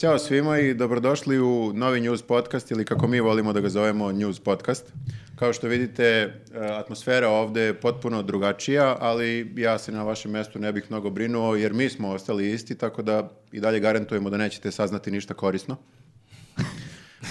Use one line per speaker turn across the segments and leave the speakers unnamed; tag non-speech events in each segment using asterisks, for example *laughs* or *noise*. Ćao svima i dobrodošli u novi News Podcast ili kako mi volimo da ga zovemo News Podcast. Kao što vidite, e, atmosfera ovde je potpuno drugačija, ali ja se na vašem mestu ne bih mnogo brinuo jer mi smo ostali isti, tako da i dalje garantujemo da nećete saznati ništa
*laughs*
korisno.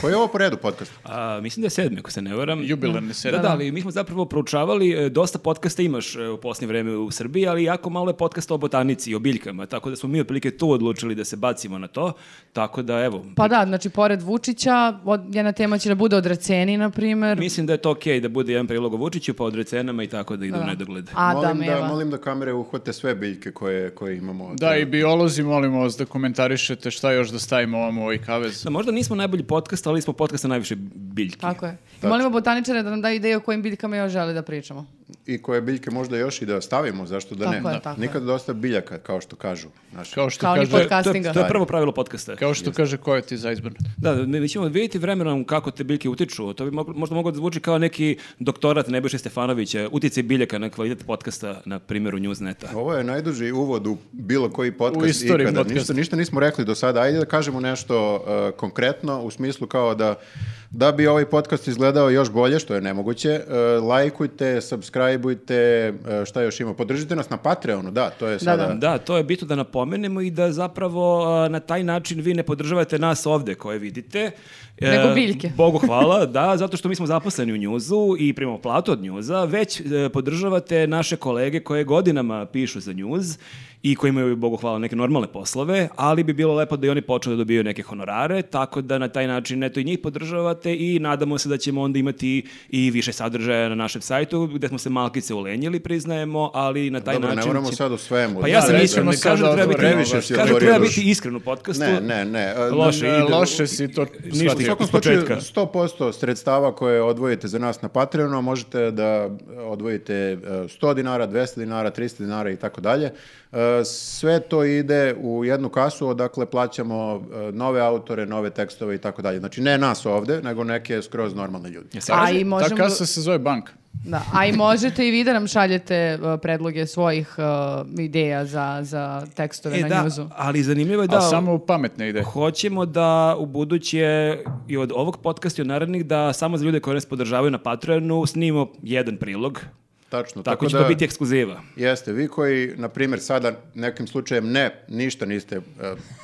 Koji je ovo po redu podcast?
A, mislim da je sedmi, ako se ne varam.
Jubilarni sedmi.
Da, da, ali mi smo zapravo proučavali, e, dosta podcasta imaš e, u posljednje vreme u Srbiji, ali jako malo je podcasta o botanici i o biljkama, tako da smo mi otprilike tu odlučili da se bacimo na to, tako da evo,
Pa da, znači, pored Vučića, od, jedna tema će da bude od Raceni, na primjer.
mislim da je to okej da bude jedan prilog o Vučiću, pa o drecenama i tako da idu u nedogled.
Adam,
molim, da,
Eva.
molim da kamere uhvate sve biljke koje, koje imamo ovde.
Da, i biolozi molimo vas da komentarišete šta još da stavimo ovom u ovaj kavez.
Da, možda nismo najbolji podcast, ali smo podcast na najviše biljki.
Tako je. I molimo botaničare da nam daju ideje o kojim biljkama još žele da pričamo.
I koje biljke možda još i da stavimo, zašto da
Tako
ne?
je, tako je.
Nikad dosta biljaka, kao što kažu. Naši.
Kao što
Kao ni
kaže,
To je-
Castinga.
To je prvo pravilo podcasta.
kao što kaže Coyote iz Iceburn.
Da, mi mi ćemo vidjeti vremenom kako te biljke utiču. To bi moglo- možda moglo da zvuči kao neki doktorat Nebojše Stefanovića, utjecaj biljaka na kvalitet podcasta, na primjeru Newsneta.
Ovo je najduži uvod u bilo koji podcast
U istoriji
ikada.
podcasta.
Ništa, ništa nismo rekli do sada. Ajde da kažemo nešto uh, konkretno u smislu kao da da bi ovaj podcast izgledao još bolje, što je nemoguće, uh, lajkujte, subscribeujte, uh, šta još ima, podržite nas na Patreonu, da, to je sada.
da.
Da, to je bitno da napomenemo i da zapravo a, na taj način vi ne podržavate nas ovde koje vidite. E,
Nego biljke.
*laughs* Bogu hvala, da, zato što mi smo zaposleni u njuzu i primamo platu od njuza, već e, podržavate naše kolege koje godinama pišu za njuz i koji imaju, Bogu hvala, neke normalne poslove, ali bi bilo lepo da i oni počnu da dobiju neke honorare, tako da na taj način eto i njih podržavate i nadamo se da ćemo onda imati i više sadržaja na našem sajtu, gde smo se malkice ulenjili, priznajemo, ali na taj
Dobro,
način...
ne moramo
će-
sad o svemu.
pa ja sam
Da,
Ne,
iskren,
nećemo
ne kažem da
sada
treba biti,
otvoreno
baš je
kažem da
otvorio
treba
dušu.
biti iskren u podcastu.
Ne, ne, ne. uh,
Loše
na-
ide.
Loše si to
Ništa,
U
shvatio.
svakom
s
slučaju,
početka.
100% sredstava koje odvojite za nas na Patreonu, možete da odvojite e, 100 dinara, 200 dinara, 300 dinara i tako dalje. E, Sve to ide u jednu kasu, odakle plaćamo e, nove autore, nove tekstove i tako dalje. Znači ne nas ovde, nego neke skroz normalne ljude.
Ja se
A
kažem,
i,
Ta
možemo-
kasa se zove banka.
da, a i možete i vi da nam šaljete uh, predloge svojih uh, ideja za, za tekstove
e,
na
da,
njuzu.
ali zanimljivo je da
A samo pametne ideje.
hoćemo da u buduće i od ovog podcasta i od narednih da samo za ljude koji nas podržavaju na Patreonu snimimo jedan prilog.
Tačno.
Tako, će to biti ekskluziva.
Jeste, vi koji, na primjer, sada nekim slučajem ne, ništa niste e,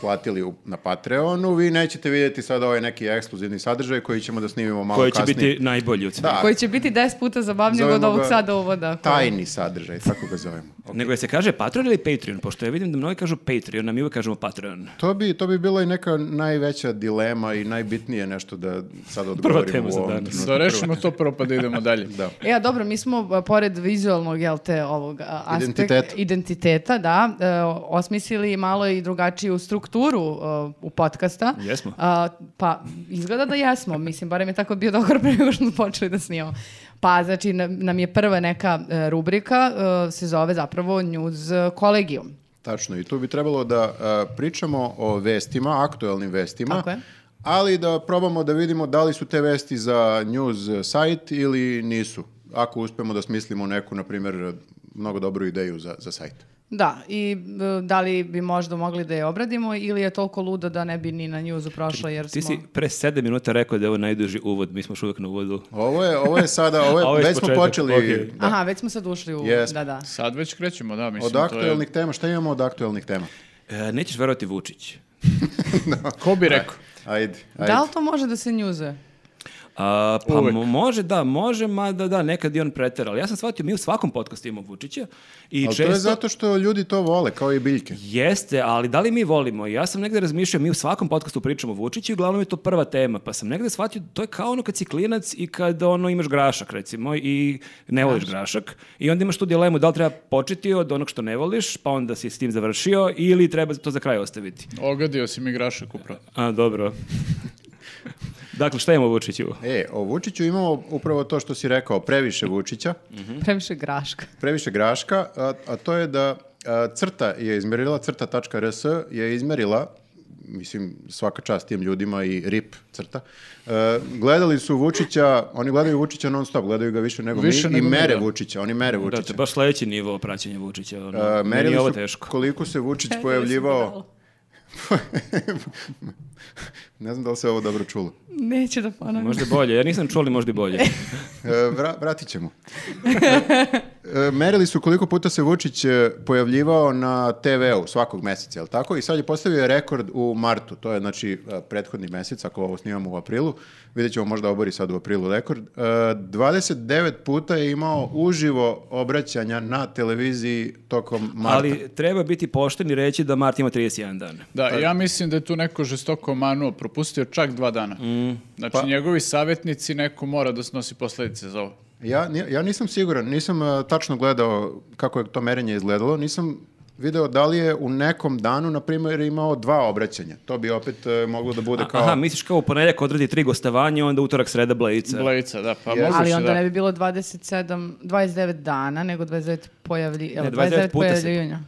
platili u- na Patreonu, vi nećete vidjeti sada ovaj neki ekskluzivni sadržaj koji ćemo da snimimo malo
Koji će
kasnije.
biti najbolji od svega.
Da,
Koji će biti 10 puta zabavniji od
Zovemo
ovog
ga
sada uvoda. koji-
Tajni sadržaj, tako ga zovemo.
Nego je se kaže Patreon ili Patreon, pošto ja vidim da mnogi kažu Patreon, a mi uvek kažemo Patreon.
To bi, to bi bila i neka najveća dilema i najbitnije nešto da sad odgovorimo
tema
u
za
ovom
danas.
trenutku.
Da rešimo to prvo pa da idemo dalje. da.
E, a dobro, mi smo a, pored vizualnog, jel te, ovog a, aspekt-
Identiteta.
identiteta, da, e, osmislili malo i drugačiju strukturu e, u podcasta.
Jesmo.
A, pa, izgleda da jesmo, mislim, barem je tako bio dogovor pre nego što smo počeli da snimamo. Pa, znači, nam- nam je prva neka e, rubrika, e, se zove zapravo News Kolegium.
Tačno, i tu bi trebalo da a, pričamo o vestima, aktuelnim vestima,
Tako je.
ali da probamo da vidimo da li su te vesti za news sajt ili nisu. Ako uspemo da smislimo neku, na primjer, mnogo dobru ideju za, za sajt.
Da, i e, da li bi možda mogli da je obradimo ili je toliko ludo da ne bi ni na njuzu prošla jer
Ti
smo...
si pre sedam minuta rekao da je ovo najduži uvod, mi smo još uvek na uvodu.
Ovo je, ovo je sada, ovo je,
A ovo je
već smo
početak,
počeli
okej.
da,
Aha, već smo sad ušli u...
Jesmo.
Da, da.
Sad već krećemo, da, mislim.
od
to je-
aktuelnih tema. Šta imamo od aktuelnih tema?
E, nećeš verovati Vučić.
Ko bi rekao?
Ajde, ajde.
Da li to može da se njuzuje?
A, pa
Uvek.
mo- može, da, može, mada da, nekad i on pretera. Ali ja sam shvatio, mi u svakom podcastu imamo Vučića i
Ali
često...
to je zato što ljudi to vole, kao i biljke.
Jeste, ali da li mi volimo? Ja sam negde razmišljao, mi u svakom podcastu pričamo o Vučiću i uglavnom je to prva tema, pa sam negde shvatio, to je kao ono kad si klinac i kad ono, imaš grašak, recimo, i ne voliš grašak, i onda imaš tu dilemu da li treba početi od onog što ne voliš, pa onda si s tim završio, ili treba to za kraj ostaviti.
Ogadio si mi grašak upravo.
A, dobro. *laughs* dakle, šta imamo o Vučiću?
E, o Vučiću imamo upravo to što si rekao, previše Vučića,
Mhm.
Previše graška.
previše Graška, a, a to je da a, crta je izmerila, crta.rs je izmerila, mislim svaka čast tim ljudima i rip crta, e, gledali su Vučića, oni gledaju Vučića non stop, gledaju ga više nego
Više
mi
nego
i
mi,
mere
da.
Vučića, oni mere
Da, to
Vučića.
je baš sledeći nivo praćenja Vučića. Ono,
E,
meni je
merili
ovo
su
teško.
koliko se Vučić pojavljivao *laughs* ne znam da li se ovo dobro čulo.
Neću da ponovim.
Možda bolje, ja nisam čuli možda i
*laughs*
bolje.
E, vra- vratit ćemo. E, merili su koliko puta se Vučić e, pojavljivao na TV-u svakog meseca, jel tako? I sad je postavio rekord u martu, to je znači e, prethodni mesec, ako ovo snimamo u aprilu, vidjet ćemo možda obori sad u aprilu rekord. E, 29 puta je imao uživo obraćanja na televiziji tokom marta.
Ali treba biti pošten i reći da Mart ima 31 dan.
Da, ja mislim da je tu neko žestoko manuo, propustio čak dva dana. Znači, njegovi savjetnici, neko mora da snosi posljedice za ovo.
Ja, ni- ja nisam siguran, nisam e, tačno gledao kako je to merenje izgledalo, nisam video da li je u nekom danu, na primjer, imao dva obraćanja. To bi opet e, moglo da bude kao...
Aha, misliš kao u ponedjeljak odradi tri gostavanja, onda utorak, sreda, blajica.
Blejica, da, pa
Jeste.
moguće
Ali onda
da.
ne bi bilo 27, 29 dana, nego 29 pojavlji,
Ne,
29,
29
29
puta se-
pojavljivanja.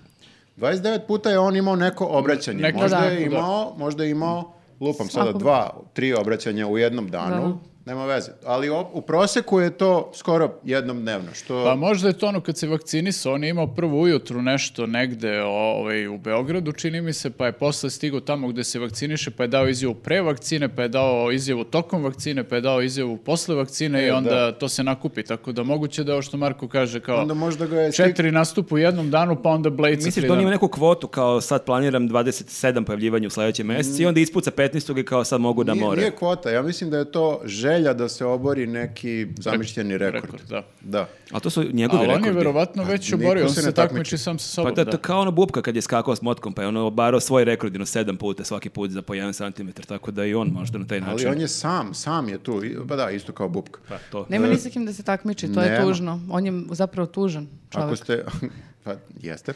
29 puta je on imao neko obraćanje.
Neko-
možda
Da,
je
da.
imao, možda je imao, lupam sada,
Svakog-
dva, tri obraćanja u jednom danu.
Da.
Nema veze. Ali op- u proseku je to skoro jednom dnevno, što...
Pa možda je to ono kad se vakcinisao, on je imao prvo ujutru nešto negde ovaj, u Beogradu, čini mi se, pa je posle stigao tamo gde se vakciniše, pa je dao izjavu pre vakcine, pa je dao izjavu tokom vakcine, pa je dao izjavu posle vakcine i onda
da.
to se nakupi. Tako da moguće da je ovo što Marko kaže kao
onda možda ga je... stig-
četiri nastupa u jednom danu, pa onda Blejca.
Misliš
tri
da on
dana.
ima neku kvotu kao sad planiram 27 pojavljivanja u sljedećem mjesecu i onda ispuca 15. i kao sad mogu da
Nije,
more.
nije kvota, ja mislim da je to želja da se obori neki zamišljeni rekord.
Rekord, da.
Da.
Ali to su njegovi
Ali on je
rekordi.
verovatno već oborio,
niko
on
se
se,
ne takmiči.
takmiči sam sa
Pa
sobom.
da, to kao ono bubka kad je skakao s motkom, pa je ono obarao svoj rekord, jedno sedam puta svaki put za po jedan centimetar, tako da i on možda na taj
Ali
način.
on je sam, sam je tu. I- Pa da, isto kao Bubka.
Pa to.
Nema ni sa kim da se takmiči, to je
Nema.
tužno. On je zapravo tužan
Ako
čovjek.
ste, *laughs* pa jeste,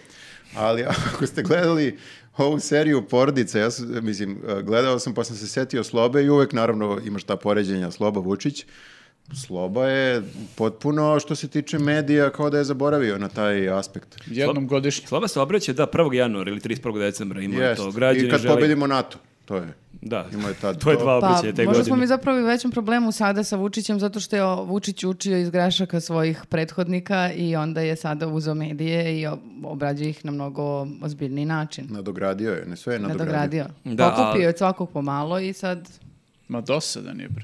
ali *laughs* ako ste gledali ovu seriju Porodice, ja sam, mislim, gledao sam pa sam se setio Slobe i uvek naravno imaš ta poređenja Sloba Vučić. Sloba je potpuno što se tiče medija kao da je zaboravio na taj aspekt.
Jednom godišnje.
Sloba se obraća da 1. januara ili 31. decembra ima
Jest.
to. Građani
I kad
žele-
pobedimo NATO, to je.
Da.
Imao je tad
*laughs* to je
to.
dva
Pa,
obraćaja te
možda
*laughs*
smo
godine.
mi zapravo i u većem problemu sada sa Vučićem, zato što je o, Vučić učio iz grešaka svojih prethodnika i onda je sada uzeo medije i o- obrađuje ih na mnogo ozbiljniji način.
Nadogradio je, ne sve je nadogradio.
Nadogradio.
Da,
Pokupio
ali-
je od svakog pomalo i sad...
Ma dosadan je, bre.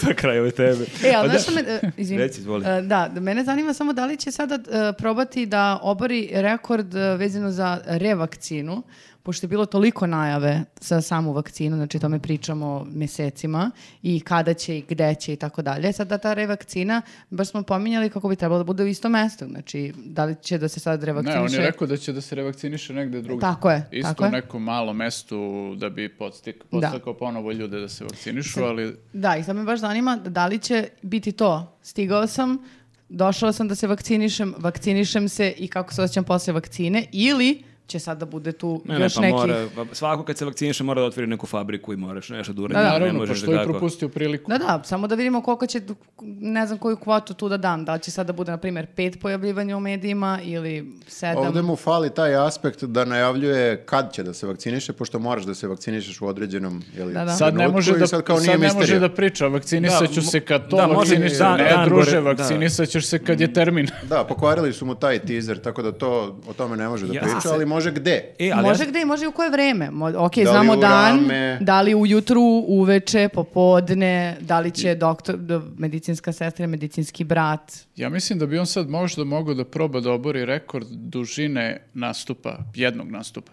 to je kraj ove tebe.
E, ali
Pa da.
znaš što me... e, izvini.
Reci, izvoli.
E, Da, da, mene zanima samo da li će sada e, probati da obori rekord e, vezano za revakcinu, pošto je bilo toliko najave za samu vakcinu, znači o tome pričamo mesecima i kada će i gde će i tako dalje. Sada ta revakcina, baš smo pominjali kako bi trebalo da bude u istom mestu, znači da li će da se sad
Ne,
revakciniše...
on je rekao da će da se revakciniše negde drugdje.
Tako je,
Isto
tako je.
u nekom malom mestu da bi podstik- podstakao ponovo ljude da se vakcinišu, ali
Da, i sad me baš zanima da li će biti to. Stigao sam, došao sam da se vakcinišem, vakcinišem se i kako se osjećam posle vakcine ili će sad da bude tu
Ne, ne,
još
pa
neki...
mora, pa svako kad se vakciniše mora da otvori neku fabriku i moraš nešto da uradi.
Da,
ne
naravno,
možeš
pošto
da
je
tako.
propustio priliku.
Da, da, samo da vidimo koliko će, ne znam koju kvotu tu da dam. Da li će sad da bude, na primjer, pet pojavljivanja u medijima ili sedam.
Ovdje mu fali taj aspekt da najavljuje kad će da se vakciniše, pošto moraš da se vakcinišeš u određenom jeli,
Da, da.
Sad ne
trenutku
može
i
da,
sad
sad
kao nije
ne može
misterija.
da priča, vakcinisat ću
Da,
se kad to,
da, može-
vakcinisat
da,
ne,
dan
druže,
gore, da. Mm.
vakcinisat ćeš se kad je termin. *laughs*
Da, pokvarili su mu taj teaser, tako da to o tome ne može da
Ja
priča,
se-
ali može gde.
E, ali
može
ja-
gde i može i u koje vreme. Mo- ok,
li
znamo
u
dan,
rame?
da li ujutru, uveče, popodne, da li će doktor, d- medicinska sestra, medicinski brat.
Ja mislim da bi on sad možda mogao da proba da obori rekord dužine nastupa, jednog
*laughs*
nastupa.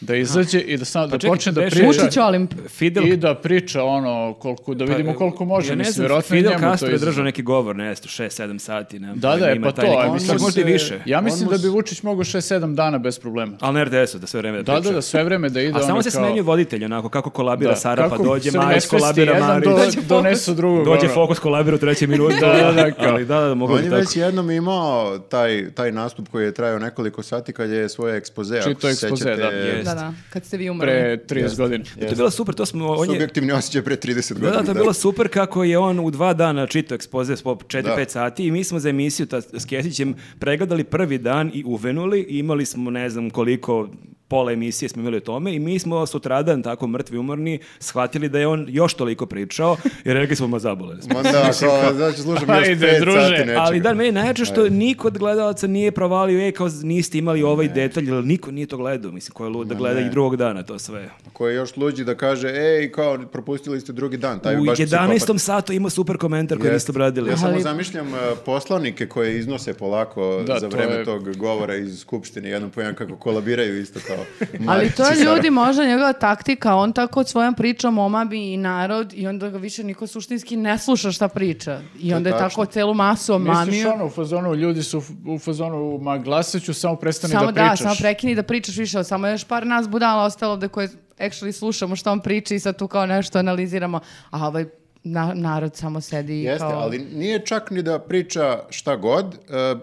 Da izađe i da, sam, da
pa čekaj,
Pa počne da
Beše-
priča.
Vučić Olimp.
Fidel
I da priča ono koliko da vidimo koliko može
Pa, ja ne
mislim
znam,
verovatno je
Fidel
njemu to
Castro je
izazov.
držao neki govor, ne, znam, 6-7 sati, ne.
Da, da, e, pa to, a
neki,
mislim
čak možda i
se-
više.
Ja
On
mislim
mu
da
s-
bi Vučić mogao 6-7 dana bez problema.
Ali na RTS-u da sve vreme da
Da,
priča.
da, da, sve vreme da ide
A samo
ono
se
kao-
smenju voditelji, onako, kako kolabira
Da,
Sara, pa
kako
dođe
se
Marić,
ne svesti
kolabira
jedan,
Marić.
do-
Dođe Fokus.
donesu drugog.
Dođe
ono.
fokus kolabira u trećem minutu.
*laughs* Da, da, da, kao.
Ali da, da, moglo
On
bi
je
tako.
već jednom imao taj, taj nastup koji je trajao nekoliko sati kad je svoje ekspoze, ako
Čitao
se
ekspoze,
sećate,
da. Je.
Jest.
Da, da, kad ste vi umrli.
Pre 30 godina.
To je bilo super, to smo... On je,
subjektivni osjećaj pre 30
Da,
godina.
da, to je bilo super kako je on u dva dana čitao ekspoze s po 4-5
Da.
sati i mi smo za emisiju ta, s Kesićem pregledali prvi dan i uvenuli i imali smo ne znam koliko pola emisije smo imali o tome i mi smo sutradan tako mrtvi umorni shvatili da je on još toliko pričao i rekli smo ma zabole.
*laughs*
*laughs*
smo."
Onda, kao, znači, slušam još
Ajde,
pet
druže,
sati nečega.
Ali da, meni je najjače što niko od gledalaca nije provalio, e, kao niste imali ovaj detalj, jer niko nije to gledao, mislim, ko je lud da gleda i drugog dana to sve.
Koji je još luđi da kaže, ej, kao, propustili ste drugi dan. Taj je
U
baš psihopat.
11. satu ima super komentar koji
Jeste.
niste obradili.
Ja samo
Ali-
zamišljam e, poslanike koje iznose polako
Da,
za
to
vreme
je-
tog govora iz Skupštine, jednom po jedan kako kolabiraju isto kao
Ali
Marić
to
i
je
Sara.
ljudi možda njegova taktika, on tako svojom pričom omabi i narod i onda ga više niko suštinski ne sluša šta priča. I onda je
tačno.
tako celu masu
Misliš
omamio.
ono u fazonu, ljudi su u- u fazonu, ma glasat ću, samo prestani
Samo
da pričaš.
samo prekini da pričaš više, samo je još par nas budala ostalo da koje actually slušamo šta on priča i sad tu kao nešto analiziramo, a ovaj na- narod samo sedi i
Jeste,
kao...
ali nije čak ni da priča šta god. e,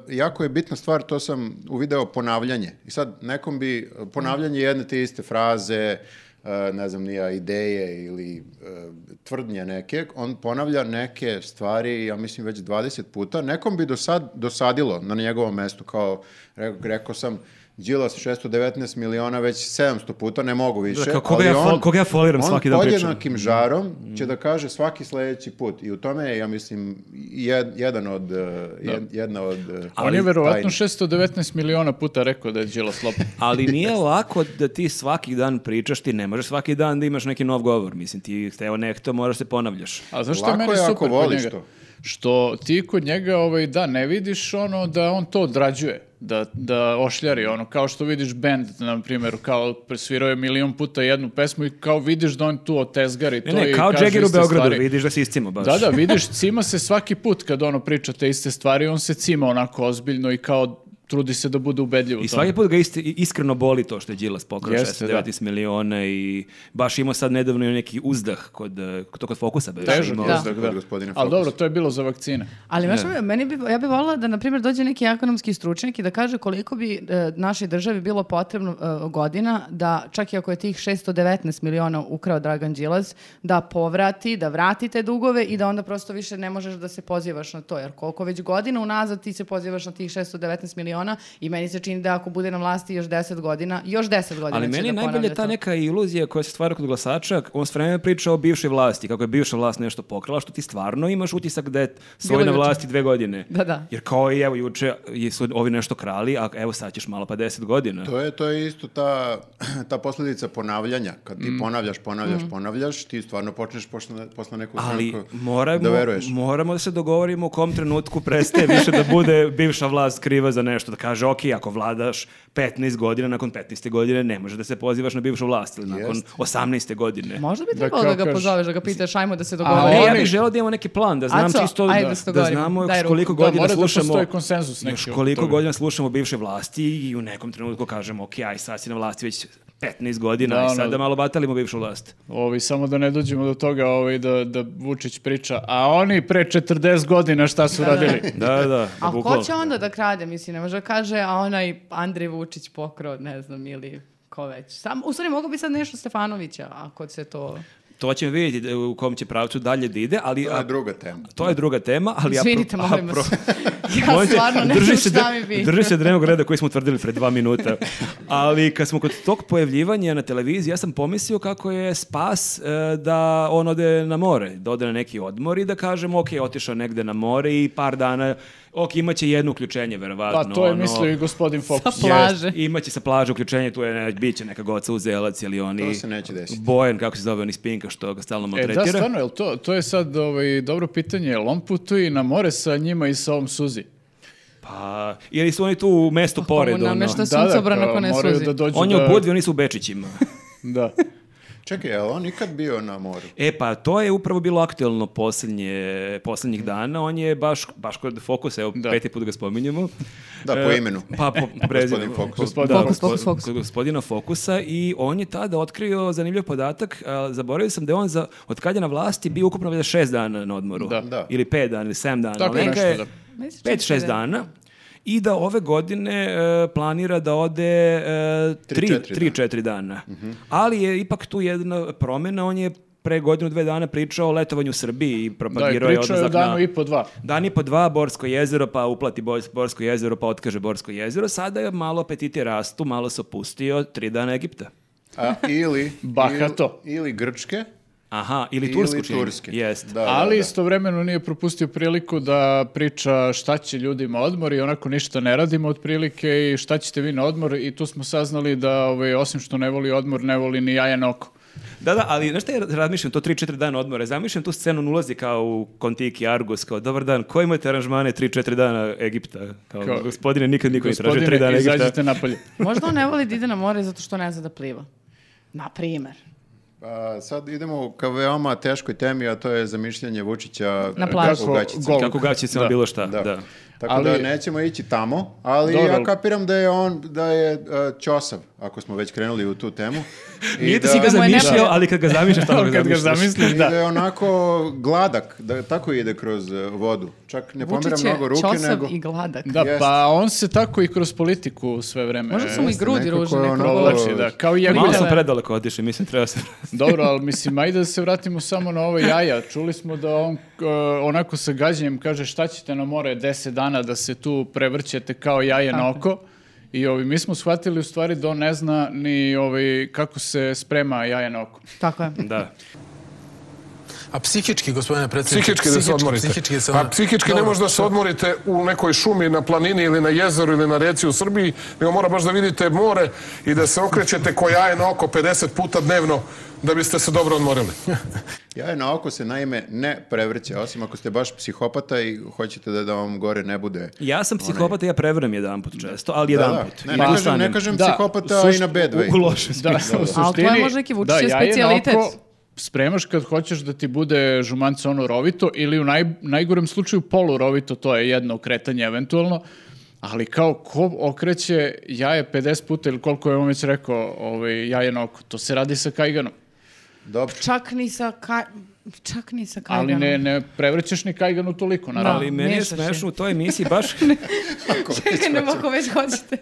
jako je bitna stvar, to sam uvideo, ponavljanje. I sad, nekom bi e, ponavljanje jedne te iste fraze, e, ne znam, nija ideje ili e, tvrdnje neke, on ponavlja neke stvari, ja mislim, već 20 puta. Nekom bi dosad, dosadilo na njegovom mestu, kao re- rekao sam, Đilas 619 miliona već 700 puta, ne mogu više.
Da, kao koga
ali
ja fol-
on-
koga ja foliram
on
svaki dan pričam.
podjednako nekim žarom
Mhm.
će da kaže svaki sledeći put i u tome je ja mislim jed- jedan od e, jed- jedna od e,
On je verovatno
tajni.
619 miliona puta rekao da je Đilas lopov. *laughs*
Ali nije lako da ti svaki dan pričaš, ti ne možeš svaki dan da imaš neki nov govor. Mislim, ti hteo nekto, moraš se ponavljaš.
A zašto
Lako
je meni
je ako
super kod
voliš
njega?
to.
Što ti kod njega ovaj, da ne vidiš ono da on to odrađuje, da, da ošljari ono, kao što vidiš band, na primjer, kao presvirao je milion puta jednu pesmu i kao vidiš da on tu otezgari
E, Ne,
to
ne,
i
kao
kaže
Jagger u
iste
Beogradu,
stvari.
vidiš da se iscimo baš.
Da, da, vidiš, cima se svaki put kad ono priča te iste stvari, on se cima onako ozbiljno i kao trudi se da bude ubedljiv u
I
tome.
svaki put ga isti- iskreno boli to što je Đilas pokrao
Jeste,
619 miliona i baš imao sad nedavno i neki uzdah kod, eh, to kod fokusa. Beše,
Težak
imao.
Da.
mozak, da.
Kod gospodina
Ali
Fokusa.
dobro, to je bilo za vakcine.
Ali znaš, meni bi, ja bih voljela da, na primjer, dođe neki ekonomski stručnjak i da kaže koliko bi e, našoj državi bilo potrebno e, godina da, čak i ako je tih 619 miliona ukrao Dragan Đilas, da povrati, da vrati te dugove i da onda prosto više ne možeš da se pozivaš na to. Jer koliko već godina unazad ti se pozivaš na tih 619 miliona i meni se čini da ako bude na vlasti još 10 godina, još 10 godina
Ali
će
meni je
Pa da
najbolje
ponavlja
ta
to.
neka iluzija koja se stvara kod glasača, on s vremena priča o bivšoj vlasti, kako je bivša vlast nešto pokrala, što ti stvarno imaš utisak da je svoj
Bilo
na
juče.
vlasti dve godine.
Da, da.
Jer kao i evo juče je su ovi nešto krali, a evo sad ćeš malo pa deset godina.
To je, to je isto ta, *clears throat* ta posljedica ponavljanja. Kad
Mhm.
ti ponavljaš, ponavljaš, ponavljaš, ti stvarno počneš posle, posle nekog
Ali
trenutku
moramo
da
da,
veruješ.
moramo da se dogovorimo u kom trenutku prestaje više da bude bivša vlast kriva za nešto. Da kaže, ok, ako vladaš 15 godina, nakon 15. godine ne može da se pozivaš na bivšu vlast ili nakon
Jest.
18. godine.
Možda bi
Da
trebalo da,
kao
ga
kažeš-
pozoveš, da ga pitaš, ajmo da se
Ali
dogovorimo.
Pa ne, ja
oni-
bih želeo da imamo neki plan, da znam
Aco,
čisto,
ajde da se
da,
dogovorimo,
znamo
daj ruku.
koliko
Da,
godina
mora da
slušamo,
postoji konsenzus neki
još
oko
koliko
toga.
godina slušamo bivše vlasti i u nekom trenutku kažemo, ok, aj sad si na vlasti već 15 godina,
Da,
aj
ono-
sad da malo batalimo bivšu vlast.
Ovi, samo da ne dođemo do toga ovi, da, da Vučić priča, a oni pre 40 godina šta su radili?
Da, da,
A ko
bukvalno.
će onda da krade, mislim, ne može da kaže, a onaj Andrej Vučić pokrao, ne znam, ili ko već. Sam, u stvari, mogu bi sad nešto Stefanovića, ako se to...
To ćemo vidjeti da- u kom će pravcu dalje da ide, ali
To je druga tema.
To je druga tema, ali ja...
Izvinite, molim vas.
*laughs*
ja stvarno ne
drži
znam
se
šta
dre-
mi bi.
Drži se dnevnog reda koji smo utvrdili pred dva minuta. Ali kad smo kod tog pojavljivanja na televiziji, ja sam pomislio kako je spas e, da on ode na more, da ode na neki odmor i da kažemo, ok, otišao negde na more i par dana, ok, imaće jedno uključenje, verovatno.
Pa to je
ono,
mislio i gospodin Fokus.
Sa plaže.
Jest, Imaće sa plaže uključenje, tu je ne, bit će neka goca uzelac ili oni...
To se neće desiti.
Bojan, kako se zove, oni spinka što ga stalno
E,
maltretira.
da, stvarno, jel to, to je sad ovaj, dobro pitanje, jel on putuje na more sa njima i sa ovom Suzi?
Pa, ili su oni tu u mestu pored,
mu
ono.
namešta Suncobran
kao
ako ne
moraju
Suzi.
Da dođu
On je
da,
u Budvi, oni su u Bečićima.
Da.
Čekaj, je li on nikad bio na moru?
E pa, to je upravo bilo aktuelno posljednje, posljednjih dana. On je baš, baš kod Fokusa, evo
Da.
peti put ga spominjemo.
Da, po
E,
imenu.
Pa, po prezimenu.
Gospodin Fokus.
Po-
Gospodin
da,
Fokus,
po-
Fokus, Fokus.
kod Gospodina Fokusa i on je tada otkrio zanimljiv podatak. a, Zaboravio sam da je on za, od kad je na vlasti bio ukupno valjda šest dana na odmoru.
Da.
Da.
Ili pet dana, ili sedam dana.
Tako
ali neka
nešto,
je-
da.
Meni se čini
pet, šest
da je.
dana i da ove godine e, planira da ode e,
Tri,
tri,
četiri
tri, četiri dana. Ali je ipak tu jedna promjena, on je pre godinu, dve dana pričao o letovanju u Srbiji i
Da, i
propagirao je
pričao je o
odlazak
danu
na...
i po dva.
Dan i po dva, Borsko jezero, pa uplati Bors- Borsko jezero, pa otkaže Borsko jezero. Sada je malo apetiti rastu, malo se opustio, tri dana Egipta. *laughs*
A, ili,
Bahato.
ili, ili Grčke,
Aha, ili Tursku
ili
čini mi.
Turske.
Jest.
Da, da,
Ali
da.
istovremeno nije propustio priliku da priča šta će ljudima odmor i onako ništa ne radimo otprilike i šta ćete vi na odmor i tu smo saznali da ovaj, osim što ne voli odmor, ne voli ni jajan oko.
Da, da, ali znaš šta ja razmišljam, to 3-4 dana odmora, zamišljam tu scenu, on ulazi kao u Kontiki, Argus, kao, dobar dan, koji imate aranžmane 3-4 dana Egipta? Kao,
Kao,
gospodine, nikad niko ne traži 3
Gospodine,
dana
izađite
Egipta.
napolje.
Možda on ne voli da ide na more zato što ne zna da pliva. Na primer.
A, sad idemo ka veoma teškoj temi, a to je zamišljanje Vučića
Na plaži.
kako gaćica.
Gol.
Kako gaćicama
Da.
bilo šta,
Da.
da.
Tako
Ali-
da nećemo ići tamo, ali
Dobro.
ja kapiram da je on, da je uh, ćosav, ako smo već krenuli u tu
*laughs*
temu. I
Nije da,
da-
si ga
Samo je ne-
zamišljao, ali kad ga zamišljaš, tamo ga
Kad ga
zamišljaš.
I
zamisliš,
da.
da.
je onako gladak, da tako ide kroz e, vodu. Čak ne pomera
Vučić je
mnogo ruke,
čosav
nego...
i gladak.
Da,
Jeste.
pa on se tako i kroz politiku sve vreme
Možda su mu i
jeste,
grudi
nekako
ružne.
je ono-
nekako.
provlači, da, kao i
Malo
Jaguar.
sam predaleko otišao, mislim, treba se...
*laughs* Dobro, ali mislim, ajde da se vratimo samo na ove jaja. Čuli smo da on e, onako sa gađenjem kaže šta ćete na more 10 dana da se tu prevrćete kao jaje na oko. I ovi, mi smo shvatili u stvari da on ne zna ni ovaj, kako se sprema jaje na oko.
Tako je.
Da.
A psihički, gospodine predsjedniče?
Psihički da se odmorite.
Psihički da se
pa
odmorite.
psihički ne
Dobro.
možete da se odmorite u nekoj šumi, na planini ili na jezeru ili na reci u Srbiji, nego mora baš da vidite more i da se okrećete ko jaje na oko 50 puta dnevno da biste se dobro *laughs* odmorili.
Jaje na oko se naime ne prevrće, osim ako ste baš psihopata i hoćete da, da vam gore ne bude.
Ja sam psihopata, ja prevrem jedanput često, ali jedanput.
Da, da. Ne, ne,
I tu
kažem, ne
stanem.
kažem
Da,
psihopata
sušt-
i na bedve.
U, u lošem
Da,
smislu.
u
Ali to
suštini,
je možda neki Vučićev
jaje na
specijalitet.
oko Spremaš kad hoćeš da ti bude žumance ono rovito ili u naj, najgorem slučaju polurovito, to je jedno okretanje eventualno, ali kao ko okreće jaje 50 puta ili koliko je on već rekao ovaj, jaje na oko, to se radi sa kajganom.
Dobro.
Čak ni sa ka... Čak ni sa
Ali
kajganom.
ne, ne prevrćeš ni kajganu toliko, naravno.
Ali meni je
Miješaš je.
smešno u toj emisiji baš...
*laughs* Čekaj, nema ako već hoćete.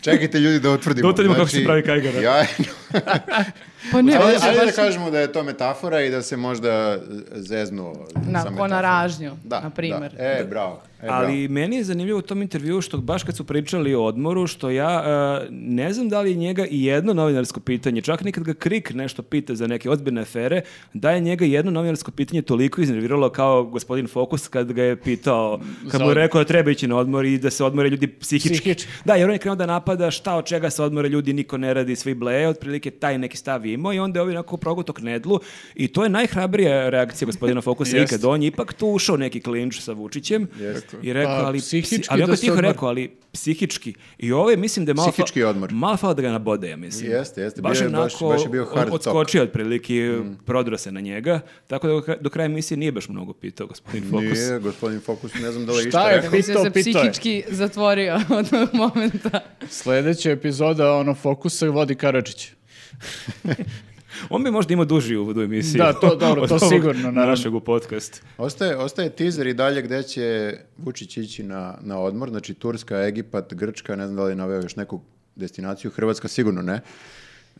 Čekajte ljudi da utvrdimo. Znači,
Da utvrdimo kako se pravi kajgana.
Jaje na
Pa ne,
Ali
baš-
ajde da
baš-
kažemo da je to metafora i da se možda zeznuo sa
Na- ko na
metaforom.
ražnju,
da,
na primer.
Da. E, bravo. E, bravo.
Ali meni je zanimljivo u tom intervju što baš kad su pričali o odmoru, što ja e, ne znam da li je njega i jedno novinarsko pitanje, čak nikad ga Krik nešto pita za neke ozbiljne afere, da je njega jedno novinarsko pitanje toliko iznerviralo kao gospodin Fokus kad ga je pitao, kad
Za
mu je
odmor.
rekao da treba ići na odmor i da se odmore ljudi psihički.
Psihički.
Da, jer on je krenuo da napada šta od čega se odmore ljudi, niko ne radi, svi bleje, otprilike taj neki stav je imao i onda je ovaj onako progotok nedlu i to je najhrabrija reakcija gospodina
*laughs*
Fokusa
Jeste.
ikad. On je ipak tu ušao u neki klinč sa Vučićem i rekao,
Pa,
ali,
psihički
psi- ali
da
ako
se
tiho
odmori.
rekao, ali psihički. I ovo je, mislim da je malo...
Psihički odmor.
Malo falo da ga nabode, ja mislim.
Jeste, jeste, bio je baš-
onako
baš je bio hard Mm.
od- Odskočio je otprilike, prodro se na njega, tako da do kraja- do kraja emisije nije baš mnogo pitao gospodin Fokus.
Nije, gospodin Fokus, ne znam da li je
Šta
išta
je
rekao.
Mislim da se
Pitao, pitao je.
psihički zatvorio *laughs* od tog momenta.
Sljedeća epizoda ono fokusa vodi Karadžić.
On bi možda imao duži uvod u emisiju.
Da, to- dobro,
od
to
ovog
sigurno, naravno.
Našeg u podcast.
Ostaje, ostaje teaser i dalje gde će Vučić ići na, na odmor, znači Turska, Egipat, Grčka, ne znam da li je naveo još neku destinaciju, Hrvatska sigurno ne.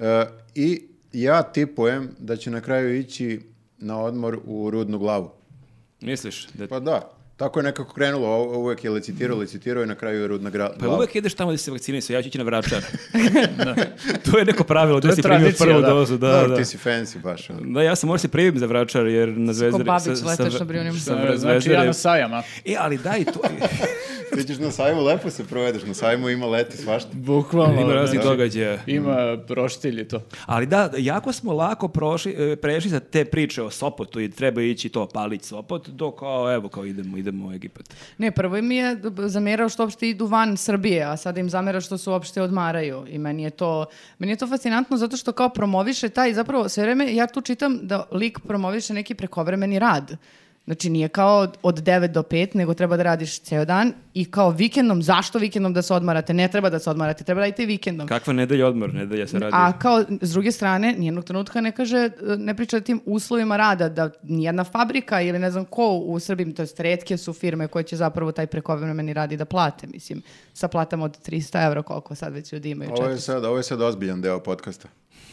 E, I ja tipujem da će na kraju ići na odmor u Rudnu glavu.
Misliš? Da... Pa,
Pa da, tako je nekako krenulo, o- uvek je licitirao, licitirao i na kraju je Rudna gra- glava.
Pa uvek ideš tamo gde se vakcinisao, ja ću ići na vračar. *laughs* To je neko pravilo, da
je
si primio
tradicija,
prvu
da.
dozu. Da,
Dobro,
da.
ti si fancy baš. ono.
Da, ja sam morao se primiti za vračar, jer na zvezdari...
Babić
sa- sa-
letaš na Brijunima.
sa
E, Znači
Zvezdare-
ja na sajama.
E, ali daj, to... *laughs*
Ti ćeš na sajmu, lepo se provedeš, na sajmu ima leti svašta.
Bukvalno.
Ima raznih
znači,
događaja.
Ima roštilj i to.
Ali da, jako smo lako prošli, e, prešli za te priče o Sopotu i treba ići to palić Sopot, dok kao, evo, kao idemo, idemo u Egipat.
Ne, prvo im je b- zamerao što uopšte idu van Srbije, a sada im zamera što se uopšte odmaraju. I meni je to, meni je to fascinantno zato što kao promoviše taj, zapravo sve vreme ja tu čitam da lik promoviše neki prekovremeni rad. Znači nije kao od- od 9 do 5, nego treba da radiš ceo dan i kao vikendom, zašto vikendom da se odmarate? Ne treba da se odmarate, treba da radite i vikendom.
Kakva nedelja odmor, nedelja se radi.
A kao, s druge strane, nijednog trenutka ne kaže, e, ne priča o tim uslovima rada, da nijedna fabrika ili ne znam ko u Srbiji, to jest redke su firme koje će zapravo taj prekovremeni radi da plate, mislim, sa platama od 300 evra koliko sad već ljudi imaju.
Ovo je
četiri-
sad, ovo je sad ozbiljan deo podcasta.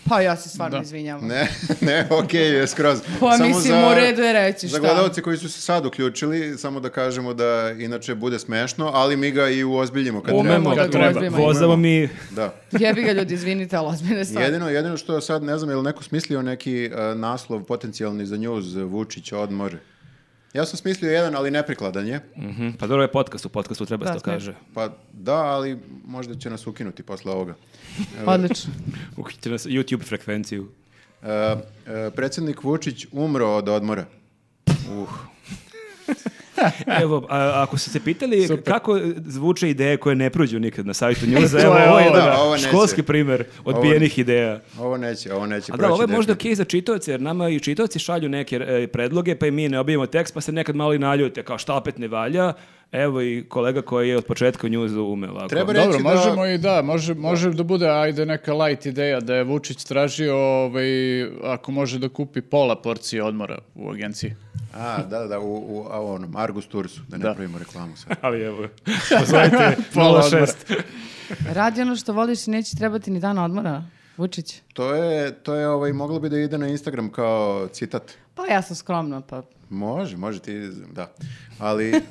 Pa ja se stvarno izvinjavam.
Ne, *laughs* ne, okej, je skroz.
Pa mislim, u redu je reći,
Za
šta?
gledalce koji su se sad uključili, samo da kažemo da inače bude smešno, ali mi ga i uozbiljimo kad
Umemo
treba.
da
Kad treba.
gozimo.
Vozamo mi
Da.
Jebi ga ljudi, izvinite, ali ozbiljne stvari.
Jedino, jedino što sad, ne znam, je li neko smislio neki e, naslov potencijalni za njuz Vučić odmor? Ja sam smislio jedan, ali neprikladan je.
Mhm, Pa dobro je podcast, u podcastu treba se
Da,
to kaže.
Pa da, ali možda će nas ukinuti posle ovoga.
Odlično.
Ukićete nas YouTube frekvenciju.
E, e, predsjednik Vučić umro od odmora. Uh,
*laughs* Evo, a, ako ste se pitali kako zvuče ideje koje ne prođu nikad na
*laughs*
sajtu njuza,
To
evo,
je
ovo je
ovo,
jedan
da, ovo neće.
školski primer odbijenih ideja.
ovo neće, ovo neće
A
proći.
da, ovo je možda
definitivno.
okej za čitaoce, jer nama i čitaoci šalju neke e, predloge, pa i mi ne objavimo tekst, pa se nekad malo i naljute, kao šta opet ne valja. Evo i kolega koji je od početka u njuzu ume ovako.
Treba Pa reći
Dobro,
da...
možemo i da, može, može da bude ajde neka light ideja da je Vučić tražio ovaj, ako može da kupi pola porcije odmora u
*laughs*
agenciji.
A, da, da, da, u, u a, u onom Argus Tursu, da ne
Da.
pravimo reklamu sad.
Ali evo, pozovite
Pola
06.
Radi ono što voliš i neće trebati ni dana odmora. Vučić.
To je, to je ovaj, moglo bi da ide na Instagram kao citat.
Pa ja sam skromna, pa...
Može, može ti, da. Ali, e,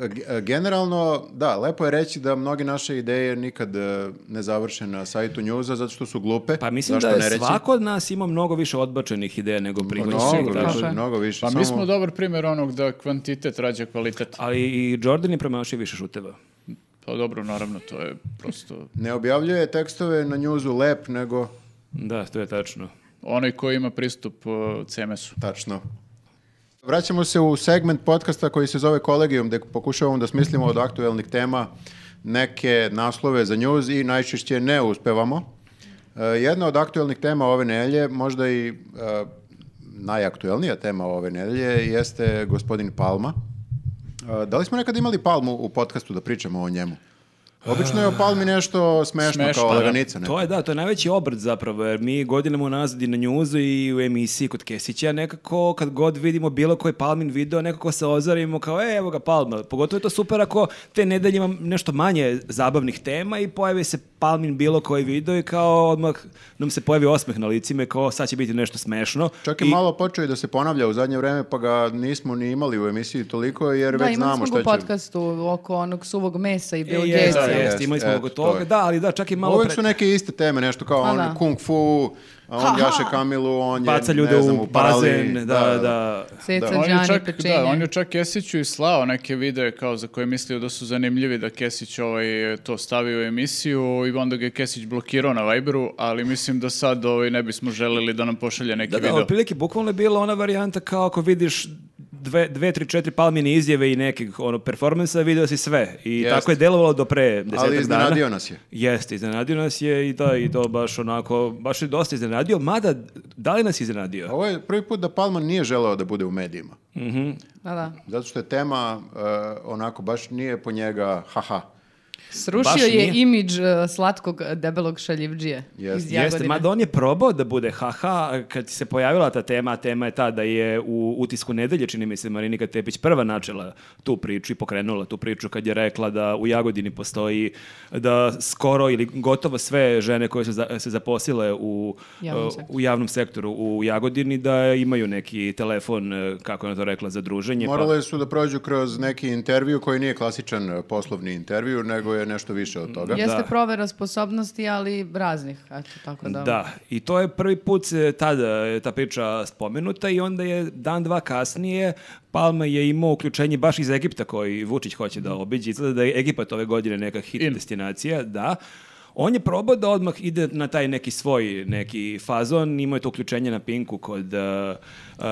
ge- generalno, da, lepo je reći da mnoge naše ideje nikad e, ne završe na sajtu njuza zato što su glupe.
Pa mislim
Zašto
da
ne
je
reći? Pa
svako od nas ima mnogo više odbačenih ideja nego prihvaćenih.
Mnogo
tako.
Tako
više,
je.
mnogo više.
Pa mi
samo-
smo dobar primjer onog da kvantitet rađa kvalitet.
Ali i Jordan je premašio više šuteva.
Pa dobro, naravno, to je prosto...
Ne objavljuje tekstove na njuzu lep, nego
Da, to je tačno.
Onaj koji ima pristup uh, CMS-u.
tačno. Vraćamo se u segment podcasta koji se zove Kolegijum, gde pokušavamo da smislimo od aktuelnih tema neke naslove za njuz i najčešće ne uspevamo. E, Jedna od aktuelnih tema ove nelje, možda i e, najaktuelnija tema ove nelje, jeste gospodin Palma. E, Da li smo nekad imali Palmu u podcastu da pričamo o njemu? Obično je o Palmi nešto smešno,
Smešno,
kao
da.
laganica. neka.
To je da, to je najveći obrt zapravo, jer mi godinama unazad i na njuzu i u emisiji kod Kesića nekako kad god vidimo bilo koji Palmin video, nekako se ozarimo kao e, evo ga Palma. Pogotovo je to super ako te nedelje imam nešto manje zabavnih tema i pojavi se Palmin bilo koji video i kao odmah nam se pojavi osmeh na licima i kao sad će biti nešto smešno.
Čak je
I-
malo počeo i da se ponavlja u zadnje vreme, pa ga nismo ni imali u emisiji toliko, jer
Da,
već
imali
znamo
smo
šta
ga
će...
u podcastu oko onog suvog mesa i
E,
Bill
jeste,
Gatesa.
Da, je.
jeste, imali smo
Eto,
oko
to
toga,
je.
da, ali da, čak je malo
Uvijek
pre-
su neke iste teme, nešto kao
Pa
on
da.
kung fu, a on
Ha, ha.
jaše kamilu, on je,
baca ljude
ne znam,
u
paraliji.
bazen, da, da.
Seca,
Da.
On je,
džani,
čak,
pečenje.
da, on je čak Kesiću i slao neke videe kao za koje je mislio da su zanimljivi da Kesić ovaj, to stavio u emisiju i onda ga je Kesić blokirao na Viberu, ali mislim da sad ovaj, ne bismo želeli da nam pošalje neki
Da, da,
video.
otprilike, bukvalno je bila ona varijanta kao ako vidiš dve, dve tri, četiri palmine izjave i nekih ono, performansa, video si sve. I
Jeste.
tako je delovalo do pre desetak
Ali iznenadio
dana.
nas je.
Jeste, iznenadio nas je i da, i to baš onako, baš je dosta iznenadio, mada, da li nas je iznenadio?
Ovo je prvi put da Palma nije želeo da bude u medijima.
Da, da.
Zato što je tema e, onako baš nije po njega haha.
Srušio
Baš
je
nije.
imidž e, slatkog debelog šaljivđije
Jeste.
iz Jagodine.
Jeste, mada on je probao da bude haha, kad se pojavila ta tema, a tema je ta da je u utisku nedelje, čini mi se, Marinika Tepić prva načela tu priču i pokrenula tu priču kad je rekla da u Jagodini postoji da skoro ili gotovo sve žene koje su za- se zaposlile u
Javnom
e,
sektoru.
u javnom sektoru u Jagodini da imaju neki telefon, e, kako je ona to rekla, za druženje. pa-
Morale su da prođu kroz neki intervju koji nije klasičan e, poslovni intervju, nego je nešto više od toga.
Jeste
Da.
provera sposobnosti, ali raznih. Eto, tako da.
Da, i to je prvi put se tada je ta priča spomenuta i onda je dan, dva kasnije Palma je imao uključenje baš iz Egipta koji Vučić hoće da obiđe. Izgleda da je Egipat ove godine neka hit destinacija, da. On je probao da odmah ide na taj neki svoj neki fazon, imao je to uključenje na Pinku kod uh, uh,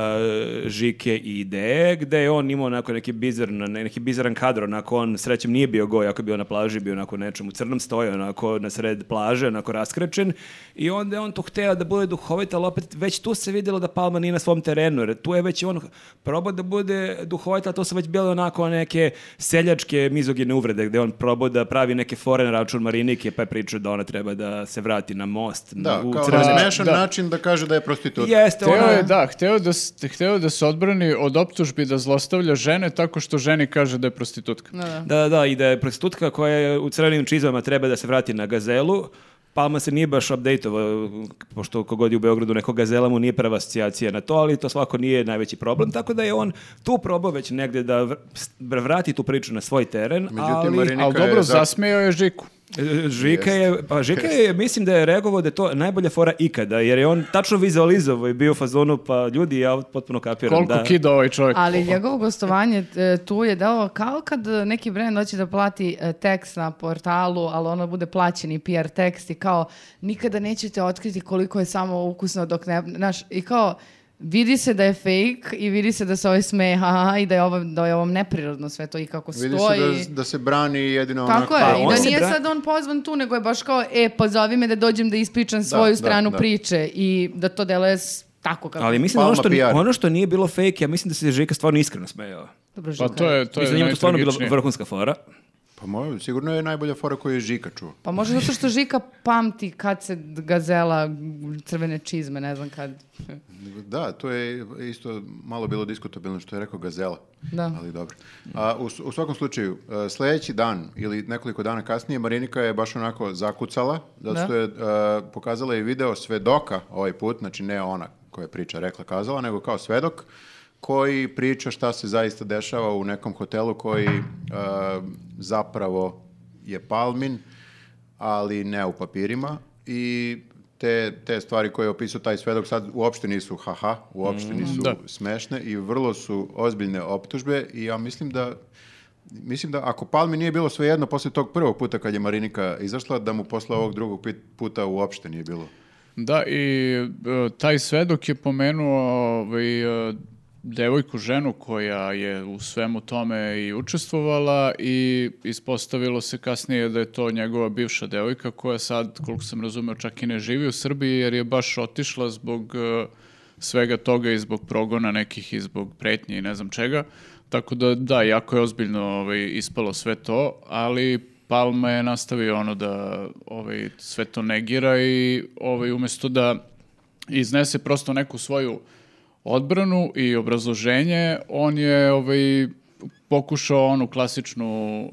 Žike i Ideje, gde je on imao onako neki, bizarno, neki bizaran kadar, onako on srećem nije bio goj, ako je bio na plaži, bio onako u nečemu crnom stoju, onako na sred plaže, onako raskrečen i onda je on to hteo da bude duhovit, ali opet već tu se vidjelo da Palma nije na svom terenu, jer tu je već on probao da bude duhovit, a to su već bile onako neke seljačke mizogine uvrede, gde on probao da pravi neke fore na račun Marinike, pa je pričao da ona treba da se vrati na most,
Da,
na, u
kao na
crvene...
smešan
Da.
način da kaže da je prostitutka.
Jeste,
Hteo
ona-
je, da, hteo da, s- hteo da se odbrani od optužbi da zlostavlja žene tako što ženi kaže da je prostitutka.
Da, da.
Da, da, i da je prostitutka koja je u crvenim čizmama treba da se vrati na gazelu, Palma se nije baš update-ovao, pošto kogod je u Beogradu nekog gazela mu nije prva asocijacija na to, ali to svako nije najveći problem, tako da je on tu probao već negde da vr- vr- vrati tu priču na svoj teren,
Međutim,
ali...
Marinika
Ali dobro,
je za-
zasmejao je Žiku.
E, Žika je, pa Žika je, mislim da je reagovao da je to najbolja fora ikada, jer je on tačno vizualizovao i bio u fazonu, pa ljudi, ja potpuno kapiram
Koliko
da...
kida ovaj čovjek.
Ali njegovo gostovanje e, tu je dao kao kad e, neki brend hoće da plati e, tekst na portalu, ali ono bude plaćeni PR tekst i kao nikada nećete otkriti koliko je samo ukusno dok ne... Znaš, i kao vidi se da je fake i vidi se da se ovaj smeje ha, ha, ha, i da je ovom, da je ovom neprirodno sve to i kako
Vidi
stoji.
se da, da se brani jedino
Tako
onako. pa
je, i
on
da
se
nije
bra-
sad on pozvan tu, nego je baš kao, e, pozovi me da dođem da ispričam svoju
da,
stranu
da.
priče i da to deluje s- tako kako...
Ali mislim da ono što,
Palma PR.
ono što nije bilo fake, ja mislim da se Žika stvarno iskreno smejao.
Dobro,
Pa
Žika.
to je, to je
mislim da njemu to stvarno bila
najtragičnije.
vrhunska fora.
Pa moj, sigurno je najbolja fora koju je Žika čuo.
Pa možda zato što Žika pamti kad se gazela crvene čizme, ne znam kad.
Da, to je isto malo bilo diskutabilno što je rekao Gazela.
Da.
Ali dobro. A, u, s- u svakom slučaju, e, sljedeći dan ili nekoliko dana kasnije Marinika je baš onako zakucala, zato
Da.
što je e, pokazala i video svedoka ovaj put, znači ne ona koja priča rekla kazala, nego kao svedok koji priča šta se zaista dešava u nekom hotelu koji e, zapravo je Palmin, ali ne u papirima i te, te stvari koje je opisao taj svedok sad uopšte nisu haha, uopšte nisu
Da.
smešne i vrlo su ozbiljne optužbe i ja mislim da Mislim da ako Palmi nije bilo svejedno posle tog prvog puta kad je Marinika izašla, da mu posle ovog drugog pit- puta uopšte nije bilo.
Da, i e, taj svedok je pomenuo ovaj, e, devojku, ženu koja je u svemu tome i učestvovala i ispostavilo se kasnije da je to njegova bivša devojka koja sad, koliko sam razumeo, čak i ne živi u Srbiji jer je baš otišla zbog e, svega toga i zbog progona nekih i zbog pretnje i ne znam čega. Tako da, da, jako je ozbiljno ovaj, ispalo sve to, ali Palma je nastavio ono da ovaj, sve to negira i ovaj, umjesto da iznese prosto neku svoju odbranu i obrazloženje, on je ovaj, pokušao onu klasičnu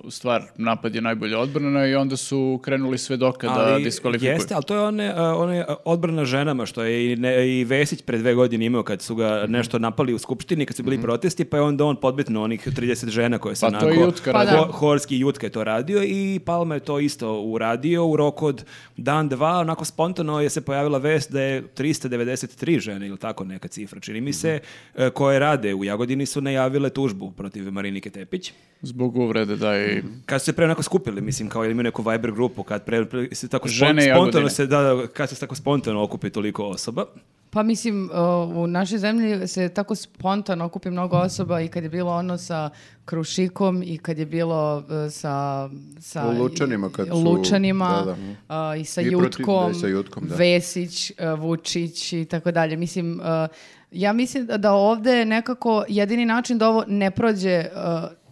stvar, napad je najbolja odbrana i onda su krenuli svedoka da diskvalifikuju.
Jeste, ali to je one, a, one a, odbrana ženama, što je i, ne, i Vesić pre dve godine imao kad su
Mhm.
ga nešto napali u Skupštini, kad su bili protesti, pa je onda on podbitno onih 30 žena koje se
Pa to
onako...
je Jutka
Pa radio.
Ho-
da.
Horski i Jutka je to radio i Palma je to isto uradio u roku od dan, dva, onako spontano je se pojavila vest da je 393 žene ili tako neka cifra, čini
Mhm.
mi se, e, koje rade u Jagodini su najavile tužbu protiv Marinike Tepić.
Zbog uvrede da i...
Kad su se pre onako skupili, mislim, kao ili imaju neku Viber grupu, kad pre, pre- se tako spon-
Žene Jagodine.
spontano se, da, da, kad se tako spontano okupi toliko osoba.
Pa mislim, o, u našoj zemlji se tako spontano okupi mnogo osoba i kad je bilo ono sa Krušikom i kad je bilo e, sa... sa
U Lučanima kad su-
Lučanima,
da, da.
a, Uh, i sa
I protiv-
Jutkom,
da, i sa Jutkom, da.
Vesić, e, Vučić i tako dalje. Mislim, e, ja mislim da- da ovde nekako jedini način da ovo ne prođe e,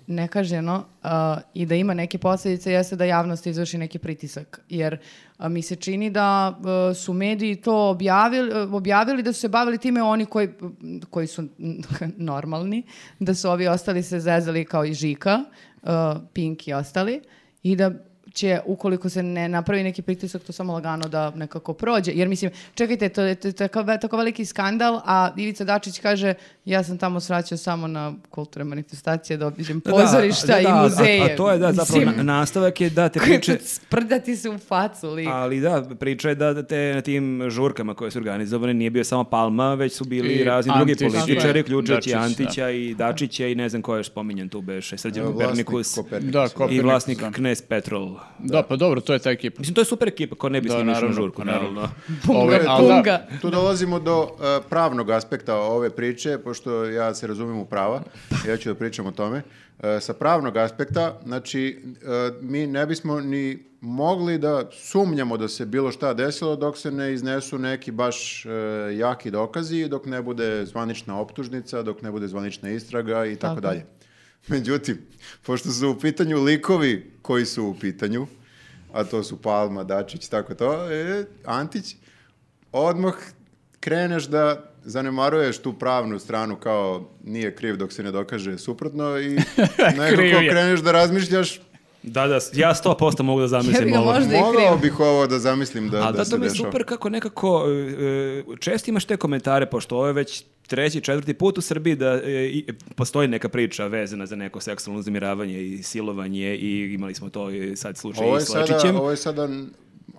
nekažnjeno e, i da ima neke posljedice jeste da javnost izvrši neki pritisak. Jer a, mi se čini da e, su mediji to objavili, e, objavili da su se bavili time oni koji, uh, koji su *laughs* normalni, da su ovi ostali se zezali kao i Žika, e, Pink i ostali i da će, ukoliko se ne napravi neki pritisak, to samo lagano da nekako prođe. Jer mislim, čekajte, to je, to je tako, ve- tako veliki skandal, a Ivica Dačić kaže, ja sam tamo svraćao samo na kulturne manifestacije, da obiđem pozorišta
Da, da,
i
a-
muzeje.
A, to je, da, zapravo
Mislim,
na- nastavak je
*laughs*
da te priče...
sprdati se u facu lik.
Ali da, priča je da te na tim žurkama koje su organizovane nije bio samo Palma, već su bili
I
razni drugi
Antić,
političari,
da.
uključujući i
Dačić, da.
Antića i Dačića i ne znam ko je još spominjan tu beše, Srđan
Vlasnik
Kopernikus
Kopernikus.
Da,
i
Kopernikus,
vlasnik
da.
Knez Petrol.
Da, pa dobro, to je ta ekipa.
Mislim, to je super ekipa, ko ne bi s
Da,
njima išao na
naravno,
žurku,
pa naravno.
naravno.
Punga,
Ove-
ali da,
punga.
Tu dolazimo do e, pravnog aspekta ove priče, pošto ja se razumijem u prava, ja ću da pričam o tome. E, sa pravnog aspekta, znači, e, mi ne bismo ni mogli da sumnjamo da se bilo šta desilo dok se ne iznesu neki baš e, jaki dokazi, i dok ne bude zvanična optužnica, dok ne bude zvanična istraga i tako
Tako.
dalje. Međutim, pošto su u pitanju likovi koji su u pitanju, a to su Palma, Dačić, tako to, e, Antić, odmah kreneš da zanemaruješ tu pravnu stranu
*laughs*
kao nije kriv dok se ne dokaže suprotno i nekako
Kriv je.
kreneš da razmišljaš
Da, da, ja 100% mogu da
Jebi
zamislim
ga,
ovo.
možda i
Mogao
krivo.
bih ovo da zamislim da,
Ali
da,
da,
se
to mi je
dešava.
super kako nekako, e, e, često imaš te komentare, pošto ovo je već treći, četvrti put u Srbiji da e, i- postoji neka priča vezana za neko seksualno uznemiravanje i silovanje i imali smo to i sad slučaj
Ovo
i
je
s
sada,
Lečićem.
ovo je sada n-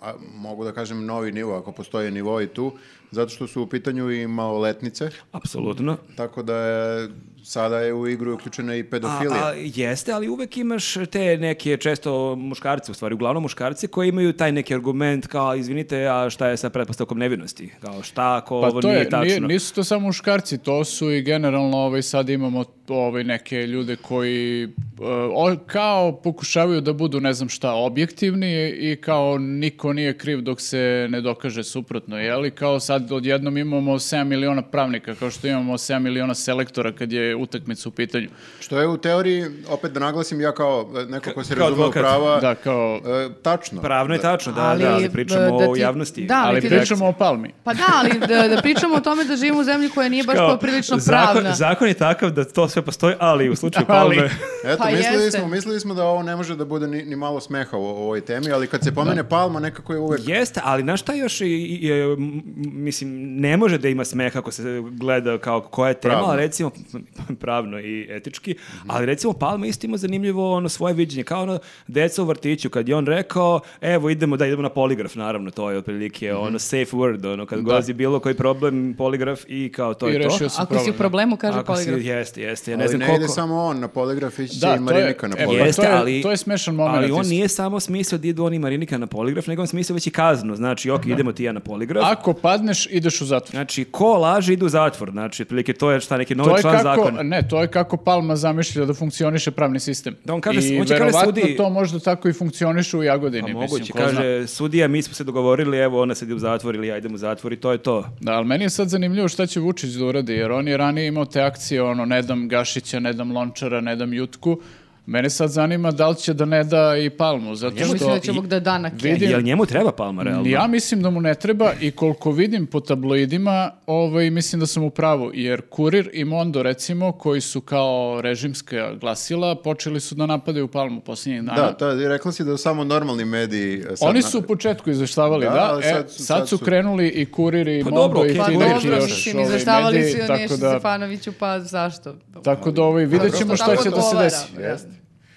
a, mogu da kažem novi nivo, ako postoje nivo i tu, zato što su u pitanju i maloletnice,
Apsolutno.
tako da je, sada je u igru uključena i
A,
pedofilija.
a, jeste, ali uvek imaš te neke često muškarce, u stvari uglavnom muškarci koji imaju taj neki argument kao izvinite, a šta je sa pretpostavkom nevinosti? Kao šta ako
Pa
ovo
to
nije
je,
tačno?
nije- nisu to samo muškarci, to su i generalno ovaj, sad imamo ovaj, neke ljude koji e, o- kao pokušavaju da budu ne znam šta objektivni i kao niko nije kriv dok se ne dokaže suprotno, jeli? Kao sad odjednom imamo 7 miliona pravnika, kao što imamo 7 miliona selektora kad je utakmica u pitanju.
Što je u teoriji, opet da naglasim, ja kao e, neko ko se
Kao
razume u
advokat.
prava,
Da, kao...
e, tačno.
Pravno je tačno, da,
Ali,
da, ali pričamo
e, da
o
ti-
javnosti.
da,
Ali
ti-
pričamo o Palmi.
Pa da, ali da, da pričamo o tome da živimo u zemlji koja nije baš
Kao,
poprilično
zakon-
pravna.
Zakon je takav da to sve postoji, ali u slučaju *laughs*
Ali.
palme...
Eto,
Pa
mislili,
jeste.
smo, mislili smo da ovo ne može da bude ni, ni malo smeha u, u ovoj temi, ali kad se pomene Palma, nekako je uvek...
Jeste, ali znaš šta još, i- i- je, m- m- mislim, ne može da ima smeha ako se gleda kao koja je tema,
Pravno.
ali recimo, *laughs* pravno i etički, ali recimo Palma isto ima zanimljivo ono svoje viđenje, kao ono deca u vrtiću, kad je on rekao, evo idemo da idemo na poligraf, naravno, to je otprilike
Mhm.
ono safe word, ono kad dolazi bilo koji problem, poligraf i kao to
I
je to.
rešio se
Ako si u
problem.
problemu, kaže
Ako si-
poligraf.
jeste, jeste, ja ne
Ne ali
znam
ne
koliko...
ide samo on na poligraf, ići će
Da,
i
to je-
Marinika na
e, pa
poligraf.
Jeste,
to je-
ali-
to je smešan moment
Ali on
isto.
nije samo smislio da idu oni Marinika na poligraf, nego on smislio već i kaznu. Znači, ok, idemo ti i ja na poligraf.
Ako padneš, ideš u zatvor.
Znači, ko laže ide u zatvor. Znači, otprilike to je šta neki
To
novi
je
Ovaj član
kako,
zakona.
ne, to je kako Palma zamišlja da funkcioniše pravni sistem.
Da on kaže-
I
on će kaže
verovatno
sudi-
to možda tako i funkcioniše u Jagodini.
A
mislim,
moguće,
Pa ko zna.
kaže, sudija, mi smo se dogovorili, evo, ona sedi u zatvor ili ja idem u zatvor i to je to.
Da, ali meni je sad zanimljivo šta će Vučić da uradi, jer on je ranije imao te akcije, ono, ne dam Gašića, ne dam Lončara, ne dam Jutku. Mene sad zanima da li će da ne da i
Pa
Palmu, zato
Ja mislim
što...
da će Bog da da na kej.
Vidim-
Jel njemu treba palma, realno?
Ja mislim da mu ne treba i koliko vidim po tabloidima, ovaj, mislim da sam u pravu, jer Kurir i Mondo, recimo, koji su kao režimska glasila, počeli su da napadaju Palmu posljednjih dana.
Da, to je- rekla si da samo normalni mediji... e, sad
pa- Oni
na-
su u početku izveštavali,
Da,
da,
ali
e,
sad
sad,
su-
su,
sad su-
krenuli i Kurir i
Pa
Mondo
dobro,
i
okej,
ti
Pa
Ti neki
dobro,
još
mislim,
ovaj,
izveštavali
mediji,
su i on
tako
Neša
da,
Stefanoviću, pa zašto?
tako da ovaj, vidjet ćemo šta
Tako
će da se
odgovara.
desi.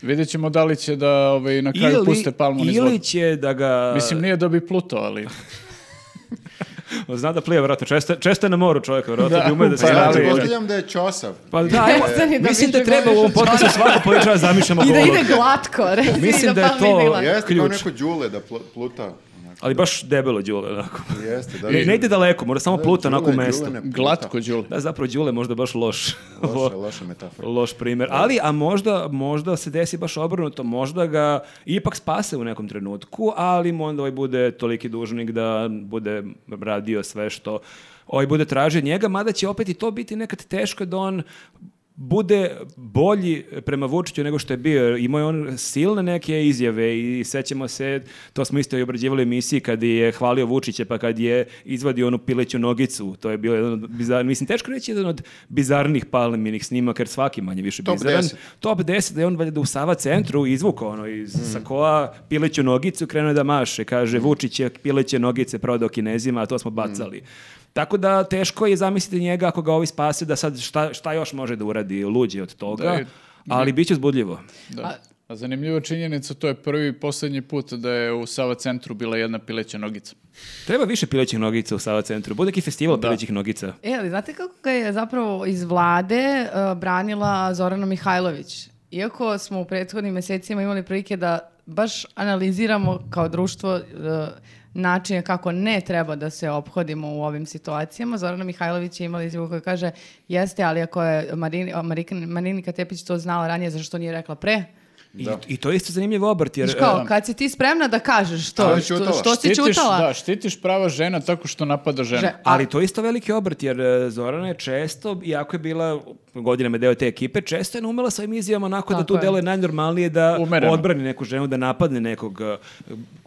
Vidjet ćemo da li će da ovaj, na kraju puste Palmu niz
ili
vodu.
će da ga...
Mislim, nije da bi pluto, ali...
Zna da plije, vjerojatno, često, često je na moru čovjek, vjerojatno, da, ume da se
Pa ja
radi.
pretpostavljam da je Ćosav.
Pa da,
*laughs*
evo, *laughs*
Ostani da
mislim da
više
treba u ovom
govoriš o
podcastu
*laughs*
tome.
svako političara da zamišljamo
I da
golog.
ide glatko, *laughs* reci,
Mislim
i
da je
Palma ide
to-
glatko.
Jeste kao
Ključ.
neko đule da pl- pluta.
Ali baš debelo Đule, onako.
Jeste, da.
Ne, ne ide daleko, mora samo pluta onako u
Đule-
mestu.
Đule ne pluta.
Glatko, Đule.
Da, zapravo Đule je možda baš loš. *laughs*
Loša, loša metafora.
loš primjer. Ali, a možda, možda se desi baš obrnuto, možda ga ipak spase u nekom trenutku, ali mu onda ovaj bude toliki dužnik da bude radio sve što ovaj bude tražio od njega, mada će opet i to biti nekad teško da on bude bolji prema Vučiću nego što je bio. Imao je on silne neke izjave i sećamo se, to smo isto i obrađivali u emisiji kad je hvalio Vučića pa kad je izvadio onu pileću nogicu. To je bio jedan od bizar... Mislim, teško reći jedan od bizarnih palminih snimaka jer svaki manje više
Top
bizaran.
10.
Top 10 da je on valjda u Sava centru izvukao ono iz
Mhm.
sakoa pileću nogicu, krenuo je da maše, kaže Vučić je pileće nogice prodao Kinezima, a to smo bacali.
Mhm.
Tako da teško je zamisliti njega ako ga ovi spase da sad šta, šta još može da uradi luđi od toga.
Da, i-
ali bit će zbudljivo.
Da. A zanimljiva činjenica, to je prvi i poslednji put da je u Sava centru bila jedna pileća nogica.
Treba više pilećih nogica u Sava centru. Bude neki festival pilećih nogica.
E, ali znate kako ga je zapravo iz vlade e, branila Zorana Mihajlović? Iako smo u prethodnim mesecima imali prilike da baš analiziramo kao društvo e, načine kako ne treba da se ophodimo u ovim situacijama. Zorana Mihajlović je imala izjavu koja kaže jeste, ali ako je Marini, Marika- Marinika Tepić to znala ranije, zašto nije rekla pre?
I, I to je isto zanimljiv obrt. Jer, e,
Znaš kao, kad si ti spremna da kažeš to,
Ali
što,
ćutala.
što si čutala? *laughs*
Da, štitiš prava žena tako što napada žena.
Že-
Ali to je isto veliki obrt, jer e, Zorana je često, iako je bila godinama je deo te ekipe, često je naumela svojim izjavama onako da
Tako
tu
je.
deluje najnormalnije da
Umereno.
odbrani neku ženu, da napadne nekog eh,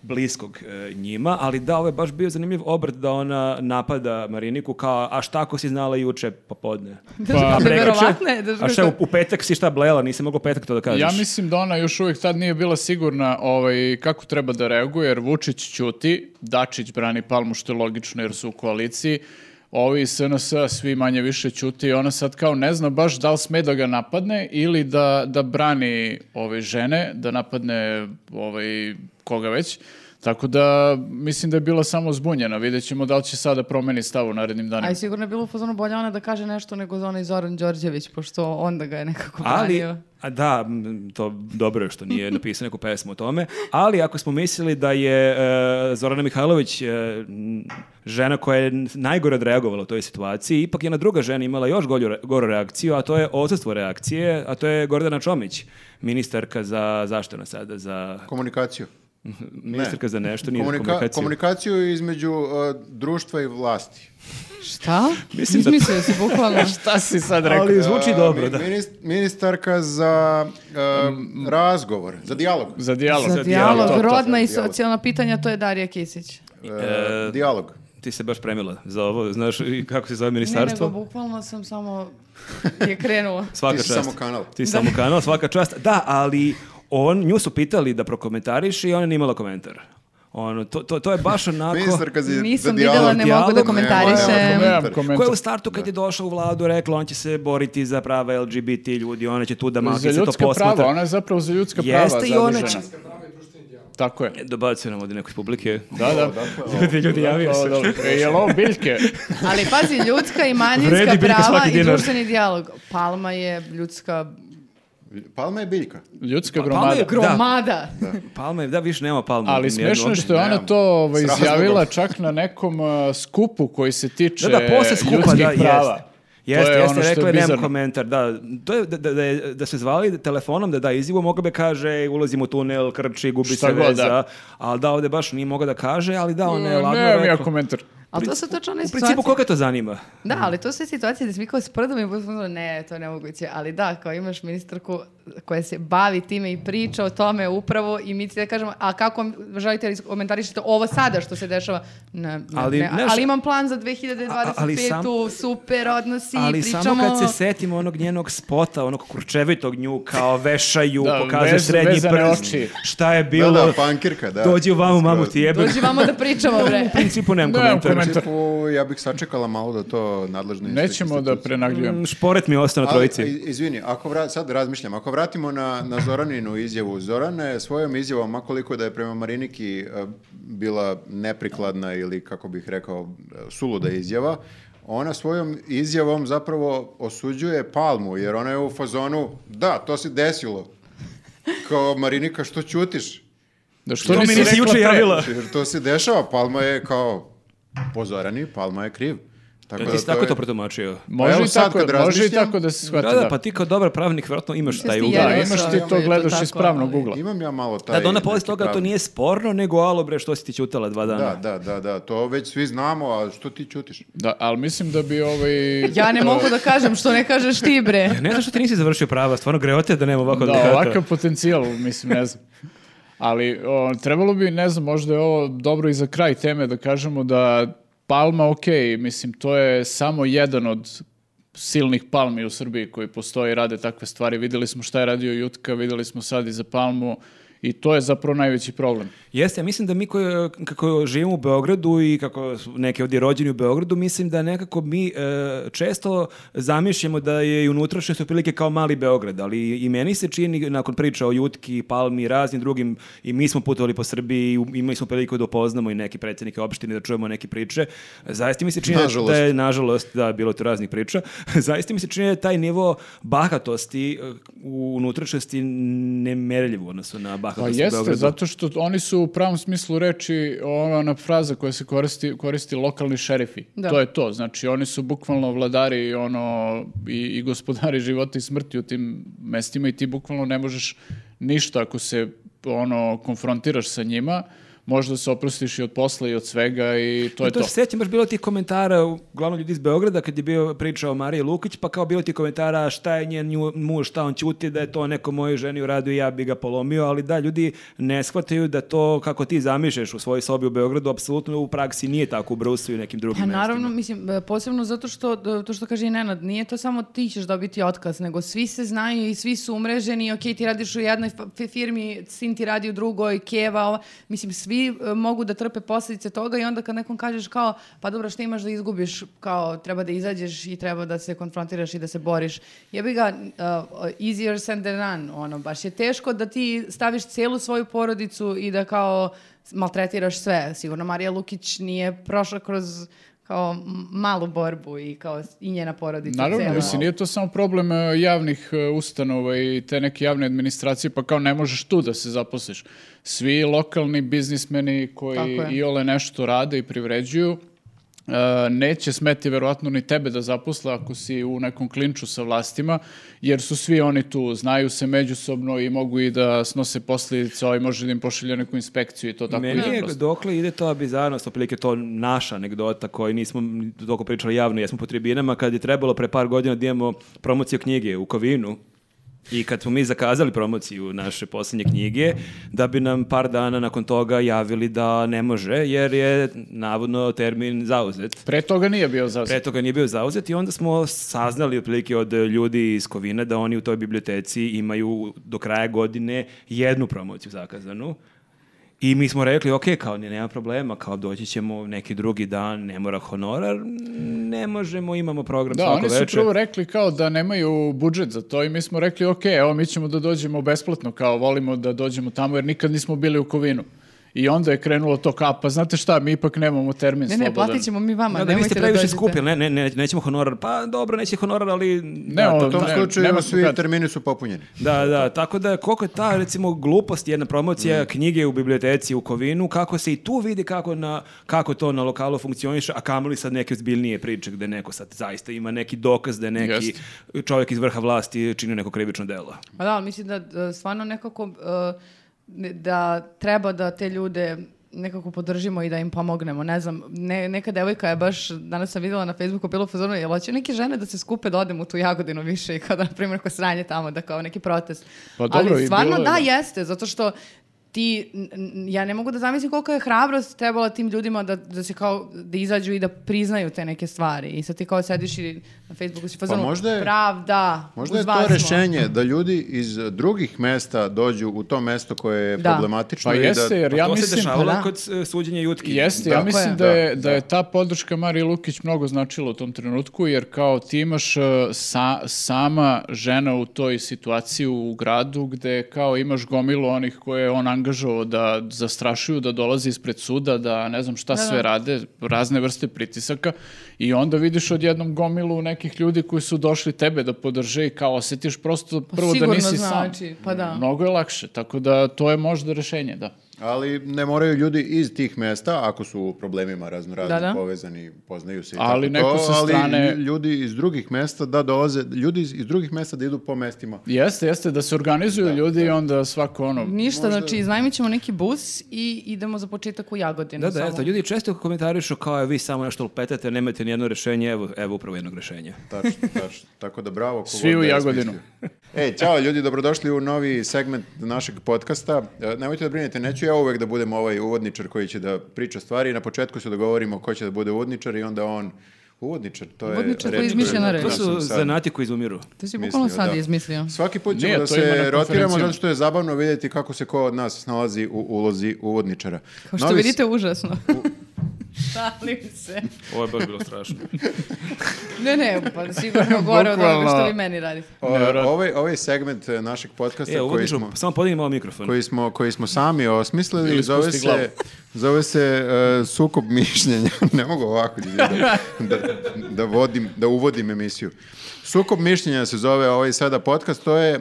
bliskog eh, njima, ali da, ovo je baš bio zanimljiv obrt da ona napada Mariniku kao, a šta ako si znala juče popodne?
Pa,
A
*laughs* Pa,
prekjuče?
verovatno je da
A šta, u, u petak si šta blela, nisam mogao petak to da kažeš.
Ja mislim da ona još uvijek tad nije bila sigurna ovaj, kako treba da reaguje, jer Vučić ćuti, Dačić brani Palmu, što je logično jer su u koaliciji, ovi iz SNS svi manje više ćuti i ona sad kao ne zna baš da li sme da ga napadne ili da, da brani ove žene, da napadne ovaj, koga već. Tako da mislim da je bila samo zbunjena. Vidjet ćemo da li će sada promeni stav u narednim danima.
Aj, sigurno je bilo u fazonu bolje ona da kaže nešto nego onaj Zoran Đorđević, pošto onda ga je nekako
Ali,
branio.
a da, m, to dobro je što nije napisao neku pesmu o tome, ali ako smo mislili da je e, Zorana Mihajlović e, m, žena koja je najgore odreagovala u toj situaciji, ipak jedna druga žena imala još golju, re- goru reakciju, a to je odsustvo reakcije, a to je Gordana Čomić, ministarka za, zašto je ona sada, za,
Komunikaciju.
ministarka za nešto, nije za
Komunika-
komunikaciju.
komunikaciju između uh, društva i vlasti.
Šta?
Mislim da-
Izmislio si bukvalno.
Šta si sad rekao?
Ali E, zvuči
Uh,
dobro,
mi-
da. Mm.
minis- Ministarka za uh, razgovor, za dijalog.
Za dijalog.
Za dijalog,
to, to,
rodna i
dijalog.
socijalna pitanja, to je Darija Kisić.
e,
Uh, dijalog.
Ti se baš premila za ovo, znaš i kako se zove
Ne, nego
ministarstvo?
bukvalno sam samo je krenuo.
Svaka
Ti si
čast.
samo kanal.
Ti si samo kanal, svaka čast. Da, ali on, nju su pitali da prokomentariš i ona nije imala komentar. Ono, to, to, to je
*laughs*
baš onako...
Ministarka za,
Nisam
za dijalog.
videla, ne mogu da
Dijalog,
komentarišem.
Nema, nema
Nemam
komentar.
komentar.
Koja je u startu kad je došla u vladu rekla on će se boriti za prava LGBT ljudi, ona će tu da
za
maki se to
ljudska prava,
posmatra.
ona je zapravo za ljudska prava
Jeste i ona će... E,
zadužena. Tako je.
Dobacio nam ovdje neko iz publike.
Da, da. *laughs*
*laughs* Ljudi, ljudi, javio
Ovo,
se.
dobro. *laughs* E, jel ovo biljke?
*laughs* Ali pazi, ljudska i manjinska
Vredi biljka
prava
svaki
i
dinar.
društveni dijalog. Palma je ljudska
Palma je biljka.
Ljudska
Palma
gromada.
je gro-
gromada.
Palma je, da, više nema palma.
Ali
nijednu
smešno je
ovdje.
što je ona
nemam.
to ovaj,
S razlogom.
izjavila čak na nekom uh, skupu koji se tiče
Da, da, posle skupa,
ljudskih
da,
prava.
jeste. Jeste,
to je
jeste,
ono što
rekla
je
je, nemam
bizarno.
komentar, da. To je, da, da, da, je- da se zvali telefonom da da izjavu, mogao bi kaže ulazim u tunel, krči, gubi
Šta
se
god,
veza,
da.
ali da ovde baš nije mogao da kaže, ali da, on je
E,
ladno
Nemam ja
rekao.
komentar.
Ali to su točno one
U principu, koga to zanima?
Da, ali to su situacije da si mi kao sprdom i budemo ono, ne, to je nemoguće. Ali da, kao imaš ministarku koja se bavi time i priča o tome upravo i mi ti da kažemo, a kako želite li komentarišete ovo sada što se dešava? Ne, ne,
Ali,
ne,
znaš-
ali imam plan za 2025.
A- ali sam-
super odnosi,
ali
pričamo...
samo kad se setimo onog njenog spota, onog kurčevitog nju, kao vešaju,
*laughs* Da,
pokazuje
vez-
srednji prst,
vezane oči. pa-
šta je
Da,
bilo,
da, pankirka, da.
dođi ovamo, mamu ti
Skroz.
jebe.
Dođi vamo da pričamo, bre.
U principu nemam
Nemam
komentar.
komentar.
Principu, ja bih sačekala malo da to nadležne
Nećemo da
institucije-
prenagljujemo.
Mm, Šporet mi je ostao na
Ali,
trojici.
e,
iz- izvini, ako vra- sad razmišljam, ako vratimo na, na Zoraninu izjavu, Zorana je svojom izjavom, makoliko da je prema Mariniki e, bila neprikladna ili, kako bih rekao, e, suluda izjava, ona svojom izjavom zapravo osuđuje Palmu, jer ona je u fazonu, da, to se desilo. Kao, Marinika, što ćutiš? Znači,
Da što
To mi
nisi
nisi
rekla
juče
pre?
javila.
Jer to se dešava, Palma je kao, pozorani, Palma je kriv. Tako
Ti
da
si tako to
je-
protumačio?
Može,
evo
i
sad
tako,
kad
može i
razmišljam-
tako da se shvati.
Da, da, pa ti kao dobar pravnik vjerojatno imaš taj
ti
ugao.
jedan
Da,
Jel,
imaš
sad
ti
imamo
to
je to
gledaš iz
tako,
pravnog
ali-
ugla.
Imam ja malo taj...
Da, da ona posle
neki
toga to
pravni-
nije sporno, nego alo bre, što si ti ćutala dva dana?
Da, da, da, da, to već svi znamo, a što ti ćutiš?
Da, ali mislim da bi ovaj...
Ja ne mogu da kažem što ne kažeš ti, bre.
Ne znam što ti nisi završio prava, stvarno greote da nema ovako
Da,
advokata.
ovakav potencijal, mislim, ne znam. Ali o, trebalo bi, ne znam, možda je ovo dobro i za kraj teme da kažemo da Palma, ok, mislim, to je samo jedan od silnih palmi u Srbiji koji postoje i rade takve stvari. Videli smo šta je radio Jutka, videli smo sad i za Palmu i to je zapravo najveći problem.
Jeste, ja mislim da mi koji, kako živimo u Beogradu i kako su neki ovdje rođeni u Beogradu, mislim da nekako mi e, često zamišljamo da je i unutrašnjost otprilike kao mali Beograd, ali i meni se čini nakon priča o Jutki, Palmi i raznim drugim i mi smo putovali po Srbiji i u- imali smo priliku da upoznamo i neke predsjednike opštine da čujemo neke priče. Zaista mi se čini da-
Nažalost.
da je nažalost, da, bilo je tu raznih priča, *laughs* zaista mi se čini da je taj nivo bahatosti e, u unutrašnjosti nemerljiv u odnosu na
Pa
bahatost u
jeste,
Beogradu.
zato što oni su u pravom smislu reči ona ona fraza koja se koristi, koristi lokalni šerifi.
Da.
To je to. Znači, oni su bukvalno vladari ono, i, i gospodari života i smrti u tim mestima i ti bukvalno ne možeš ništa ako se ono konfrontiraš sa njima. možda se oprostiš i od posla i od svega i to
I
je to.
se sećam, baš bilo ti komentara, uglavnom ljudi iz Beograda, kad je bio priča o Mariji Lukić, pa kao bilo ti komentara šta je njen nju- muž, šta on ćuti, da je to neko mojoj ženi uradio i ja bi ga polomio, ali da, ljudi ne shvataju da to kako ti zamišljaš u svojoj sobi u Beogradu, apsolutno u praksi nije tako u Brusu i nekim drugim
Pa
mestima.
naravno, mislim, e, posebno zato što, d- to što kaže i Nenad, nije to samo ti ćeš dobiti otkaz, nego svi se znaju i svi su umreženi, ok, ti radiš u jednoj fa- fi- firmi, sin ti radi u drugoj, keva, ova. mislim, svi e, mogu da trpe posljedice toga i onda kad nekom kažeš kao, pa dobro, što imaš da izgubiš, kao, treba da izađeš i treba da se konfrontiraš i da se boriš. Jebi ga, e, easier said than done, ono, baš je teško da ti staviš celu svoju porodicu i da kao maltretiraš sve. Sigurno Marija Lukić nije prošla kroz kao m- malu borbu i kao s- i njena porodica
Naravno,
cela.
mislim, nije to samo problem e, javnih e, ustanova i te neke javne administracije, pa kao ne možeš tu da se zaposliš. Svi lokalni biznismeni
Tako
koji
je.
i ole nešto rade i privređuju, e, neće smeti verovatno ni tebe da zaposle ako si u nekom klinču sa vlastima, jer su svi oni tu, znaju se međusobno i mogu i da snose posljedice, ovaj može da im pošalje neku inspekciju i to tako
Meni
ide
je
prosto.
dokle ide ta bizarnost, oprilike to naša anegdota koju nismo toliko pričali javno, jesmo po tribinama, kad je trebalo pre par godina da imamo promociju knjige u Kovinu, I kad smo mi zakazali promociju naše posljednje knjige, da bi nam par dana nakon toga javili da ne može, jer je navodno termin zauzet.
Pre toga nije bio zazad.
Pre toga nije bio zauzet i onda smo saznali otprilike od eh, ljudi iz Kovina da oni u toj biblioteci imaju do kraja godine jednu promociju zakazanu. I mi smo rekli, ok, kao ne, nema problema, kao doći ćemo neki drugi dan, ne mora honorar, ne možemo, imamo program
Da,
svako
oni su
večer.
prvo rekli kao da nemaju budžet za to i mi smo rekli ok, evo mi ćemo da dođemo besplatno, kao volimo da dođemo tamo jer nikad nismo bili u Kovinu. I onda je krenulo to kao, pa znate šta, mi ipak nemamo termin
Ne, ne,
slobodan.
platit ćemo mi vama,
Da, da, vi
nemojte
ste
da
previše
dođete.
skupili, ne, ne, ne, nećemo honorar, pa dobro, neće honorar, ali...
Ne,
da,
ovo-
U tom
Pa Ne, nema
slučaju svi
kad.
termini su popunjeni.
Da, da, tako da koliko je ta recimo glupost jedna promocija knjige u biblioteci u Kovinu, kako se i tu vidi kako, na, kako to na lokalu funkcioniše, a kamoli sad neke ozbiljnije priče gde neko sad zaista ima neki dokaz da je neki
Jeste.
čovjek iz vrha vlasti čini neko krivično delo.
Pa da, ali mislim da e, stvarno nekako e, ne- da treba da te ljude nekako podržimo i da im pomognemo. Ne znam, ne, neka devojka je baš, danas sam vidjela na Facebooku, bilo u fazonu, jel hoće neke žene da se skupe da odem u tu Jagodinu više i kao da, na primjer, ko sranje tamo, da kao neki protest.
Pa dobro,
Ali
i
stvarno
bilo je,
da,
da.
jeste, zato što ti, n- n- ja ne mogu da zamislim koliko je hrabrost trebala tim ljudima da, da se kao, da izađu i da priznaju te neke stvari. I sad ti kao sediš i na Facebooku si fazonu,
možda je-
pravda,
Možda
uz
je
vas
to
smo."
rešenje da ljudi iz drugih mesta dođu u to mesto koje je
Da.
problematično.
Pa
i da-
jeste, jer
Pa
ja
to se
mislim...
dešavalo
Pa da.
kod e, suđenja Jutki.
Jeste,
Da.
ja mislim da
Da,
je, da je ta podrška Marije Lukić mnogo značila u tom trenutku, jer kao ti imaš e, sa- sama žena u toj situaciji u gradu gde kao imaš gomilu onih koje je on angažovao da zastrašuju, da dolazi ispred suda, da ne znam šta sve rade, razne vrste pritisaka i onda vidiš odjednom gomilu nekih ljudi koji su došli tebe da podrže i kao osjetiš prosto prvo da
sigurno
nisi
znači,
sam.
pa da.
Mnogo je lakše, tako da to je možda rešenje, da.
Ali ne moraju ljudi iz tih mesta, ako su u problemima raznorazno
Da, da.
povezani, poznaju se i tako
Ali neko
to,
sa
ali
strane-
lju- ljudi iz drugih mesta da dolaze, ljudi iz iz drugih mesta da idu po mestima.
Jeste, jeste, da se organizuju ljudi i onda svako ono...
Ništa, znači iznajmit ćemo neki bus i idemo za početak u Jagodinu.
Da, da,
samo.
eto, ljudi često komentarišu kao "E, vi samo nešto lupetate, nemate nijedno rješenje, evo, evo upravo jednog rješenja.
Tačno, tačno. Tako da bravo. ko
Svi
god
u
da je
Jagodinu.
smislio. Ej, čao ljudi, dobrodošli u novi segment našeg podcasta. E, Nemojte da brinete, neću ja uvek da budem ovaj uvodničar koji će da priča stvari. Na početku se dogovorimo ko će da bude uvodničar i onda on... Uvodničar, to je...
Uvodničar koji
reč
izmišljena
koju-
reč.
To
koju
su
sam sad-
zanati koji izumiru.
To si
Mislio,
bukvalno sad
da.
izmislio.
Svaki put ćemo
Nije,
da
to ima na
se rotiramo
konferencijama.
zato što je zabavno vidjeti kako se ko od nas nalazi u ulozi uvodničara.
Kao što
Novi s-
vidite, užasno. *laughs* Šalim se.
Ovo je baš bilo strašno.
Ne, ne, pa sigurno gore od onoga što
Bukvalno.
vi meni radite.
o- ovaj, ovaj segment e, našeg podcasta
e,
koji
uvodiš,
smo...
samo podigni malo mikrofon.
koji smo, koji smo sami osmislili,
Ili
zove
spusti
se,
glavu.
zove se e, sukob mišljenja. *laughs* ne mogu ovako da, da, da vodim, da uvodim emisiju. Sukob mišljenja se zove ovaj sada podcast, to je, e,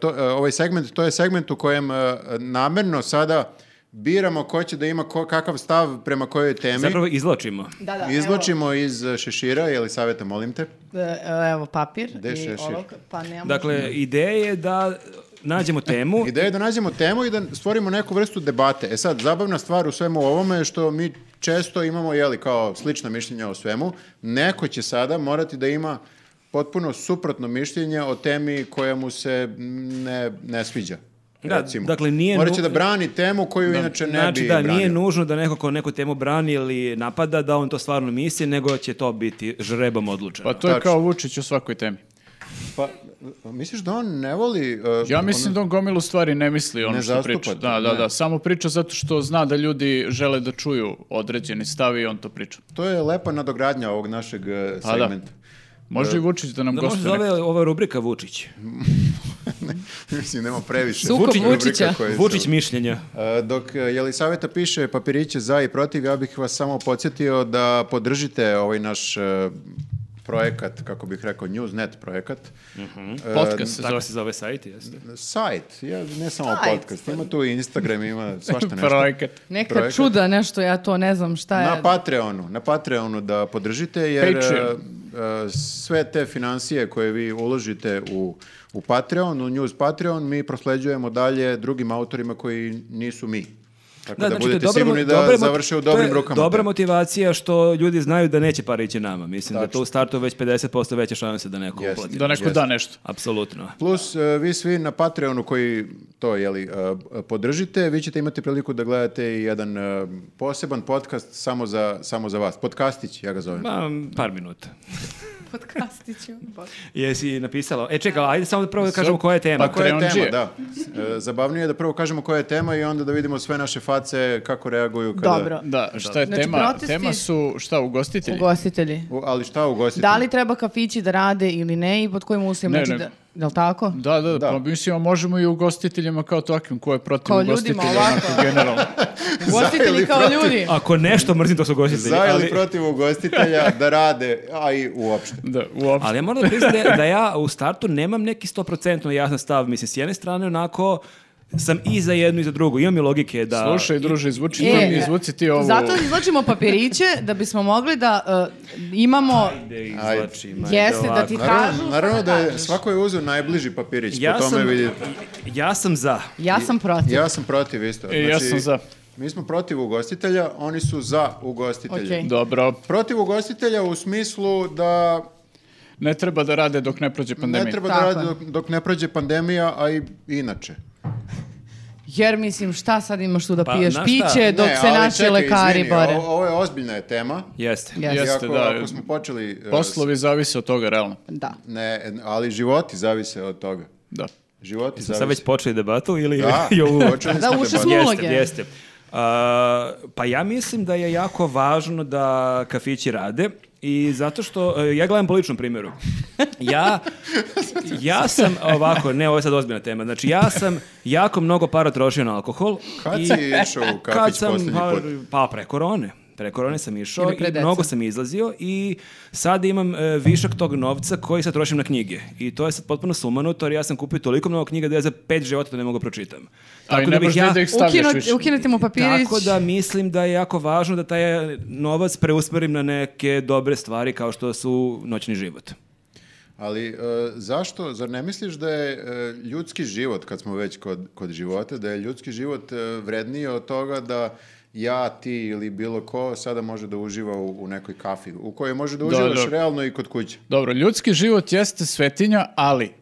to, e, ovaj segment, to je segment u kojem e, namerno sada biramo ko će da ima ko, kakav stav prema kojoj temi.
Zapravo izlačimo.
Da, da,
Izvlačimo iz e, šešira, je li savjeta, molim te?
Evo, e, evo papir
Gde je
i
šešir?
olovka, pa nemamo.
Dakle, ideja Dakle, je da
*laughs*
nađemo temu.
Ideja je da nađemo temu i da stvorimo neku vrstu debate. E sad, zabavna stvar u svemu ovome je što mi često imamo, jeli, kao slična mišljenja o svemu. Neko će sada morati da ima potpuno suprotno mišljenje o temi koja mu se ne, ne sviđa.
Da,
recimo.
dakle, nije
Morat
nu-
će da brani temu koju inače ne
znači
bi
da
branio.
nije nužno da neko ko neku temu brani ili napada da on to stvarno misli, nego će to biti žrebom odlučeno.
Pa to je
Tačno.
kao Vučić u svakoj temi.
Pa, misliš da on ne voli... uh,
Ja mislim da on gomilu stvari ne misli ono
Ne
što
zastupa
priča.
to,
Da, da,
ne.
da. Samo priča zato što zna da ljudi žele da čuju određeni stav i on to priča.
To je lepa nadogradnja ovog našeg uh,
Pa da.
segmenta. *laughs*
Može i Vučić da nam
Da možda
gostuje.
zove ova rubrika Vučić.
Mislim, nema previše.
Sukob
rubrika
Vučića.
koje se-
Vučić *laughs* mišljenja.
E, Dok e, Jelisaveta piše papiriće za i protiv, ja bih vas samo podsjetio da podržite ovaj naš e, projekat, kako bih rekao, Newsnet projekat.
nek-
E,
Podcast se
Tako
zove.
se zove sajt, jeste.
Sajt, ja, ne samo
Sajt.
podcast, ima tu i Instagram, ima svašta
*laughs*
nešto.
Projekat.
Neka
Projekat.
čuda, nešto, ja to ne znam šta je.
Na Patreonu, na Patreonu da podržite, jer e,
Patreon.
e, sve te financije koje vi uložite u, u Patreon, u News Patreon, mi prosleđujemo dalje drugim autorima koji nisu mi. Tako da,
znači, to je
budete
dobra mo-
sigurni da
dobra mo-
završe u
to je
dobrim rukama.
Dobra
te-
motivacija što ljudi znaju da neće par ići nama. Mislim da je to u startu već 50% veće šanse da neko
Jeste.
uplati.
Da neko
Jeste.
da nešto.
Apsolutno.
Plus, e, vi svi na Patreonu koji to jeli, e, podržite, vi ćete imati priliku da gledate i jedan e, poseban podcast samo za, samo za vas. Podcastić, ja ga zovem.
Ma, par minuta.
Podcastiću.
Jesi napisala? E čekaj, ajde samo da prvo da kažemo koja je tema.
Pa ko-
Koja je tema,
Patreondžije.
da. E, Zabavnije je da prvo kažemo koja je tema i onda da vidimo sve naše face, kako reaguju. Kada...
Dobro.
Da, šta je
Znači,
tema?
protesti-
Tema su, šta, ugostitelji?
Ugostitelji.
U- ali šta ugostiti?
Da li treba kafići da rade ili ne i pod kojim uslovima?
Ne,
Znači,
ne.
da, da li tako?
Da, da,
Da.
da. Pa mislim, a možemo i ugostiteljima kao takvim, ko je protiv
Kao ljudima
ugostitelja,
ovako.
onako generalno.
Ugostitelji
ili
kao
protiv?
ljudi.
Ako nešto mrzim, to su ugostitelji.
Za ili
ali-
protiv ugostitelja da rade, a i uopšte.
Da, uopšte.
Ali ja moram da priznam da, da ja u startu nemam neki 100% jasan stav. Mislim, s jedne strane onako sam i za jednu i za drugu. Imam i logike da...
Slušaj, druže, izvuči,
E,
to, izvuci ti ovo.
Zato izlačimo papiriće da bismo mogli da uh, imamo...
Ajde,
Ajde.
izvlačim, ajde,
Jeste, da
ovako.
ti kažu
Naravno,
šta
naravno da je,
kažeš.
svako je uzeo najbliži papirić,
Ja
po tome
sam,
vidite.
ja sam za.
Ja sam protiv.
Ja sam protiv isto. Znači,
E, ja sam za.
Mi smo protiv ugostitelja, oni su za ugostitelje.
Okej.
Dobro,
Protiv ugostitelja u smislu da
ne treba da rade dok ne prođe pandemija.
ne treba
Tako
da radi
je.
dok, dok ne prođe pandemija, a i inače.
Jer mislim, šta sad imaš tu da
Pa,
piješ
znaš šta?
piće E, dok
Ne,
se
ali
naši
čekaj,
lekari
izvini,
bore?
o- Ovo, je ozbiljna je tema.
Jeste.
Jeste.
Jeste,
Iako,
da.
Ako smo počeli... e,
Poslovi zavise od toga, realno.
Da.
Ne, ali životi zavise od toga.
Da.
Životi zavise.
Sad već *laughs* počeli debatu ili... *laughs*
Da,
i ovu-
počeli
Da,
smo
ušli
debatu.
smo u
Jeste,
uloge.
jeste. A, pa ja mislim da je jako važno da kafići rade i zato što, e, ja gledam po ličnom primjeru, ja, ja sam ovako, ne ovo je sad ozbiljna tema, znači ja sam jako mnogo para trošio na alkohol.
Kad
i-
si išao u kafić
kad sam,
posljednji
pa,
put?
pa pre korone. Pre korone sam išao
Ili pre
i
dece.
mnogo sam izlazio i sad imam e, višak tog novca koji sad trošim na knjige. I to je sad potpuno sumanuto jer ja sam kupio toliko mnogo knjiga da ja za pet života to ne mogu da pročitam.
A i ne možeš ni da ih stavljaš
Ukinut,
više.
ukinuti mu papirić.
Tako da mislim da je jako važno da taj novac preusmerim na neke dobre stvari kao što su noćni život.
Ali e, zašto, zar ne misliš da je e, ljudski život, kad smo već kod, kod života, da je ljudski život e, vredniji od toga da ja, ti ili bilo ko sada može da uživa u, u nekoj kafi, u kojoj može da uživaš
da.
realno i kod kuće. *laughs*
Dobro, ljudski život jeste svetinja, ali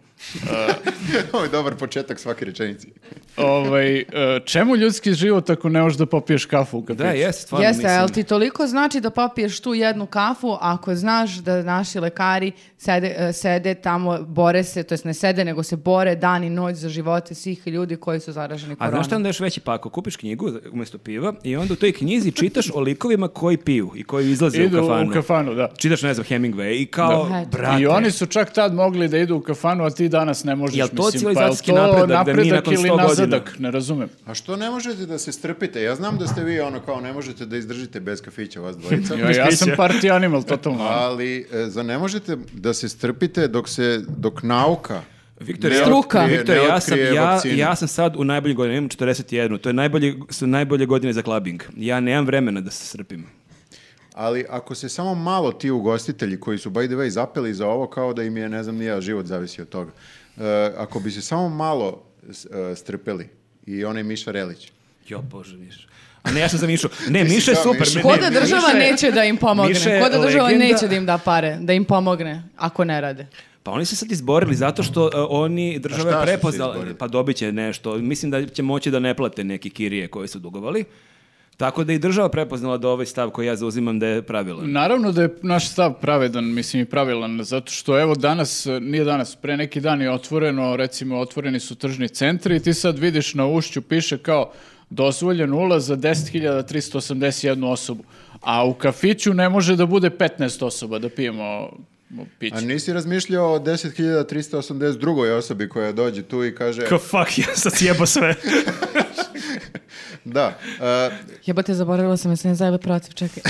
Ovo je dobar početak svake rečenice.
ovaj, e, čemu ljudski život ako ne možeš da popiješ kafu u kafiću?
Da, jes, stvarno
Jeste,
mislim.
ali ti toliko znači da popiješ tu jednu kafu ako znaš da naši lekari sede, e, sede tamo, bore se, to jest ne sede, nego se bore dan i noć za živote svih ljudi koji su zaraženi
A
koronom.
znaš šta onda još veći pako? Kupiš knjigu za- umjesto piva i onda u toj knjizi čitaš o likovima koji piju i koji izlaze
Idu
u kafanu.
u kafanu, da.
Čitaš, ne znam, Hemingway i kao,
Da. Eto.
brate,
I oni su čak tad mogli da idu u kafanu, a ti danas ne možeš.
Jel to
mislim,
civilizacijski
pa jel to
napredak da mi nakon
ili
100 godina?
nazadak? Ne razumem.
A što ne možete da se strpite? Ja znam da ste vi ono kao ne možete da izdržite bez kafića vas dvojica.
Ja, ja sam party animal, totalno.
Ali e, zar ne možete da se strpite dok se dok nauka
Viktor,
ne
ja,
Struka.
otkrije-
Viktor,
ne
ja sam,
otkrije
ja,
vakcinu?
ja sam sad u najboljoj godini, imam 41, to je najbolje, su najbolje godine za klabing. Ja nemam vremena da se srpim.
Ali ako se samo malo ti ugostitelji koji su by the way zapeli za ovo kao da im je ne znam ni ja život zavisi od toga. E, ako bi se samo malo s- e, strpeli. I onaj Miša Relić.
Jo, bože, Miša. A ne, ja sam za Mišu. Ne, Miša je
kao
super.
Miša?
ne,
Ko
ne,
da država
Miša je-
neće da im
Miša
pomogne?
je
Ko da država
legenda.
neće da im da pare? Da im pomogne, ako ne rade?
Pa oni su sad izborili zato što e, oni
A šta
države
su se
prepoznali.
izborili?
Pa dobit će nešto. Mislim da će moći da ne plate neki kirije koje su dugovali. Tako da i država prepoznala da ovaj stav koji ja zauzimam da je pravilan.
Naravno da je naš stav pravedan, mislim i pravilan, zato što evo danas, e, nije danas, pre neki dan je otvoreno, recimo otvoreni su tržni centri i ti sad vidiš na ušću piše kao dozvoljen ulaz za 10.381 osobu, a u kafiću ne može da bude 15 osoba da pijemo piće.
A nisi razmišljao o 10.382. osobi koja dođe tu i kaže...
Kao fuck, ja sad sjebo sve.
*laughs* Da, e,
Jebate, zaboravila sam, ja se ne zajebe protiv, čekaj.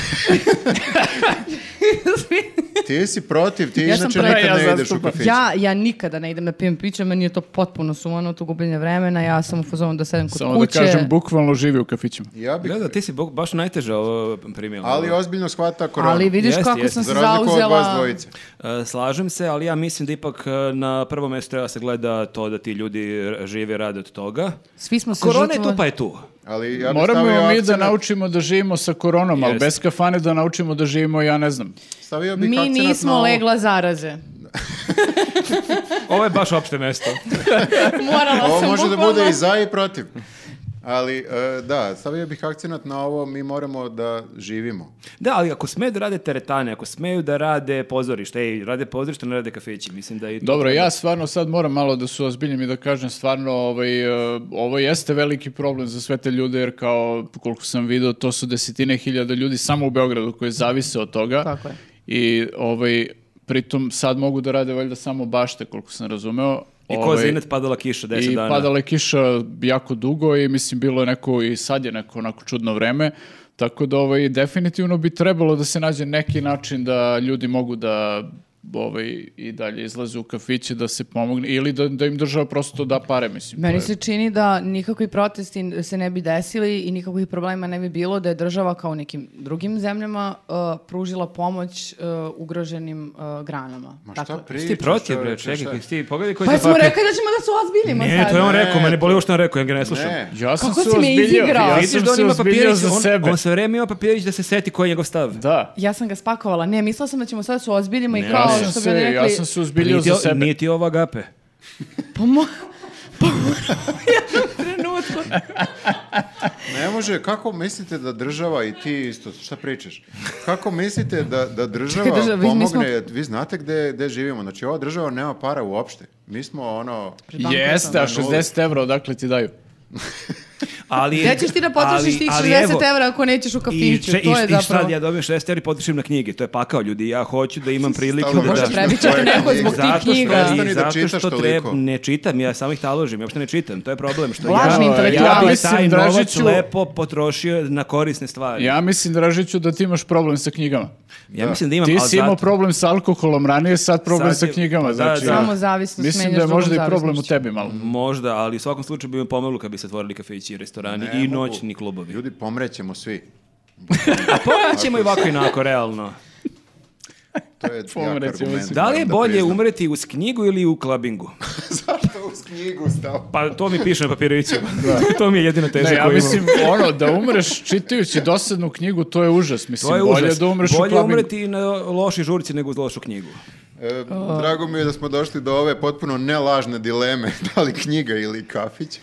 ti si protiv, ti
*laughs* Ja sam
inače
protiv.
nikad
Ja
ne ideš u
zastupam.
kafić.
ja, ja nikada ne idem da pijem piće, meni je to potpuno sumano, to gubljenje vremena, ja sam u fazonu da sedem kod
Samo
kuće.
da kažem, bukvalno živi u kafićima.
Ja bih,
Gleda, ti si bo- baš najteža ono. ovo primila.
ali ozbiljno shvata koronu.
Ali vidiš
Jeste,
kako
jeste.
sam se
Za razliku od vas
zauzela.
dvojice.
E, Slažem se, ali ja mislim da ipak e, na prvo mjesto treba se gleda to da ti ljudi r- žive rade od toga.
Svi smo se
Korona je
žrtvovali.
tu pa je tu.
Ali ja bih stavio
Moramo mi da
akcenat-
naučimo da živimo sa koronom, ali
Jeste.
bez kafane da naučimo da živimo, ja ne znam.
Stavio bih
Mi
akcenat na
nismo
ovo.
legla
*laughs*
zaraze.
Ovo je baš opšte mesto.
*laughs* Morala sam
Ovo može da
bukvalno-
bude i za i protiv. Ali, e, da, stavio bih akcenat na ovo, mi moramo da živimo.
Da, ali ako smeju da rade teretane, ako smeju da rade pozorište, ej, rade pozorište, ne rade kafeći, mislim da i to...
Dobro, ja stvarno sad moram malo da se ozbiljim i da kažem stvarno ovaj, e, ovo jeste veliki problem za sve te ljude jer kao koliko sam video to su desetine hiljada ljudi samo u Beogradu koji zavise od toga.
Tako je.
I ovaj, pritom sad mogu da rade valjda samo bašte koliko sam razumeo.
I ko
Ovaj,
zinet padala kiša 10
i
dana.
padala je kiša jako dugo i mislim bilo je neko i sad je neko onako čudno vreme. Tako da ovaj, definitivno bi trebalo da se nađe neki način da ljudi mogu da ovaj, i dalje izlaze u kafiće da se pomogne ili da, da im država prosto da pare, mislim. to
Meni
je-
se čini da nikakvi protesti se ne bi desili i nikakvih problema ne bi bilo da je država kao u nekim drugim zemljama uh, pružila pomoć uh, ugroženim uh, granama.
Ma šta
Dakle-
pričaš?
Ti protiv, bre,
čoveče, šta-
čekaj, ti pogledaj koji
Pa
je
smo
papir.
rekli da ćemo da se ozbiljimo
Ne,
sad.
to je ono- on
Ne,
rekao, meni
to-
boli ovo što on rekao, ja ga ne slušam.
Ne,
Ja sam
Kako
se
si me
ozbiljio,
izigrao?
ja
Vidiš
sam
da on
se
ima
ozbiljio
papirić,
za sebe.
on, on sve vreme ima papirić da se seti koji je njegov stav.
Da.
Ja sam ga spakovala. Ne, mislila sam da ćemo sad da se ozbiljimo i kao
Ja
što
sam,
bi
se,
rekli...
ja sam se
Pa
uzbiljio
nije ti,
za
o-
sebe.
nije ti ovo agape.
Pa mo... *laughs* Pa mo- *laughs* jednom trenutku.
*laughs*
ne može, kako mislite da država i ti isto, šta pričaš? Kako mislite da, da država
Čekaj, država, vi- mi
pomogne, vi znate gde, gde živimo, znači ova država nema para uopšte. Mi smo ono,
Jeste, a 60 evra odakle ti daju?
Ali,
Gde ćeš ti da potrošiš
ali-
tih
ali
60
evo,
evra ako nećeš u
I,
kafiću?
če, i,
to je
i sad
zapravo...
ja dobijem 60 evra i potrošim na knjige. To je pakao, ljudi. Ja hoću da imam priliku da...
Stalno
da-
možeš
Treba biti
svoje
neko
knjige.
zbog tih
Zato što,
knjiga.
Prestani
i
da
zato
čitaš
što
toliko.
treba, ne čitam, ja samo ih taložim, ja uopšte ne čitam, to je problem. Što
Lažni
ja, ja
intelektualac.
bi
Mislim,
taj novac
Dražiću-
lepo potrošio na korisne stvari. Ja,
Ja mislim, Dražiću, da ti imaš problem sa knjigama.
mislim da imam,
Ti
ali
si imao
zato-
problem sa alkoholom ranije, sad problem
Sad
sa
je-
knjigama.
pa da,
znači,
da.
Samo zavisnost
Mislim
menjaš
da je
drugom
možda i problem u
zavisnošću.
tebi malo.
Možda, ali u svakom slučaju bi mi pomoglo kad bi se otvorili kafeći i restorani
Ne
i
mogu.
noćni klubovi.
Ljudi, pomrećemo svi.
A pomoći ćemo i ovako i onako, realno.
To
*laughs*
je jak
Pomrećemo
argument.
svi.
Da li je
moram
bolje
priznam.
umreti uz knjigu ili u klabingu?
Zašto uz knjigu stao?
Pa to mi piše na papirićima. *laughs* to mi je jedina teza
Ne, ja
koju imam.
mislim, ono, da umreš čitajući dosadnu knjigu, to je užas. Mislim,
To je
bolje
užas.
da umreš u
Bolje
klabingu.
umreti na loši žurci nego uz lošu knjigu.
E, drago mi je da smo došli do ove potpuno nelažne dileme, *laughs* da li knjiga ili kafić.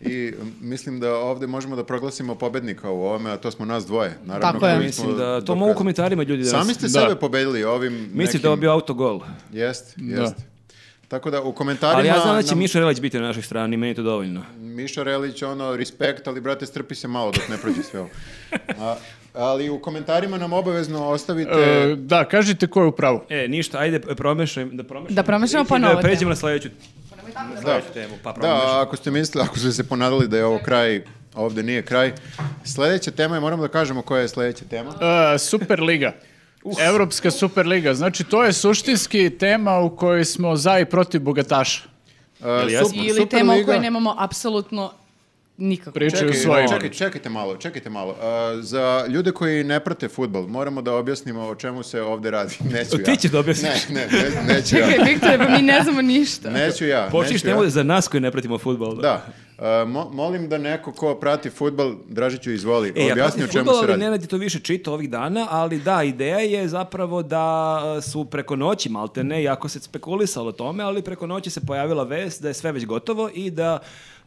I m, mislim da ovde možemo da proglasimo pobednika u ovome, a to smo nas dvoje. Naravno,
Tako je.
koji smo
Mislim da to
dokazali.
mogu u komentarima ljudi da
Sami ste
Da.
sebe pobedili ovim
Mislim
nekim...
da je ovo bio autogol.
Jest,
Da.
jest. Tako da u komentarima...
Ali ja znam da će
nam-
Miša Relić biti na našoj strani, meni je to dovoljno.
Miša Relić, ono, respekt, ali brate, strpi se malo dok ne prođe sve ovo. A, ali u komentarima nam obavezno
*laughs*
ostavite...
E, da, kažite ko je u pravu.
E, ništa, ajde promešaj, da promešamo.
Da promešamo
I
pa novo
Da pređemo
temu.
na sledeću
da.
temu, pa promešamo.
Da, ako ste mislili, ako ste se ponadali da je ovo kraj, ovde nije kraj. Sljedeća tema je, moramo da kažemo koja je sljedeća tema.
E, Superliga. Evropska Superliga. Znači, to je suštinski tema u kojoj smo za i protiv bogataša.
Uh,
jesmo?
Sup-
Ili
Superliga-
tema o kojoj nemamo apsolutno nikako.
Pričaju
Čekaj,
svoje ime.
čekaj, čekajte malo, čekajte malo. Uh, za ljude koji ne prate futbol, moramo da objasnimo o čemu se ovde radi. *laughs* Neću ja.
Ti ćeš da objasniš.
Ne, ne, ne, neću ja.
Čekaj, Viktore, pa mi ne znamo ništa.
Neću
*laughs*
ja.
Počniš
neću ja.
nemoj za nas koji ne pratimo futbol.
Da. Uh, mo- molim da neko ko prati futbal, Dražiću, izvoli,
E, ja
objasni o
pratim
čemu
fudbal,
se
ali
radi.
Nenad je to više čitao ovih dana, ali da, ideja je zapravo da e, su preko noći maltene, jako se spekulisalo o tome, ali preko noći se pojavila vest da je sve već gotovo i da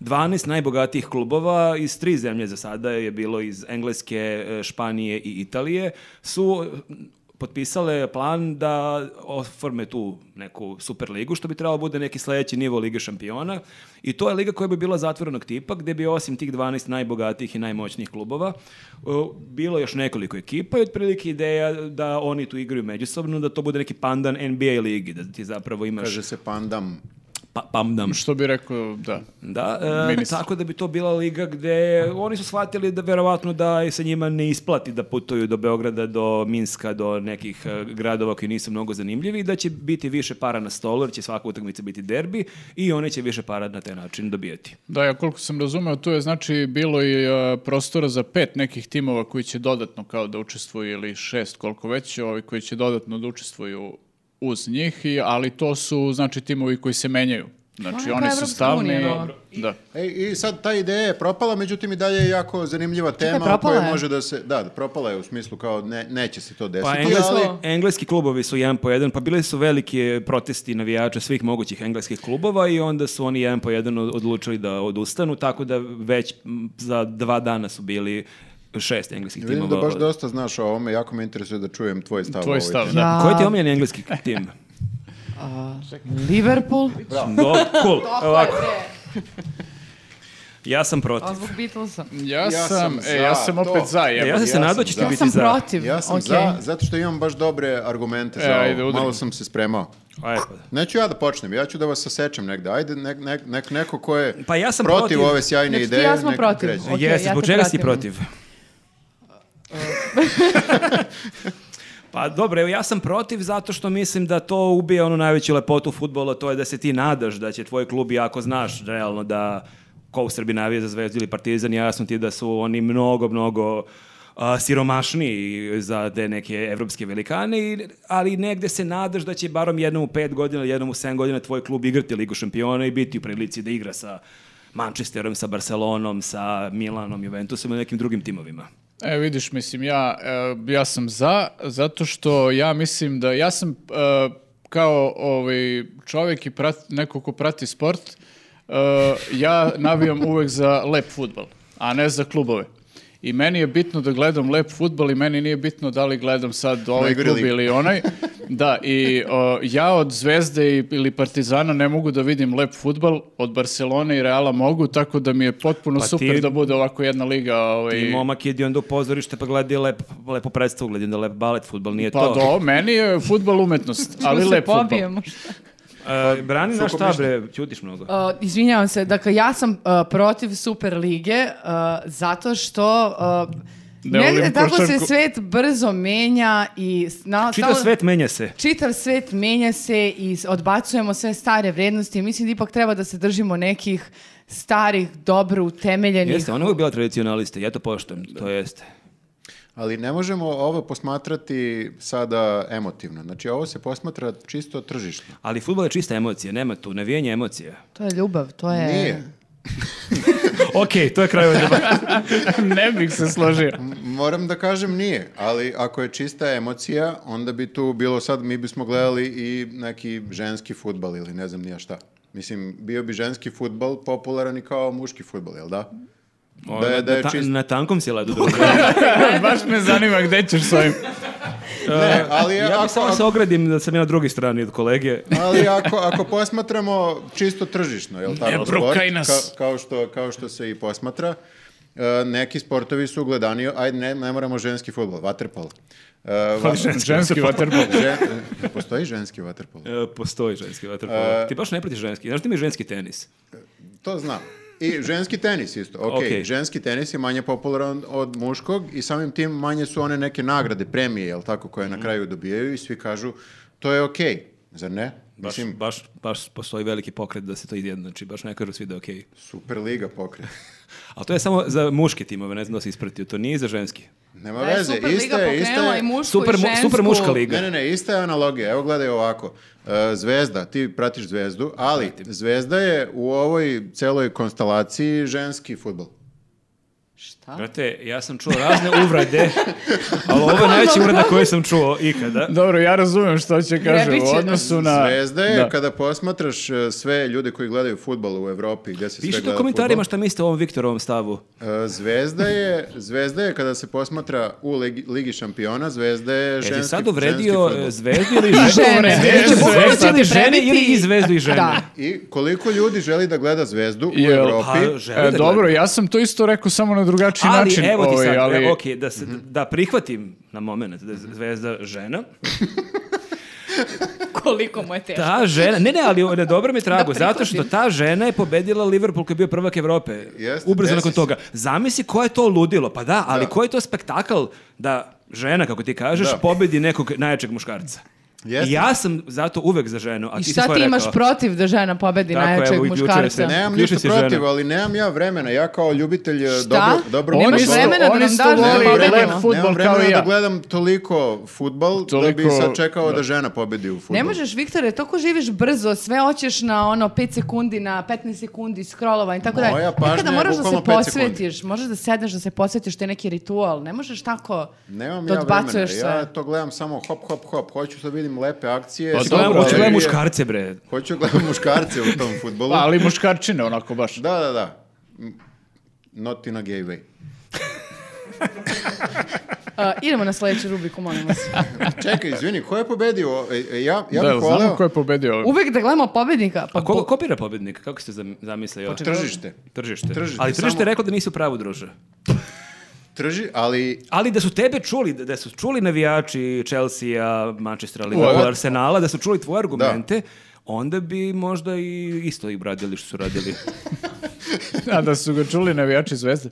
12 najbogatijih klubova iz tri zemlje za sada je bilo iz Engleske, e, Španije i Italije su e, potpisale plan da oforme tu neku superligu, što bi trebalo bude neki sledeći nivo Lige šampiona. I to je liga koja bi bila zatvorenog tipa, gde bi osim tih 12 najbogatijih i najmoćnijih klubova e, bilo još nekoliko ekipa i otprilike ideja da oni tu igraju međusobno, da to bude neki pandan NBA ligi, da ti zapravo imaš
Kaže se pandam.
pa, pamdam.
Što bi rekao, da.
Da, e,
Ministar.
tako da bi to bila liga gde oni su shvatili da verovatno da i se njima ne isplati da putuju do Beograda, do Minska, do nekih e, gradova koji nisu mnogo zanimljivi i da će biti više para na stolu, jer će svaka utakmica biti derbi i oni će više para na taj način dobijati.
Da, ja koliko sam razumeo, tu je znači bilo i e, prostora za pet nekih timova koji će dodatno kao da učestvuju ili šest koliko već, ovi koji će dodatno da učestvuju uz njih, i, ali to su znači timovi koji se menjaju.
To
Znači
je
oni
kao
su
Evropska
stalni.
unija, dobro.
Da.
E, I sad ta ideja je propala, međutim i dalje je jako zanimljiva tema o
propala
kojoj
je?
može da se... Da, propala je u smislu kao ne, neće se to desiti,
Pa engleski,
ali...
engleski klubovi su jedan po jedan, pa bili su velike protesti navijača svih mogućih engleskih klubova i onda su oni jedan po jedan od- odlučili da odustanu, tako da već m, za dva dana su bili šest engleskih timova.
Vidim da baš dosta znaš o ovome, jako me interesuje da čujem tvoj stav. o
Tvoj
ovoj
stav,
temi.
da.
Ja,
Koji ti je omiljeni engleski *laughs* tim?
Liverpool?
No, cool. Ovako. Ja sam
A
protiv.
zbog Beatlesa.
Ja,
Ja sam
sam, e, ja
za
sam
to.
opet za,
E,
jebe.
ja sam se
ja sam
nadao ćeš
za.
ti
Ja
biti
sam
za.
protiv.
Ja sam
okej.
za, zato što imam baš dobre argumente za
E,
ovo.
ajde, udri.
Malo sam se spremao.
Ajde, pa da.
Neću ja da počnem, ja ću da vas sasečem negde. Ajde, nek, nek, nek, neko ko je
Pa ja sam
protiv,
protiv.
ove sjajne
Znači ti i
ideje.
ja smo
nek
protiv.
kreće.
Okej,
Jesi,
ja
zbog
te
čega si ti
pratim.
protiv? Pa dobro, evo ja sam protiv zato što mislim da to ubije onu najveću lepotu futbola, to je da se ti nadaš da će tvoj klub, iako znaš realno da ko u Srbiji navija za Zvezdu ili Partizan, jasno ti je da su oni mnogo, mnogo a, siromašniji za te neke evropske velikane, i- ali negde se nadaš da će barom jednom u pet godina, ili jednom u sedam godina tvoj klub igrati Ligu šampiona i biti u prilici da igra sa Manchesterom, sa Barcelonom, sa Milanom, Juventusom i nekim drugim timovima.
E, vidiš, mislim, ja, e, ja sam za, zato što ja mislim da, ja sam e, kao ovaj, čovjek i prat, neko ko prati sport, e, ja navijam uvek za lep futbal, a ne za klubove. I meni je bitno da gledam lep futbal i meni nije bitno da li gledam sad ovaj
igri
klub
lige.
ili onaj. Da, i o, ja od Zvezde i- ili Partizana ne mogu da vidim lep futbal, od Barcelone i Reala mogu, tako da mi je potpuno
Pa ti-
super da bude ovako jedna liga. Ovaj,
I momak idi onda u pozorište pa gledi lep, lepo predstavu, gledi onda lep balet, futbol, nije
Pa
to.
do, meni je futbal umetnost, ali
se
lep futbal.
pobijemo.
E, brani naš šta bre, ćutiš mnogo.
Uh, izvinjavam se, dakle ja sam uh, protiv Super Lige uh, zato što uh,
Ne
negde
volim
tako se
košarku.
svet brzo menja i na,
Čitav
stalno-
svet menja se.
čitav svet menja se i s- odbacujemo sve stare vrednosti. Mislim da ipak treba da se držimo nekih starih, dobro utemeljenih.
Jeste, ona je uvijek bila tradicionalista, ja to poštujem, to jeste.
Ali ne možemo ovo posmatrati sada emotivno. Znači, ovo se posmatra čisto tržišno.
Ali futbol je čista emocija, nema tu navijanje emocija.
To je ljubav, to je...
Nije.
ok, to je kraj ovdje.
*laughs* ne bih se složio.
Moram da kažem nije, ali ako je čista emocija, onda bi tu bilo sad, mi bismo gledali i neki ženski futbal ili ne znam nija šta. Mislim, bio bi ženski futbal popularan i kao muški futbal, jel da? Da je, da je
na, ta-
čist...
na tankom
*laughs*
si ledu.
Baš me zanima gde ćeš
*laughs*
s ovim.
Ne, ali
E, ja
ako,
bih samo se
ako,
ogradim da sam ja na drugoj strani od kolege. e,
ali ako, ako posmatramo čisto tržišno, jel tako?
Ne brukaj nas.
ka- kao, što, kao što se i posmatra, e, neki sportovi su gledani, ajde, ne, ne moramo ženski futbal, vaterpol. E,
Pa,
Ženski vaterbol.
*laughs* postoji ženski vaterpol?
E, postoji ženski
E-
vaterpolo. Ti baš ne pratiš ženski. Znaš ti mi je ženski tenis?
To znam. I ženski tenis isto. Ok,
Okej.
ženski tenis je manje popularan od muškog i samim tim manje su one
Mhm.
neke nagrade, premije, jel tako, koje na kraju dobijaju i svi kažu to je ok, zar ne?
Baš,
Mislim-
baš, baš postoji veliki pokret da se to izjednači, baš ne kažu svi da je okej.
Superliga pokret.
Ali to je samo za muške timove, ne znam da si ispratio, to nije za ženski.
Nema
Da Pa je
veze,
Superliga
ista je, ista
pokrenula
je-
i mušku
Super,
i
mu-
žensku.
super muška liga.
Ne, ne, ne, ista je analogija. Evo gledaj ovako. E, Zvezda, ti pratiš Zvezdu, ali Zvezda je u ovoj celoj konstalaciji ženski futbol.
Šta?
Brate, ja sam čuo razne uvrade, ali ovo je najveći uvrada koju sam čuo ikada.
Dobro, ja razumijem što će kaže
Grebić
u
je-
odnosu na... E,
Zvezda je,
Da.
kada posmatraš e, sve ljude koji gledaju futbol u Evropi, gdje se sve
Pišite
gleda
u komentarima
fudbal,
šta mislite o ovom Viktorovom stavu.
e, Zvezda je, zvezda je kada se posmatra u Ligi, Ligi šampiona, Zvezda je
E,
ženski,
ti sad
ženski
uvredio
fudbal.
e, zvezdu ili
žene.
Zvezdu,
Zvezdu,
zvezdu ili
ću
žene
prebiti.
ili i zvezdu i žene.
Da.
I koliko ljudi želi da gleda Zvezdu u
Jel,
Evropi?
Pa, žele
E,
da
dobro,
gledaju.
ja sam to isto rekao samo na drugačiji
ali
način.
evo ti
ovaj,
sad,
ali-
e, ok, da, se, da prihvatim na moment da je zvezda žena.
*laughs* Koliko mu je teško.
Ta žena, ne ne, ali na dobro mi je trago,
Da
zato što ta žena je pobedila Liverpool koji je bio prvak Evrope.
Jeste,
Ubrzo
desi
nakon
se.
toga. Zamisli ko je to ludilo, pa da, ali
Da.
koji je to spektakl da žena, kako ti kažeš,
Da.
pobedi nekog najjačeg muškarca.
Jeste.
I ja sam zato uvek za ženu, a ti
I
si
šta
svoje
ti imaš
rekao.
protiv da žena pobedi
Tako,
najjačeg
evo, juče
muškarca?
se- Ne,
Nemam
Uključi
ništa
se žena.
protiv, ali nemam ja vremena. Ja kao ljubitelj e,
Šta?
dobro, dobro
Nemaš
isto-
vremena da
on
nam
isto
daš da
voli
pobedimo.
gledati
Nemam
Nemam
fudbal kao
vremena
i
da
ja.
gledam toliko futbal da bi
Toliko-
sad čekao da, žena pobedi u futbolu.
Ne možeš, Viktore, toliko živiš brzo, sve hoćeš na ono 5 sekundi, na 15 sekundi scrollova i tako
Moja
dalje.
pažnja
Nekada
je
moraš da se
bukvalno pet sekundi.
posvetiš, možeš da sedneš, da se posvetiš, to je neki ritual, ne možeš tako
Nemam
da
ja vremena.
odbacuješ
Ja
sve.
to gledam samo hop, hop, hop. Hoću da vidim lepe akcije.
Pa
Hoću
dobro,
Gledam, hoću
ali-
gledam
gledam muškarce, bre.
Hoću da gledam muškarce u tom futbolu.
Pa, ali muškarčine, onako baš.
Da, da, da. M, Not in a gay way.
A, idemo na sledeću rubriku, molim vas.
Čekaj, izvini, ko je pobedio? E, e, Ja, ja
Da,
bih
jel znamo
voleo
ko je pobedio ovaj?
Uvek da gledamo pobednika. Pa
A ko, ko bira pobednika? Kako ste zam- zamislili ovo?
tržište.
Tržište.
Tržište,
Ali tržište
samo-
je reklo da nisu pravo druže.
Trži, ali
Ali da su tebe čuli, da da su čuli navijači Chelsea, Manchestera,
Ovo
Liverpool,
je-
Arsenala, da su čuli tvoje argumente, onda bi možda i isto i radili što su
*laughs*
radili.
A da su ga čuli navijači zvezde.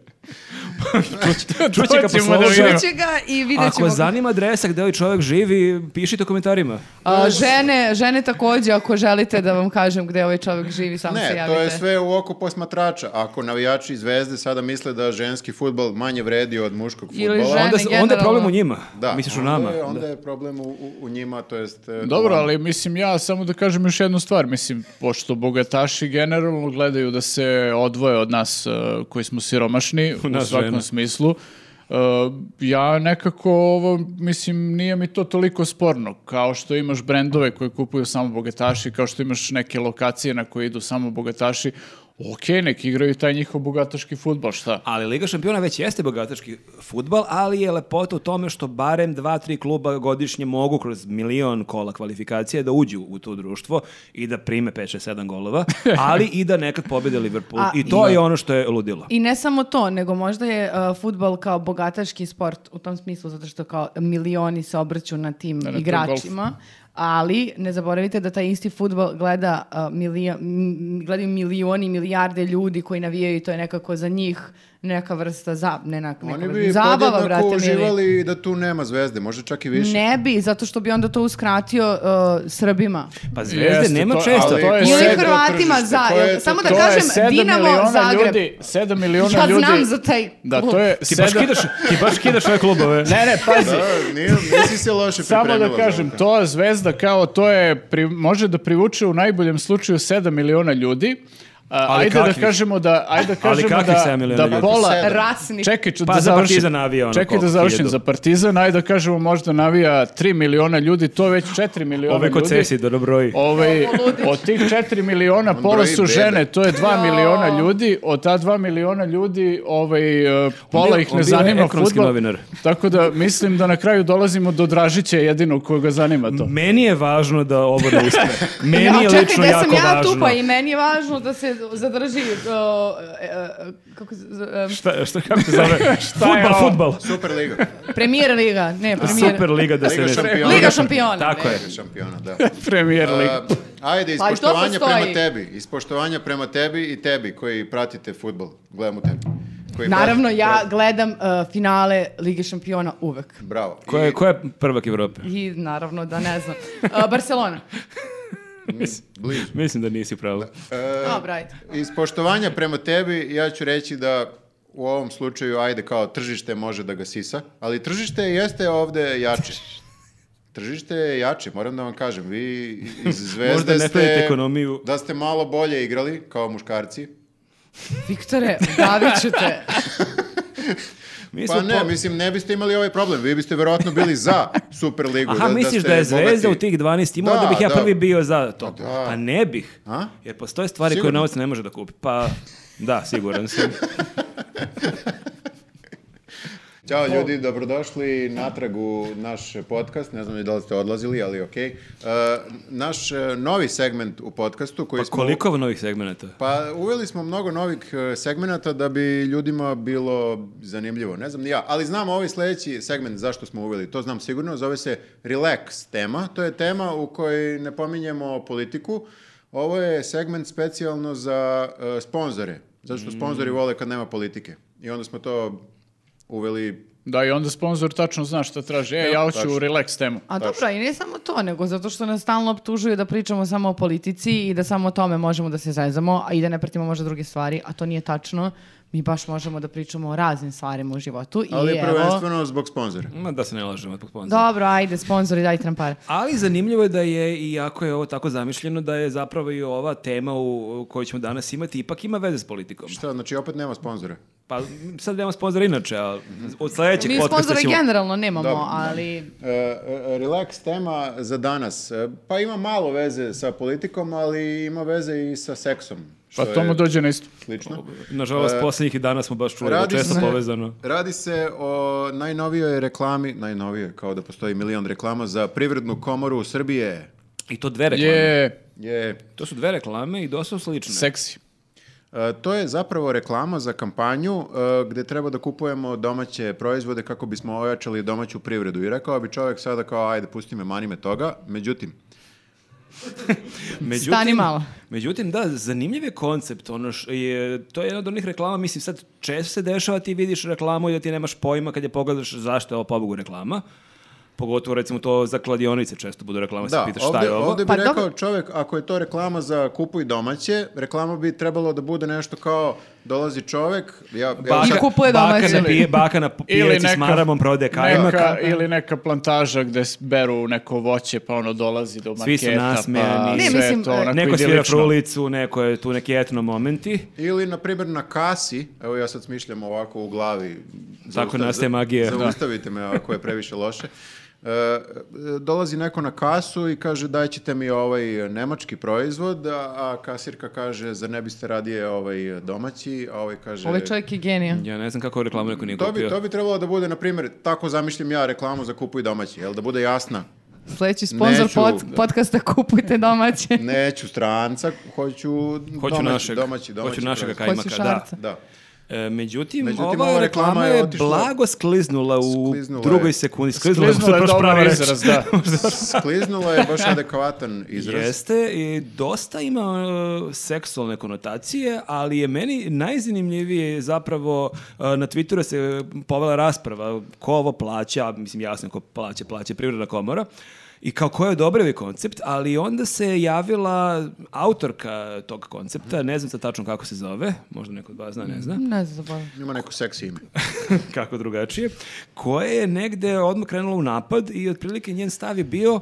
Čuće ga
To ćemo
posle
da
ovog-
vidimo.
Čuće ga i vidjet
Ako
ćemo.
vas zanima adresa gde ovaj čovjek živi, pišite u komentarima.
A, žene, žene takođe, ako želite da vam kažem gde ovaj čovjek živi, samo se
Ne,
javite.
to je sve u oku posmatrača. Ako navijači Zvezde sada misle da ženski futbol manje vredi od muškog
Ili
futbola,
žene-
Onda, s- onda je
generalno.
problem u njima.
da,
Misliš u
onda
nama.
Je, onda
da.
je problem u, u, u njima, to jest... e,
Dobro,
Ono-
u nama.
ali mislim ja samo da kažem još jednu stvar, mislim, pošto bogataši generalno gledaju da se odvoje od nas e, koji smo siromašni u,
nas
svakom
žena.
smislu, e, ja nekako ovo, mislim, nije mi to toliko sporno, kao što imaš brendove koje kupuju samo bogataši, kao što imaš neke lokacije na koje idu samo bogataši, ok, nek igraju taj njihov bogataški futbol, šta?
Ali Liga šampiona već jeste bogatački futbal, ali je lepota u tome što barem dva, tri kluba godišnje mogu kroz milion kola kvalifikacije da uđu u to društvo i da prime 5, 6, 7
*laughs*
golova, ali i da nekad pobede Liverpool.
A-
I to je ono što je ludilo.
I ne samo to, nego možda je uh, futbol kao bogataški sport u tom smislu, zato što kao milioni se obrću na tim
to je
igračima, ali ne zaboravite da taj isti futbol gleda, uh, milija- m- gledaju milioni, milijarde ljudi koji navijaju i to je nekako za njih neka vrsta, za, ne neka, neka
Oni
vrsta
bi
zabava, brate,
podjednako
mili.
uživali da tu nema Zvezde, možda čak i više.
Ne bi, zato što bi onda to uskratio uh, Srbima.
Pa zvezde
Jeste,
nema
to-
često.
ali to je
Ili
sedmo
Hrvatima
tržište,
za,
to je
samo
to-
da
to je
kažem,
sedam
Dinamo
miliona
Zagreb.
ljudi, 7 miliona
Ja
ljudi.
znam za taj
Da,
klub.
to je
Ti baš
sedam-
kidaš, ti
*laughs*
baš kidaš ove klubove.
Ne, ne, pazi.
Da, nije, nisi se loše
Samo
pripremila
da
za
kažem,
ovo.
to zvezda kao to je, pri- može da privuče u najboljem slučaju 7 miliona ljudi. A,
Ali
ajde
kakvih?
da kažemo da ajde da
Ali
kažemo
kakvih
da
7 miliona
da
ljudi?
pola
Sedam.
Rasni. *laughs*
Čekaj, ću
Pa
da
za
završim.
Partizan navija ono
Čekaj
koliko,
da završim
hiljadu.
za Partizan, ajde da kažemo možda navija 3 miliona ljudi, to je već 4 miliona
Ove
ljudi.
koncesije, dobro broji.
Ovaj, od tih 4 miliona pola
broji
su
bebe.
žene, to je 2 miliona ljudi, od ta 2 miliona ljudi ovaj, e,
On
pola
bio-
ih
on
ne
bio
zanima
ekonomski
fudbal.
novinar.
Tako da mislim da na kraju dolazimo do Dražića jedinog koga zanima to.
Meni je važno da ovo ne
*laughs*
uspe. Meni
Ja,
je
čekaj,
lično
gde
jako
sam ja
važno.
tu, pa i meni je važno da se zadrži, uh, uh, kako se, z-
Šta, šta, kako se
*laughs*
zove?
je
futbal,
ovo?
futbal.
Superliga.
uh, premijer liga, ne, premijer.
Super liga da se
Liga
ne...
šampiona.
Liga šampiona.
Tako
ne.
je.
Liga šampiona,
*laughs*
da.
Premier League.
Uh, ajde, iz
Pa i to
poštovanja prema
postoji.
tebi. Iz poštovanja prema tebi i tebi koji pratite futbol. Gledam u tebi. Koji
Naravno,
pratite-
ja gledam uh, finale Lige šampiona uvek.
Bravo.
Ko je,
I-
ko je prvak Evrope?
E, I naravno da ne znam. Uh, Barcelona.
Blizu.
Mislim da nisi pravo.
Pa
Dobro, ajde.
Iz poštovanja prema tebi, ja ću reći da u ovom slučaju, ajde, kao tržište može da ga sisa, ali tržište jeste ovde jače. Tržište je jače, moram da vam kažem. Vi iz
*laughs* Možda
Zvezde
ne pravite
ste,
ekonomiju.
da ste malo bolje igrali, kao muškarci.
Viktore, davit ću te.
Mi
Pa
smo
ne,
po-
mislim, ne biste imali ovaj problem. Vi biste verovatno bili
*laughs*
za Superligu.
Aha, misliš da,
ste
je Zvezda u
bogati.
tih 12 imala da,
Da,
bih ja
da.
prvi bio za to?
Pa da.
Pa ne bih.
A?
Jer postoje stvari koje
Sigurno.
novac ne može da kupi. Pa da,
*laughs*
siguran sam.
Ćao ljudi, dobrodošli natrag u naš podcast. Ne znam ni da li ste odlazili, ali okej. E, naš e, novi segment u podcastu koji
Pa
smo...
koliko novih segmenata?
Pa uveli smo mnogo novih e, segmenata da bi ljudima bilo zanimljivo. Ne znam ni ja, ali znam ovaj sledeći segment zašto smo uveli. To znam sigurno, zove se relax tema. To je tema u kojoj ne pominjemo politiku. Ovo je segment specijalno za e, sponzore. Zato što sponzori vole kad nema politike. I onda smo to uveli
Da, i onda sponsor tačno zna šta traži. E, ja hoću relax temu.
A dobro, i ne samo to, nego zato što nas stalno optužuju da pričamo samo o politici i da samo o tome možemo da se zezamo, a i da ne pratimo možda druge stvari, a to nije tačno. Mi baš možemo da pričamo o raznim stvarima u životu.
Ali
I evo-
prvenstveno zbog sponzora.
Ma da se ne lažemo. zbog sponzora.
Dobro, ajde, sponzori, dajte nam pare.
Ali zanimljivo je da je, iako je ovo tako zamišljeno, da je zapravo i ova tema u, u kojoj ćemo danas imati, ipak ima veze s politikom.
Šta, znači opet nema sponzora.
Pa m, sad nemamo sponzora inače, ali od sledećeg
Mi
podcasta
sponzore
ćemo...
generalno nemamo,
Dobro,
ali...
E, e, relax tema za danas. E, Pa ima malo veze sa politikom, ali ima veze i sa seksom. Što
Pa to mu
je
dođe na isto.
slično.
Nažalost, posljednjih dana smo baš čuli da
E, Radi
često
se-
povezano.
Radi se o najnovijoj reklami, najnovijoj, kao da postoji milion reklama, za privrednu komoru Srbije.
I to dve reklame.
Je
Je,
To su dve reklame i dosta slične.
seksi.
E, To je zapravo reklama za kampanju e, gde treba da kupujemo domaće proizvode kako bismo ojačali domaću privredu. I rekao bi čovjek sada kao, ajde, pusti me, mani me toga. Međutim,
Međutim,
Stani malo.
Međutim, da, zanimljiv je koncept. Ono š- je, to je jedna od onih reklama, mislim, sad često se dešava ti vidiš reklamu i da ti nemaš pojma kad je pogledaš zašto je ovo pobogu reklama. Pogotovo, recimo, to za kladionice često budu reklama, Pa se
da,
pitaš šta
ovdje,
je ovo.
ovdje bi
Pa
rekao
dobro.
čovjek, ako je to reklama za kupuj domaće, reklama bi trebalo da bude nešto kao, dolazi čovjek, ja, ja
I
sad-
kupuje
baka,
domaće.
na pije, baka na Pa pijaci s maramom prodaje kajmak.
neka, ili neka plantaža gde s- beru neko voće, pa ono dolazi do marketa.
Svi su
pa
nasmejani.
Ne,
sve je
mislim, e,
to onako
Neko svira
idilično.
frulicu, neko je tu neki etno momenti.
Ili, na primjer, na kasi, evo ja sad smišljam ovako u glavi.
Tako
zaustav-
nastaje magija. Da.
Zaustavite me ako je previše loše. E, e, dolazi neko na kasu i kaže daj ćete mi ovaj nemački proizvod, a, a kasirka kaže zar ne biste radije ovaj domaći, a ovaj kaže...
Ovaj čovjek je genija.
Ja ne znam kako reklamu neko nije
To bi,
kupio.
to bi trebalo da bude, na primjer, tako zamišljam ja reklamu za kupuj domaći, jel da bude jasna.
Sljedeći sponsor
Neću.
pod, podcasta Kupujte domaće.
Neću stranca, hoću,
Hoću
domaći,
našeg,
domaći, domaći
hoću našega
proizvod.
kajmaka,
Hoću
da.
šarca.
Da.
E, međutim,
Međutim,
ova
ova
reklama
reklama je
je
otišla-
blago skliznula u
Skliznula je.
drugoj sekundi. Skliznula, je,
Skliznula je
baš
dobar
prava reč.
izraz,
*laughs*
da.
Skliznula je baš adekvatan izraz.
Jeste, i dosta ima e, seksualne konotacije, ali je meni najzanimljivije zapravo e, na Twitteru se e, povela rasprava ko ovo plaća, mislim jasno ko plaća, plaća Privredna komora, i kao ko je odobravi koncept, ali onda se javila autorka tog koncepta, ne znam sad tačno kako se zove, možda neko od vas zna, ne zna.
Ne znam, zaboravim.
Ima neko seksi ime.
*laughs* kako drugačije, koja je negde odmah krenula u napad i otprilike njen stav je bio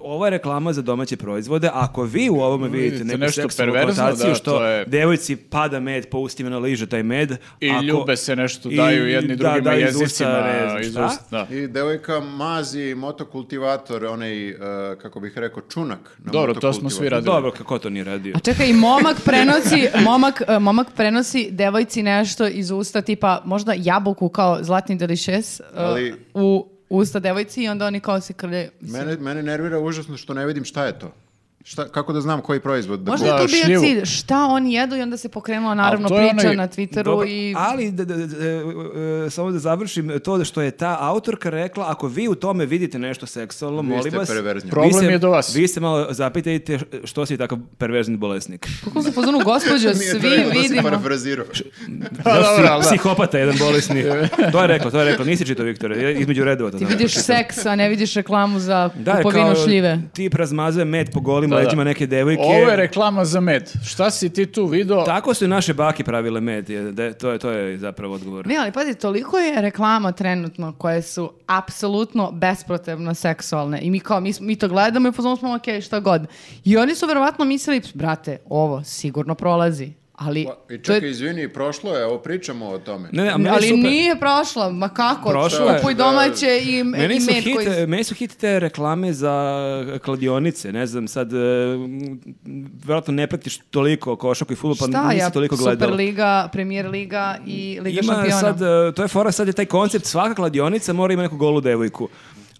ova je reklama za domaće proizvode, ako vi u ovome vidite
Vidite
neku
Mm, nešto
seksualnu
perverzno,
konotaciju
da,
što
to je-
devojci pada med po ustima na liže taj med.
I
ako-
ljube se nešto, daju
da,
jedni drugima
daju iz usta,
jezicima.
ne znam
iz
šta.
usta, da.
I devojka mazi motokultivator, onaj, e, kako bih rekao, čunak. Na
Dobro, to smo svi
motokultivatoru.
radili.
Dobro, kako to nije radio?
A čekaj, i momak prenosi, momak, e, momak prenosi devojci nešto iz usta, tipa možda jabuku kao zlatni delišes e,
Ali-
u usta devojci i onda oni kao se krlje.
Mene, mene nervira užasno što ne vidim šta je to. Šta, kako da znam koji proizvod da
Možda
kupim?
je
Da,
to bio
šljivu.
cilj, šta oni jedu i onda se pokrenula naravno
to je
priča
onaj-
na Twitteru
Dobro,
i...
Ali, da, da- da- e, e, e, samo da završim, to što je ta autorka rekla, ako vi u tome vidite nešto seksualno,
Vi
molim
ste
vas...
perverzni.
vi
Problem
se-
je do vas.
Vi se malo zapitajte što si takav perverzni bolesnik.
Kako su pozvanu gospođo,
Nije to,
svi
to si
vidimo.
parafrazirao.
Pa
Zato si
dobro, ali *laughs* da.
Psihopata jedan
*laughs*
bolesni. to je rekao, to je rekao. Nisi čitao, Viktore, ja između redova to
Ti
sam
vidiš
pročitao.
seks, a ne vidiš reklamu za
Da, je
kupovinu
kao
šljive.
tip razmazuje med po golim ostalim
da.
leđima neke devojke.
Ovo je reklama za med. Šta si ti tu video?
Tako su i naše bake pravile med, je, da, to, je, to je zapravo odgovor.
Ne, ali pazi, toliko je reklama trenutno koje su apsolutno bespotrebno seksualne i mi kao, mi, mi to gledamo i pozvamo smo, ok, šta god. I oni su verovatno mislili, brate, ovo sigurno prolazi, ali...
I
to je-
čekaj, izvini, prošlo je, evo pričamo o tome.
Ne, ne, a meni je
ali
super.
nije prošla, ma kako?
Prošla je.
Kupuj domaće i, i
Meni su,
med
hit,
koji...
meni su hit te reklame za e, kladionice, ne znam, sad, e, m, vjerojatno ne pratiš toliko košarku i futbol, pa
Šta
nisi
ja,
toliko gledala.
Superliga, Premier Liga i Liga
Ima
šampiona.
sad, e, to je fora, sad je taj koncept, svaka kladionica mora ima neku golu devojku.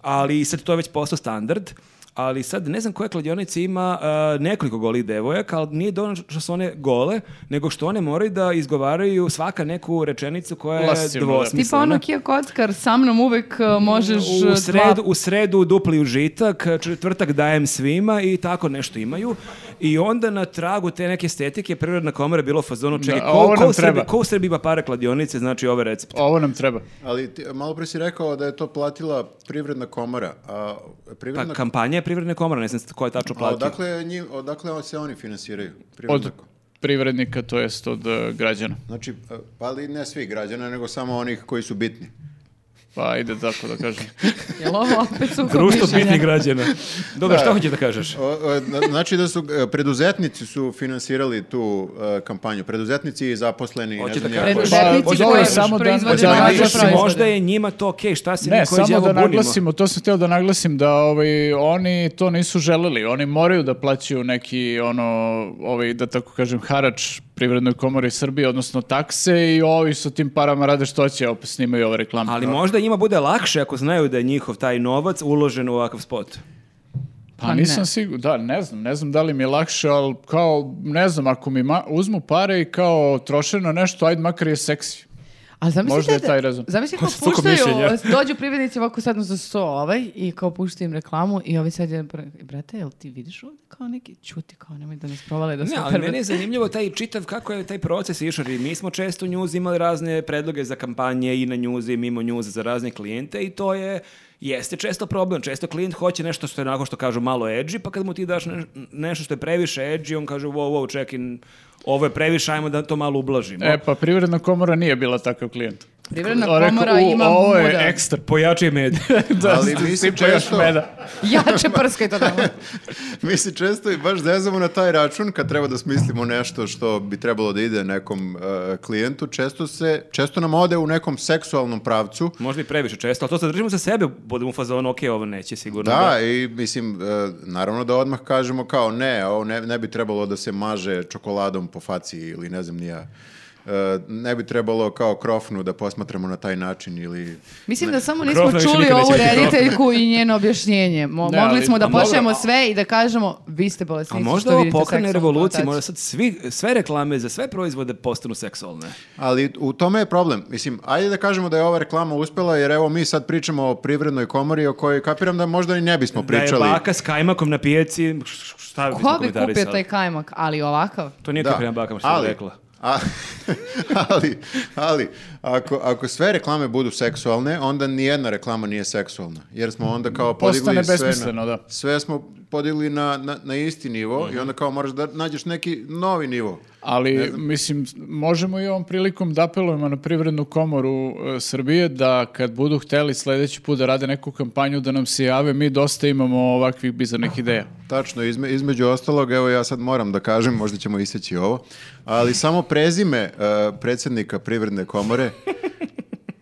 Ali sad to je već postao standard. Ali sad ne znam koja kladionica ima e, nekoliko golih devojaka, ali nije dovoljno što su one gole, nego što one moraju da izgovaraju svaka neku rečenicu koja je
Lascivno, da.
Tipa
dvosmislena.
ono Kija Kockar, sa mnom uvek uh, možeš
U
uh,
sredu,
dva...
u sredu dupli užitak, četvrtak dajem svima i tako nešto imaju. I onda na tragu te neke estetike Prirodna komora je bilo u fazonu čekaj,
Da,
ko,
ovo
ko,
nam
u Srbiji,
treba.
ko u Srbiji ima pare kladionice, znači ove recept.
Ovo nam treba.
Ali ti, malo pre si rekao da je to platila privredna komora. A
Pa
privredna
kampanja je Privredne komore, ne znam ko je tačno
a
platio.
odakle, njim, odakle se oni finansiraju? Privredna
Od
ko-
privrednika, to jest od e, građana.
Znači, e, pa ali ne svi građana, nego samo onih koji su bitni.
Pa ajde tako da kažem.
Jel ovo opet sukob
Društvo
mišljenja?
bitnih građana. Dobro, šta hoćeš da kažeš?
O, o, na- znači da su e, preduzetnici su finansirali tu e, kampanju. Preduzetnici i zaposleni. ne
Hoćeš
znam
da
ja
kažeš?
koji.
Preduzetnici
Pa,
koji
samo da-
proizvode
da
Da,
domaće
naglasim,
proizvode.
možda je njima to okej, šta se mi *laughs*
Ne,
koji
samo
djavo
da
bunimo?
naglasimo, to sam htio da naglasim, da ovaj, oni to nisu želeli. Oni moraju da plaćaju neki, ono, ovaj, da tako kažem, harač Privrednoj komori Srbije, odnosno takse i ovi sa tim parama rade što će, opet snimaju ove reklame.
Ali možda njima bude lakše ako znaju da je njihov taj novac uložen u ovakav spot.
Pa
Pa
ne.
nisam siguran, da, ne znam, ne znam da li mi je lakše, ali kao, ne znam, ako mi ma- uzmu pare i kao trošeno nešto, ajde makar je seksi.
Ali zamislite,
Možda je
da-
taj razum.
Zamislite kao
Sukob
puštaju,
mišljenja.
*laughs* dođu privrednici ovako sad za sto ovaj i kao puštaju im reklamu i ovi sad je, pre- brate, jel ti vidiš ovdje kao neki čuti, kao nemoj da nas provale da
Ne,
smo
ali meni je zanimljivo taj čitav, kako je taj proces išao. jer Mi smo često u News imali razne predloge za kampanje i na News i mimo News za razne klijente i to je jeste često problem. Često klijent hoće nešto što je onako što kažu malo edgy, pa kad mu ti daš ne- nešto što je previše edgy, on kaže wow, wow, čekaj, ovo je previše, ajmo da to malo ublažimo.
E, pa Privredna komora nije bila takav klijent.
Privredna
O, rekao,
komora
"U,
ima
Ovo je
muda."
ekstra.
Pojačaj
*laughs*
med.
da,
Ali
s-
mi se
sipa još
često-
meda.
*laughs*
Jače prskaj to tamo.
*laughs* Mi se često i baš zezamo na taj račun kad treba da smislimo nešto što bi trebalo da ide nekom e, klijentu. Često, se, često nam ode u nekom seksualnom pravcu.
Možda i previše često, ali to sad držimo za sebe, budemo u fazonu, ok, ovo neće sigurno.
Da, i mislim, e, naravno da odmah kažemo kao ne, ovo ne, ne bi trebalo da se maže čokoladom po faci ili ne znam ni ja. E, ne bi trebalo kao krofnu da posmatramo na taj način ili...
Mislim da samo
Krofna
nismo
više
čuli
nikad neće
ovu
biti krofna.
rediteljku i njeno objašnjenje. Mo-
Ne,
mogli
ali-
smo da
a možda-
pošljemo sve i da kažemo vi ste bolesnici.
A možda
što
ovo
vidite
pokrene
seksualnu
revoluciju,
konotaciju."
možda sad svi, sve reklame za sve proizvode postanu seksualne.
Ali u tome je problem. Mislim, ajde da kažemo da je ova reklama uspela, jer evo mi sad pričamo o privrednoj komori o kojoj kapiram da možda i ne bismo pričali.
Da je baka s kajmakom na pijaci, š- šta bismo
Ko bi
komentarisali?
kupio taj kajmak, ali ovakav?
To nije
Da.
kapirana baka, što
Ali-
je rekla.
a- *laughs* ali, ali, ako, ako sve reklame budu seksualne, onda nijedna reklama nije seksualna. Jer smo onda kao podigli
Postane
sve na,
besmisleno, da.
sve smo podigli na, na, na isti nivo
Mhm.
i onda kao moraš da nađeš neki novi nivo.
Ali, mislim, možemo i ovom prilikom da apelujemo na Privrednu komoru e, Srbije da kad budu hteli sledeći put da rade neku kampanju da nam se jave, mi dosta imamo ovakvih bizarnih ideja.
Tačno, izme- između ostalog, evo ja sad moram da kažem, možda ćemo iseći ovo, ali samo prezime e, predsjednika Privredne komore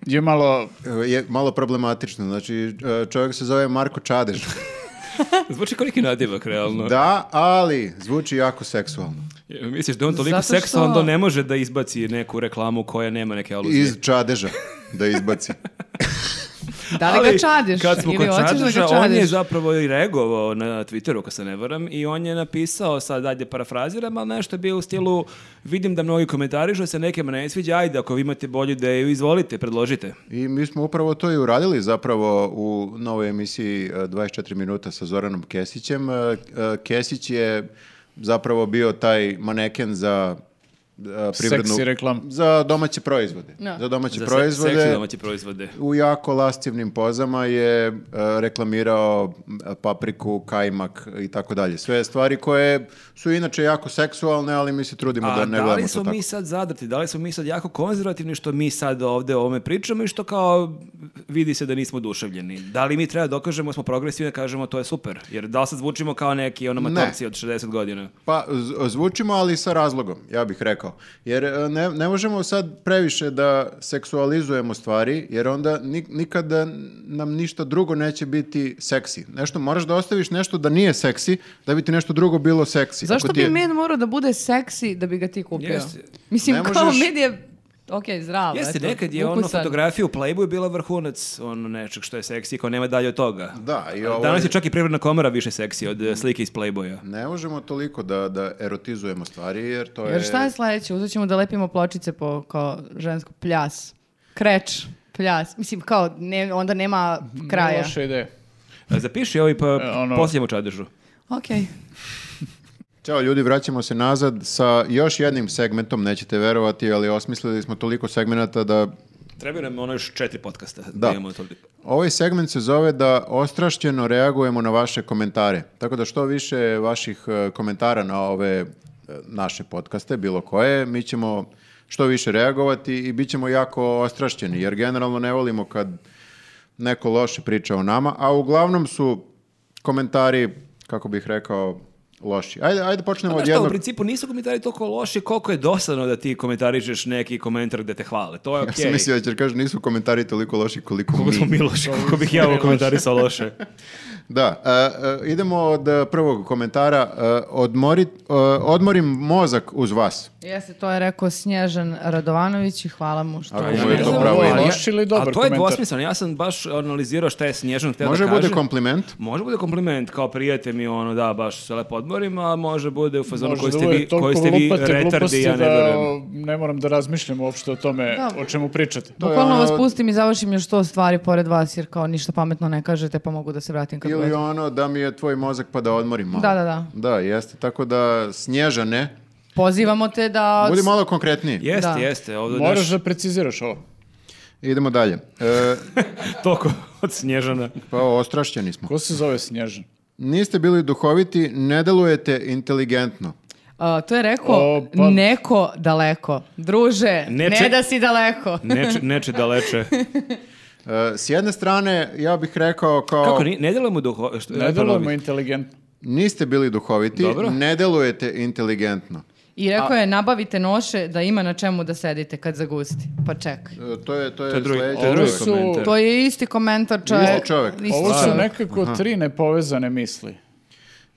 Je malo,
e, je malo problematično. Znači, e, čovjek se zove Marko
*laughs*
Čadež.
*laughs* Zvuči kao neki nadivak, realno.
Da, ali zvuči jako seksualno.
Misliš da je on toliko
Zato što-
seksualan da ne može da izbaci neku reklamu koja nema neke aluzije.
Iz Čadeža da izbaci.
Da li
Ali
ga čadiš?
Kad smo
Ili
kod
hoćeš da ga
Čadeža, on je
čadiš?
zapravo i reagovao na Twitteru, ako se ne varam, i on je napisao, sad ajde parafraziram, ali nešto je bio u stilu, vidim da mnogi komentarišu, se nekima ne sviđa, ajde, ako vi imate bolju ideju, izvolite, predložite.
I mi smo upravo to i uradili zapravo u novoj emisiji e, 24 minuta sa Zoranom Kesićem. E, e, Kesić je zapravo bio taj maneken za a, privrednu...
Seksi reklamu.
Za domaće proizvode.
Da.
Za domaće
Za se-
proizvode.
seksi domaće proizvode.
U jako lastivnim pozama je e, reklamirao m, papriku, kajmak i tako dalje. Sve stvari koje su inače jako seksualne, ali mi se trudimo da
A
ne
da
gledamo
li
to
smo
tako.
mi sad zadrti, da li smo mi sad jako konzervativni što mi sad ovde o ovome pričamo i što kao vidi se da nismo duševljeni? Da li mi treba da dokažemo da smo progresivni da kažemo to je super? Jer da li sad zvučimo kao neki onomatorci od 60 godina?
Pa, z- zvučimo, ali sa razlogom, ja bih rekao. Jer e, ne, ne možemo sad previše da seksualizujemo stvari, jer onda ni- nikada nam ništa drugo neće biti seksi. Nešto, moraš da ostaviš nešto da nije seksi, da bi ti nešto drugo bilo seksi.
Zašto
Ako ti
bi
je-
men morao da bude seksi da bi ga ti kupio?
Jeste.
Mislim,
Ne
kao
možeš-
med je... Ok, zdravo.
Jeste,
eto,
nekad je ono
ukusan.
fotografija u Playboyu bila vrhunac ono nečeg što je seksi, kao nema dalje od toga.
Da, i ovo
Danas
je-
je čak i privredna komora više seksi od eh, slike iz Playboya.
Ne možemo toliko da, da erotizujemo stvari, jer to
Jer šta je sledeće? Uzet ćemo da lepimo pločice po kao žensko pljas. Kreć, pljas. Mislim, kao, ne, onda nema kraja.
Loša ideja.
E, Zapiši ovaj pa
E, ono-
poslije mu čadežu.
Ok.
Ćao ljudi, vraćamo se nazad sa još jednim segmentom, nećete verovati, ali osmislili smo toliko segmenata da...
Treba nam ono još četiri podcasta. Da.
Da.
imamo toliko.
Ovaj segment se zove da ostrašćeno reagujemo na vaše komentare. Tako da što više vaših e, komentara na ove e, naše podcaste, bilo koje, mi ćemo što više reagovati i bit ćemo jako ostrašćeni, jer generalno ne volimo kad neko loše priča o nama, a uglavnom su komentari, kako bih rekao, loši. Ajde, ajde počnemo
Pa
od
znaš šta, u
jednog...
principu nisu komentari toliko loši koliko je dosadno da ti komentarišeš neki komentar gde te hvale. To je
Ja *laughs*
okej.
sam mislio da ćeš kaži nisu komentari toliko loši koliko
Koliko smo
mi.
mi loši, koliko bih ja ovo komentarisao
*laughs*
loše.
Da, e, e, idemo od e, prvog komentara. e, odmori, e, odmorim mozak uz vas.
Jeste, to je rekao Snježan Radovanović i hvala mu što
Ako
je...
mu je to
znam,
pravo
ovo je
ime.
loš ili dobar
A to je
komentar?
dvosmisleno. Ja sam baš analizirao šta je Snježan htio da
Može
kaže.
bude kompliment?
Može bude kompliment, kao prijete mi ono, da, baš se lepo odmorim, a može bude u fazonu
Možda
koji ste
ovo je
vi,
toliko
koji ste vi
lupate
retardi,
gluposti
ja ne
da,
verujem.
o, ne moram da razmišljam uopšte o tome
Da.
o čemu pričate.
To je
Bukvalno
ono-
vas pustim i završim još to stvari pored vas, jer kao ništa pametno ne kažete, pa mogu da se vratim kad
Ili
god.
ono da mi je tvoj mozak pa da odmorim malo.
Da, da, da.
Da, jeste. Tako da, snježane,
Pozivamo te da...
budi malo konkretniji.
Jeste,
Da.
jeste. Ovdje
Moraš
naš-
da preciziraš ovo.
Idemo dalje. E,
Toliko *laughs* od Snježana.
pa ostrašćeni smo.
Ko se zove Snježan?
Niste bili duhoviti, ne delujete inteligentno.
A, to je rekao
O, pa-
neko daleko. Druže,
Ne
ne
ček-
da si daleko.
Neče, neče da
*laughs*
leče.
E, s jedne strane, ja bih rekao kao...
Kako, ni- ne delamo duho... Što,
Ne delujemo inteligentno.
Niste bili duhoviti,
Dobro.
ne delujete inteligentno. E,
I rekao je, nabavite noše da ima na čemu da sedite kad zagusti. Pa čekaj.
E, To je, to je,
To je drugi,
sledeće.
to je drugi
Ovo su-
komentar.
To je isti komentar čovjek.
Isti čovjek.
Isti
Ovo su
čovjek.
nekako tri nepovezane misli.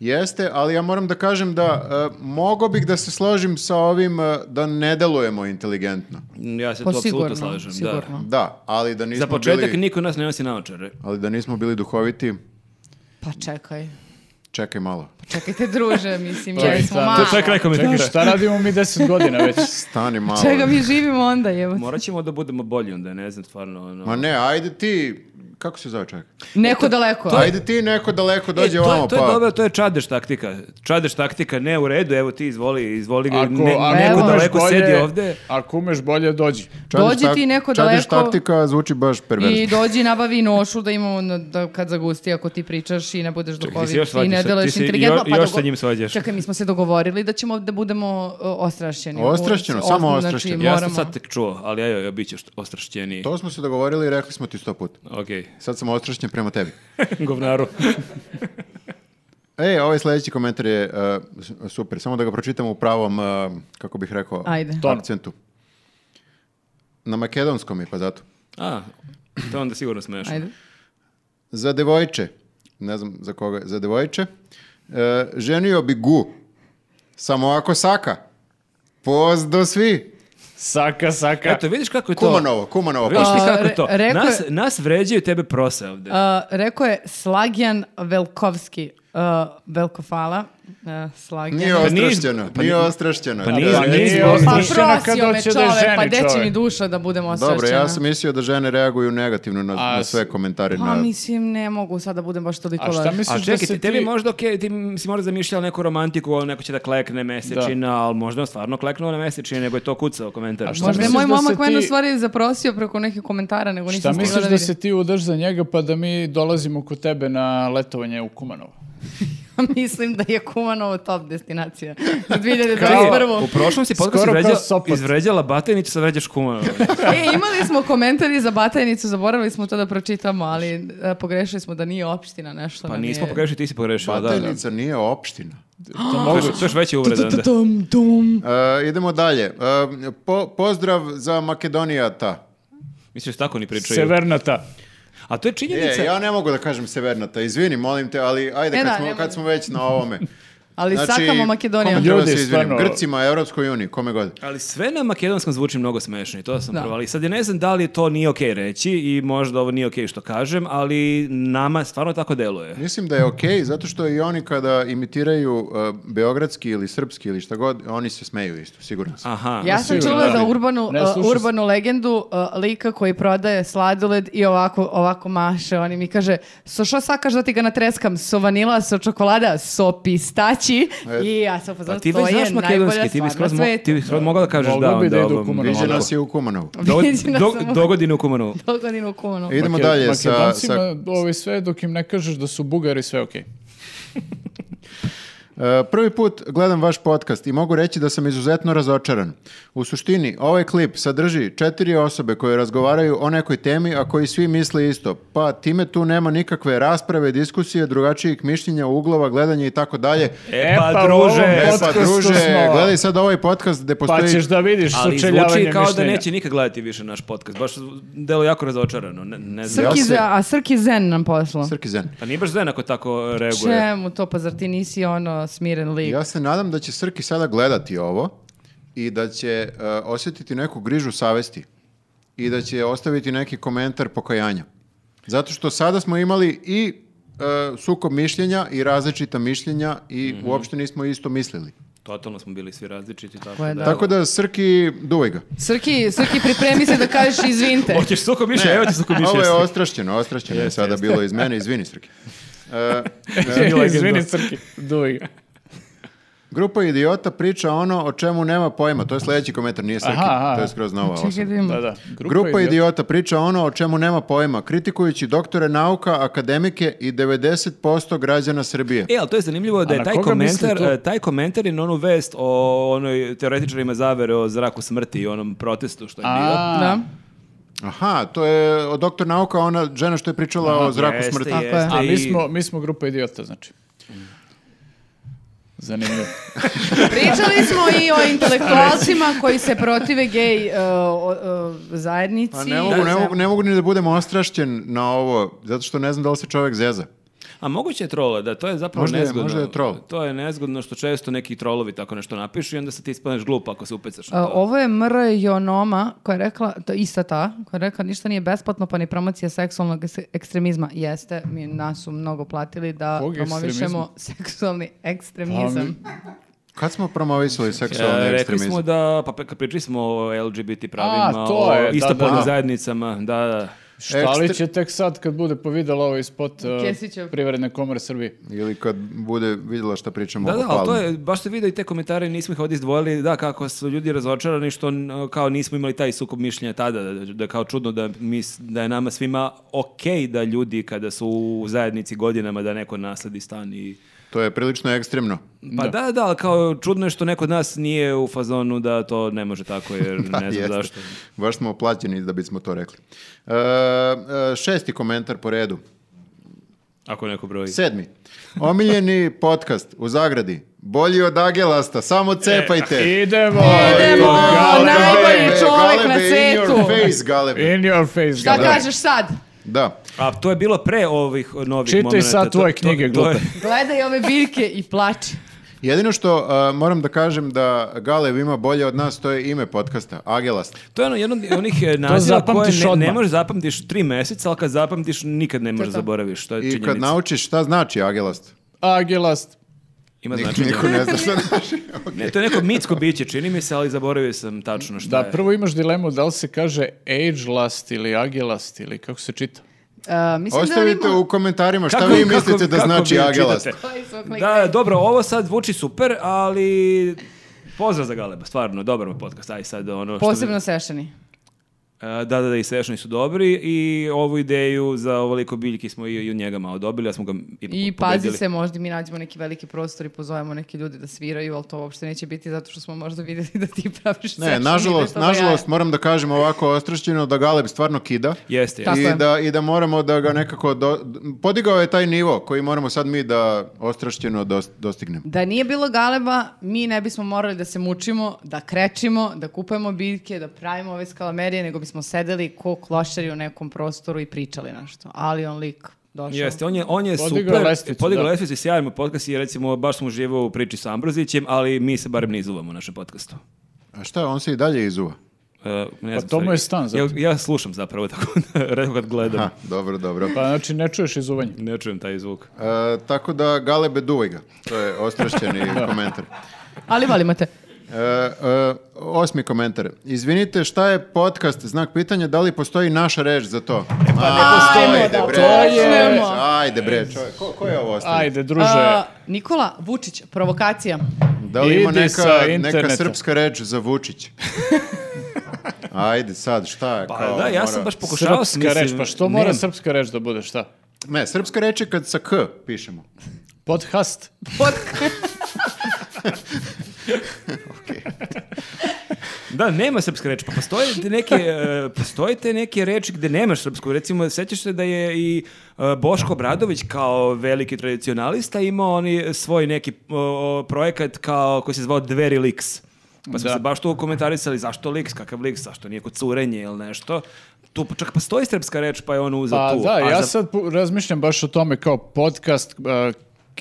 Jeste, ali ja moram da kažem da
Mhm.
e, mogo bih da se složim sa ovim e, da ne delujemo inteligentno.
Ja se
Pa
tu apsolutno
sigurno,
slažem. Da.
sigurno.
Da, ali da nismo
Za početak
bili
niko od nas ne nosi naočare.
ali da nismo bili duhoviti,
Pa čekaj.
čekaj malo.
Pa čekajte druže, mislim,
To je
jeli smo
ta-
malo.
To je kraj
Čekaj,
komentara.
šta radimo mi deset godina
*laughs*
već?
Stani malo.
Čega mi živimo onda, jebote?
Morat ćemo da budemo bolji onda, ne znam, stvarno. Ono.
Ma ne, ajde ti, kako se zove čovjek?
Neko daleko.
Ajde ti neko daleko
E, to,
dođe
je-
ovamo,
to je
pa.
dobro, to je čadež taktika. Čadež taktika, ne u redu, evo ti izvoli, izvoli ga, ne,
evo.
neko
umeš
daleko sedi ovde.
Ako umeš bolje, dođi.
Čadiš
Dođi
tak-
ti neko
čadiš
daleko.
taktika zvuči baš perverzno.
I dođi i nabavi nošu da imamo na- da kad zagusti ako ti pričaš i ne budeš
ti se još
duhovit i
svađaš
ne
sa- ti
deluješ
se jo-
inteligentno.
još
dogo-
sa njim svađaš.
Čekaj, mi smo se dogovorili da ćemo da budemo o, ostrašćeni.
Ostrašćeno,
Ovo-
samo
znači,
ostrašćeno.
Ja sam
moramo-
sad tek čuo, ali evo, evo, bit ćeš ostrašćeniji.
To smo se dogovorili i rekli smo ti sto puta.
Okej,
Sad sam ostrašćen prema tebi.
*laughs* govnaru.
E, ovaj sljedeći komentar je e, s- super, samo da ga pročitam u pravom, e, kako bih rekao,
Ajde.
Tonu.
akcentu. Na makedonskom je, pa zato.
A, to je onda sigurno smešno.
Ajde.
Za devojče, ne znam za koga, za devojče, e, ženio bi gu, samo ako saka. Pozdo svi.
Saka, saka.
Eto, vidiš kako je to...
Kumanovo, Kumanovo.
Vidiš
pošto-
ti
A,
kako je
re-
to.
rekao je-
Nas, nas vređaju tebe prose ovde.
A, rekao je Slagjan Velkovski. Uh, veliko hvala. Uh, slage.
Nije
Pa nije-
ostrašćeno,
pa
nije
nije-
ostrašćeno.
pa nije-
Da,
pa
da,
nije-
da.
Pa
Ostrašćena
prosio
kad
me
hoće da
čovek,
ženi
pa gde će
čovek.
mi duša da budem osvećena?
Dobro, ja sam mislio da žene reaguju negativno na,
A
na sve
s-
komentare.
Pa
na...
mislim, ne mogu sad da budem baš toliko
A šta
loš.
misliš
A čekaj,
da se
ti, tebi možda, okej, ti si možda zamišljala neku romantiku, ono, neko će da klekne mesečina, ali možda je stvarno kleknuo na mesečina, nego je to kucao komentar.
A šta
Možda je
misliš
moj
da se
momak mene u
ti-
stvari zaprosio preko nekih komentara, nego
Šta
nisam stigla
misliš
da
da
vidim.
se ti udaš za njega pa da mi dolazimo kod tebe na letovanje u Kumanovo?
*laughs* Mislim da je Kumanovo top destinacija.
*laughs*
Za
Kao,
2021.
u prošlom si podcastu
Skoro kao
izvređa,
Sopot.
izvređala Batajnicu, sad vređaš
*laughs*
kuma. ono.
e, imali smo komentar i za Batajnicu, zaboravili smo to da pročitamo, ali e, pogrešili smo da nije opština nešto.
Pa
nam
nismo
je-
pogrešili, ti si pogrešila. Pa Da, da.
Batajnica nije opština.
To
To
mogu.
je- To je još veća uvreda. onda.
Tum, tum.
E, idemo dalje. E, po- pozdrav za Makedonijata.
Misliš tako ni pričaju.
Severnata.
A to je
E,
činjenica.
ja ne mogu da kažem Severnata, izvini, molim te, ali ajde,
E
kad,
da,
smo,
ne
kad
mogu.
smo već na
*laughs*
ovome.
Ali
Znači,
sakamo
kome
Makedonijom.
treba
Ljudi,
se izvinim?
stvarno-
Grcima, Evropskoj uniji, kome god.
Ali sve na makedonskom zvuči mnogo smešno i to sam
Da.
provali. Sad ja ne znam da li to nije okej reći i možda ovo nije okej što kažem, ali nama stvarno tako deluje.
Mislim da je okej, zato što i oni kada imitiraju e, beogradski ili srpski ili šta god, oni se smeju isto, siguran sam.
Aha.
Ja sam čula za urbanu,
Ne,
uh,
slušao sam.
urbanu legendu uh, lika koji prodaje sladoled i ovako, ovako maše. Oni mi kaže, so što sakaš da ti ga natreskam? So vanila, so čokolada, so pistaći. I ja sam
Pa
upoznala,
ti
to
već
je
znaš
najbolja
makedonski, ti bi
stvar na
skroz, mo- ti
svetu. *laughs*
bi skroz mogao da kažeš
Mogao
da
bi
onda
da ide u
ovom-
Kumanovo.
Viđe
Ono-
nas je u Kumanovu.
*laughs* Do,
Viđena
do,
sam u-
dogodine u Kumanovu.
Dogodin u kumanu.
Idemo
Make-
dalje sa,
Makedoncima,
sa
ovaj, sve dok im ne kažeš da su Bugari, sve okej.
E, Prvi put gledam vaš podcast i mogu reći da sam izuzetno razočaran. U suštini, ovaj klip sadrži četiri osobe koje razgovaraju o nekoj temi, a koji svi misle isto. Pa time tu nema nikakve rasprave, diskusije, drugačijih mišljenja, uglova, gledanja i tako dalje.
E
E,
pa
pa u ovom
druže,
E pa
podcastu
druže,
smo.
gledaj sad ovaj podcast gde
Pa
postoji...
ćeš da vidiš
ali
sučeljavanje
zvuči
mišljenja.
kao da neće nikad gledati više naš podcast. Baš delo jako razočarano. Ne, ne znam.
Ja
Srki
se-
Zen- a Srki Zen nam poslao.
Srki Zen.
Pa nije baš zenako tako reaguje.
Čemu to, pa zar ti nisi ono smiren lik?
Ja se nadam da će Srki sada gledati ovo i da će e, osjetiti neku grižu savesti i da će ostaviti neki komentar pokajanja. Zato što sada smo imali i e, sukob mišljenja i različita mišljenja i
Mhm.
uopšte nismo isto mislili.
Totalno smo bili svi različiti. Tako
Ko je
da.
Tako da Srki, duvaj ga.
Srki, Srki, pripremi se da kažeš izvinte.
Hoćeš sukob mišljenja? Evo ti sukob
Ovo
mišljenja.
je ostrašćeno, ostrašćeno je sada bilo iz mene, izvini Srki. E,
Izvini, Crki. Duj ga.
grupa idiota priča ono o čemu nema pojma. To je sledeći komentar, nije Srki.
Aha, aha.
To je skroz nova
Čekaj
osoba.
da vidimo.
Da, da.
*laughs* Grupa, idiota. priča ono o čemu nema pojma, kritikujući doktore nauka, akademike i 90% građana Srbije.
E, ali to je zanimljivo da
A
je
na
taj
koga
komentar,
misli to?
e, taj komentar je na onu vest o onoj teoretičarima zavere o zraku smrti i onom protestu što je bio.
A,
Da.
Aha, to je o doktor nauka ona žena što je pričala o zraku
Jeste,
smrti.
Tako je.
jeste
a
i-
mi smo, mi smo grupa idiota, znači. Zanimljivo.
Pričali smo i o intelektualcima koji se protive gej e, o- o, zajednici. E,
Pa ne mogu, ne, mogu, ne mogu ni da budem ostrašćen na ovo, zato što ne znam da li se čovjek zeza.
A moguće je trola, da to je zapravo
Možda je-
nezgodno.
možda je trol.
To je nezgodno što često neki trolovi tako nešto napišu i onda se ti ispaneš glup ako se upecaš
E,
na to.
Ovo je Mr. Jonoma koja je rekla, to je ista ta, koja je rekla ništa nije besplatno pa ni promocija seksualnog es- ekstremizma. Jeste, mi nas su mnogo platili da
Kog ekstremizma?
promovišemo seksualni ekstremizam.
Kad smo promovisali
E,
seksualni
rekli
ekstremizam?
smo da, pa pe- pričali smo o LGBT pravima,
A, to je,
o
da,
istopolnim
da.
zajednicama, da, da.
E,
Šta li
Ekstra-
će tek sad kad bude povidela ovaj spot uh,
Kesićev.
Privredne komore Srbije?
Ili kad bude vidjela šta pričamo o
Da, da, ali to
Palmi.
je, baš se vide i te komentare, nismo ih ovdje izdvojili, da, kako su ljudi razočarani što n- kao nismo imali taj sukob mišljenja tada, da, da je kao čudno da, mi, s- da je nama svima okej da ljudi kada su u zajednici godinama da neko nasledi stan i...
To je prilično ekstremno.
Pa da, da, ali kao čudno je što neko od nas nije u fazonu da to ne može tako, jer ne znam
Jeste.
zašto.
Baš smo plaćeni da bismo to rekli. E, e, šesti komentar po redu.
Ako neko broji.
Sedmi. Omiljeni podcast u zagradi. Bolji od Agelasta, samo cepajte.
E,
Idemo!
Idemo,
Galebe!
najbolji
Galebe,
čovjek na
galebe, in your
svetu.
face,
E.
galebe.
In your face,
Šta
Galebe.
kažeš sad?
Da.
A to je bilo pre ovih novih
Čitaj
momenata.
sad
To-
tvoje
to-
knjige,
to je-
glupe.
Gledaj ove biljke i plači.
Jedino što a, moram da kažem da Galeb ima bolje od nas, to je ime podcasta, Agelast.
To je ono jedno od onih eh, naziva koje
zapamtiš
ne, ne
odmah.
možeš zapamtiš tri meseca, ali kad zapamtiš nikad ne možeš zaboraviš. To je
I
činjenica.
kad naučiš šta znači Agelast,
Agelast.
Ima
Nik-
značenje.
niko ne zna šta znači.
Ne, to je neko mitsko biće, čini mi se, ali zaboravio sam tačno šta
Da,
je.
prvo imaš dilemu da li se kaže agelast ili agelast ili kako se čita.
E, mislim
Ostavite
da on ima...
u komentarima šta
Kako-
vi
kako-
mislite da
kako
znači
vi
agelast.
čitate?
Koji su kliknuli?
Da, dobro, ovo sad zvuči super, ali pozdrav za Galeba, stvarno, dobar mu podcast, aj sad ono... što bi-
Posebno sešani.
E, Da, da, da, i Sešani su dobri i ovu ideju za ovoliko biljki smo i, i od njega malo dobili, ja smo ga i,
I
pobedili.
pazi se, možda mi nađemo neki veliki prostor i pozovemo neke ljude da sviraju, ali to uopšte neće biti zato što smo možda vidjeli da ti praviš session i da
Ne,
je
nažalost,
to jaje.
nažalost, moram da kažem ovako ostrašćeno da Galeb stvarno kida.
Jeste,
Tako je.
I da, I da moramo da ga nekako... do- d- podigao je taj nivo koji moramo sad mi da ostrašćeno dos- dostignemo.
Da nije bilo galeba, mi ne bismo morali da se mučimo, da krećimo, da kupujemo biljke, da pravimo ove skalamerije, nego bismo sedeli ko klošari u nekom prostoru i pričali nešto. Ali on lik došao.
Jeste, on je, on je
Podigao
super,
lestvicu,
podigao
da.
lestvicu i sjajan mu podcast i recimo baš smo uživao u priči sa Ambrozićem, ali mi se barem ne izuvamo u našem podcastu.
A šta, on se i dalje izuva.
E, ne znam,
Pa to mu je
sorry.
stan
ja,
zato.
ja slušam zapravo *laughs* tako da redko kad gledam.
Ha, dobro, dobro.
Pa znači ne čuješ izuvanje.
Ne čujem taj zvuk.
E, tako da Galebe duvaj ga. To je ostrašćeni komentar.
Ali volimo te.
E, e, osmi komentar. Izvinite, šta je podcast? Znak pitanja, da li postoji naša reč za to? pa
postoji. Ajmo da počnemo.
Ajde bre, čovjek, ko, ko je ovo ostavio?
Ajde, druže.
A, uh, Nikola Vučić, provokacija.
Da li ima
Idi
neka,
sa
neka
interneta.
srpska reč za
*laughs*
Vučić? Ajde sad, šta je?
Pa
kao, ono
da, ja sam
mora-
baš pokušao
Srpska reč, pa što mora srpska reč da bude, šta?
Ne, srpska reč je kad sa K pišemo.
Podcast.
Da, nema srpska reč, pa postoje te neke, e, postoje te neke reči gde nemaš srpsku. Recimo, sećaš se da je i e, Boško Bradović kao veliki tradicionalista imao oni svoj neki o, projekat kao, koji se zvao Dveri Liks. Pa smo
Da.
se baš tu komentarisali zašto Liks, kakav Liks, zašto nije kod curenje ili nešto. Tu pa čak postoji srpska reč, pa je on uzeo
Pa
tu.
da,
A
ja
za-
sad pu- razmišljam baš o tome kao podcast. e,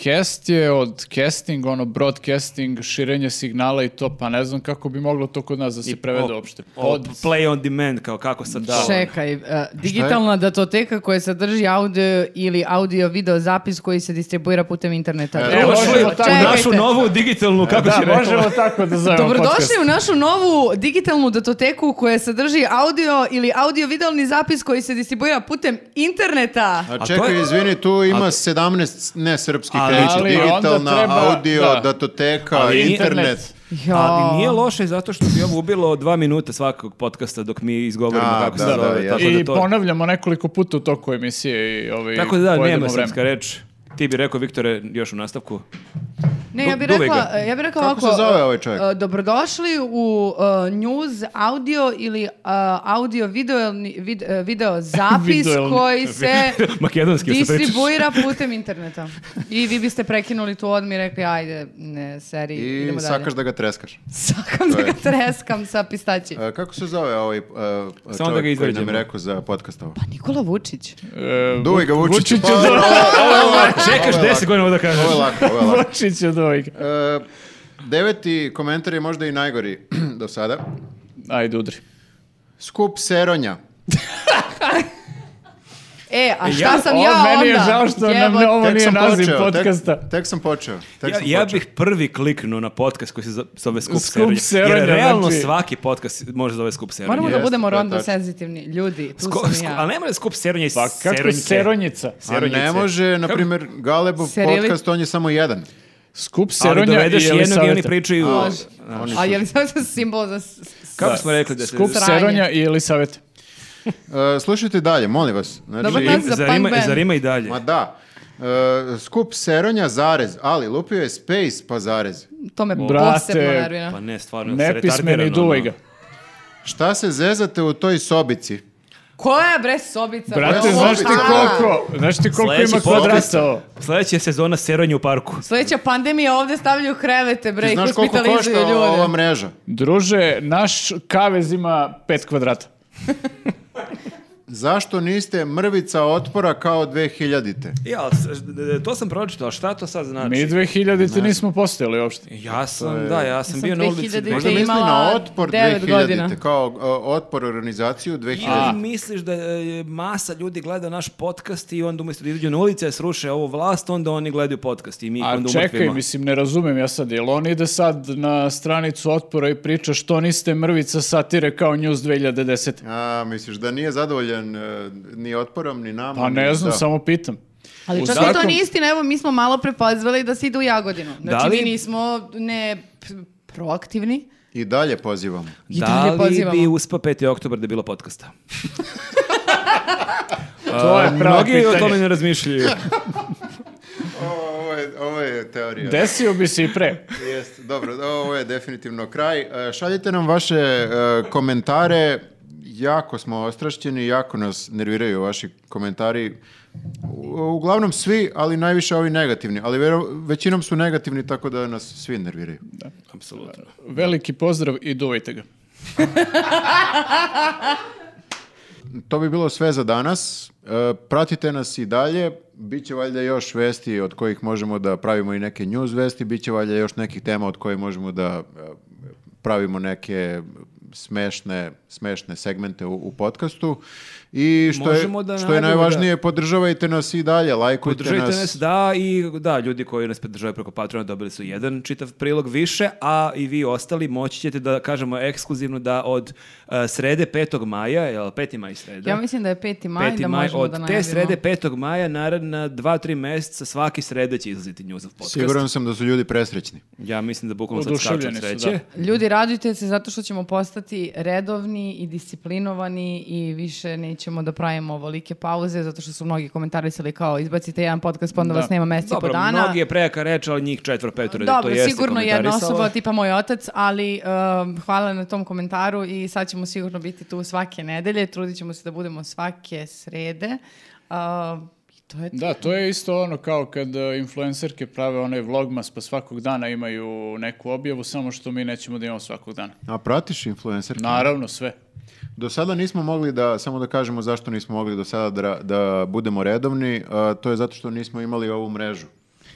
Cast je od casting, ono broadcasting, širenje signala i to, pa ne znam kako bi moglo to kod nas da se prevede
o-
uopšte.
o,
Pod,
Play on demand, kao kako sad da.
Čekaj, e, digitalna datoteka koja sadrži audio ili audio-video zapis koji se distribuira putem interneta.
E,
Evo,
Možemo
šli u
tako.
našu
Čekajte.
novu digitalnu, kako si
E, da,
rekla?
možemo tako da zovemo podcast.
Dobrodošli u našu novu digitalnu datoteku koja sadrži audio ili audio-videalni zapis koji se distribuira putem interneta.
A
to
čekaj,
je-
izvini, tu ima 17 nesrpskih
Ali-
reči.
ali onda
Digitalna,
treba-
audio,
da.
datoteka,
Ali
internet.
nije-
Jo.
Ali nije loše zato što bi ovo ubilo dva minuta svakog podcasta dok mi izgovorimo
A,
kako
da,
se
da,
zove.
jasno.
tako, da
I
to,
ponavljamo nekoliko puta u toku emisije i ovaj,
tako da
pojedemo
nema
vreme.
srpska reč. Ti bi rekao, Viktore, još u nastavku.
Ne,
Du-
ja bih
duvaj ga.
rekla, ja bih rekla
Kako
ovako.
se zove ovaj čovjek?
e, Dobrodošli u e, news audio ili e, audio video vid, e, video zapis
Videoelni.
koji se
Makedonski se pričaš.
distribuira putem interneta. I vi biste prekinuli tu odmi i rekli ajde, ne, seri,
I
idemo dalje.
sakaš da ga treskaš.
Sakam da ga treskam sa pistaći.
E, kako se zove ovaj e,
Samo da ga
čovjek koji nam
izvađemo.
je rekao za podcast ovo?
Nikola Vučić.
E,
Duvaj ga, Vučić.
Vučić
Pa,
je
ovo
do-
Čekaš 10 godina ovo da kažeš.
Ovo je lako, ovo je lako.
*laughs* Vučić je dvojka.
E, deveti komentar je možda i najgori *clears throat* do sada.
Ajde, udri.
Skup Seronja.
E, a šta
Ja-
sam
O,
ja onda?
meni je žao što nam
Jebote.
ovo
Tek
nije
sam
naziv
počeo, tek-
podcasta.
Tek, sam počeo. Tek
Ja,
sam
ja
počeo.
bih prvi kliknuo na podcast koji se za- zove Skup,
Skup
Seronja,
Seronja,
Jer realno
znači-
svaki podcast može zove Skup Seronja.
Moramo da
Jeste,
budemo
to je
rondo
tačno.
senzitivni ljudi, tu
Sko-
sam
sko-
ja.
ali ne mora Skup Seronja i
Pa kako
Seronjke.
Seronjica?
A ne
Seronjice.
može, na primjer, Galebov
Serili-
podcast, on je samo jedan.
Skup
Ali
Seronja i
dovedeš jednog i oni
Jelisaveta.
pričaju...
Može.
Oni
A
su-
je li sam sam simbol za... s- s-
Kako smo rekli da se...
Skup
Sranje.
Seronja i Jelisaveta.
E, slušajte dalje, molim vas. Znači,
Dobar dan.
Im-
za
zar
punk
ima,
band.
zar ima i dalje?
Ma da. E, skup Seronja, zarez, ali lupio je Space, pa zarez.
To me
Brate,
posebno nervira.
Pa ne, stvarno, se
Nepismeni
retardirano,
duvaj
ono.
ga.
Šta se zezate u toj sobici?
Koja bre sobica?
Brate,
Ovo-
znaš ti
A.
koliko, znaš ti koliko
Sljedeći
ima
podcast.
kvadrata ovo?
Sledeća je sezona Seronja u parku.
Sljedeća pandemija ovdje stavljaju krevete bre
Ti
i
znaš koliko
hospitalizuju
košta
ljude.
ova mreža?
Druže, naš kavez ima pet kvadrata.
zašto niste mrvica otpora kao 2000-te?
Ja, ali s- e, to sam pročitao, a šta to sad znači?
Mi 2000 ti nismo postojali uopšte.
Ja sam, da, ja sam
sam
bio na ulici.
2000-te
Možda
Možda
misli
imala
na otpor
devet
2000-te,
godina.
kao uh, otpor organizaciju 2000-te.
Ili misliš da e, masa ljudi gleda naš podcast i onda umjesto da izađu na ulice sruše ovu vlast, onda oni gledaju podcast i mi ih
A
onda
čekaj,
umrtvimo.
mislim, ne razumem ja sad, jel on ide sad na stranicu otpora i priča što niste mrvica satire kao News 2010.
A, misliš da nije zadovoljan e, ni otporom, ni nama?
Pa ne
ni-
znam,
da.
samo pitam.
Ali
U
čak i to
svakom-
nije istina, evo mi smo malo prepozvali da se ide u Jagodinu. Znači
Da li-
mi nismo ne p- proaktivni.
I dalje pozivamo.
I
Da
dalje
li
pozivamo.
bi uspao 5. oktobar da je bilo podcasta?
*laughs* To je pravo
Mnogi o tome
pitanje.
ne razmišljaju.
Ovo je, ovo je teorija.
Desio bi se i pre.
Jest, dobro, ovo je definitivno kraj. E, Šaljite nam vaše e, komentare, jako smo ostrašćeni, jako nas nerviraju vaši komentari. U- uglavnom svi, ali najviše ovi negativni, ali vero- većinom su negativni tako da nas svi nerviraju.
Apsolutno.
Veliki pozdrav i duvajte ga.
To bi bilo sve za danas. E, pratite nas i dalje. Biće valjda još vesti od kojih možemo da pravimo i neke news vesti, biće valjda još nekih tema od koje možemo da e, pravimo neke smešne, smešne segmente u, u podcastu. I što je,
Možemo da
što je
nađemo
najvažnije, podržavajte nas i dalje, lajkujte
Podržajte
nas.
nas, da, i da, ljudi koji nas podržavaju preko Patreona dobili su jedan čitav prilog više, a i vi ostali moći ćete da kažemo ekskluzivno da od e, srede 5. maja, jel 5. maj sreda?
Ja mislim da je 5. maj,
5.
da
maj,
možemo
od
da najavimo.
te srede 5. maja naredna 2-3 mjeseca svaki srede će izlaziti Newsov podcast.
Siguran sam da su ljudi presrećni.
Ja mislim da bukvalno sad skačem
Oduševljeni su,
sreće.
da.
Ljudi, radujte se zato što ćemo postati redovni i disciplinovani i više nećemo da pravimo ovolike pauze zato što su mnogi komentarisali kao izbacite jedan podcast pa onda
Da.
vas nema mjeseci po
Dobro,
dana.
mnogi je prejaka reč, ali njih četvr, petor, to
Dobro,
jeste
sigurno jedna
komentarisalo.
osoba, tipa moj otac, ali um, hvala na tom komentaru i sad ćemo sigurno biti tu svake nedelje, trudit ćemo se da budemo svake srede. Um, i to je to.
Da, to je isto ono kao kad e, influencerke prave onaj vlogmas pa svakog dana imaju neku objavu, samo što mi nećemo da imamo svakog dana.
A pratiš influencerke?
Naravno, sve.
Do sada nismo mogli da, samo da kažemo zašto nismo mogli do sada da, da budemo redovni, a, to je zato što nismo imali ovu mrežu.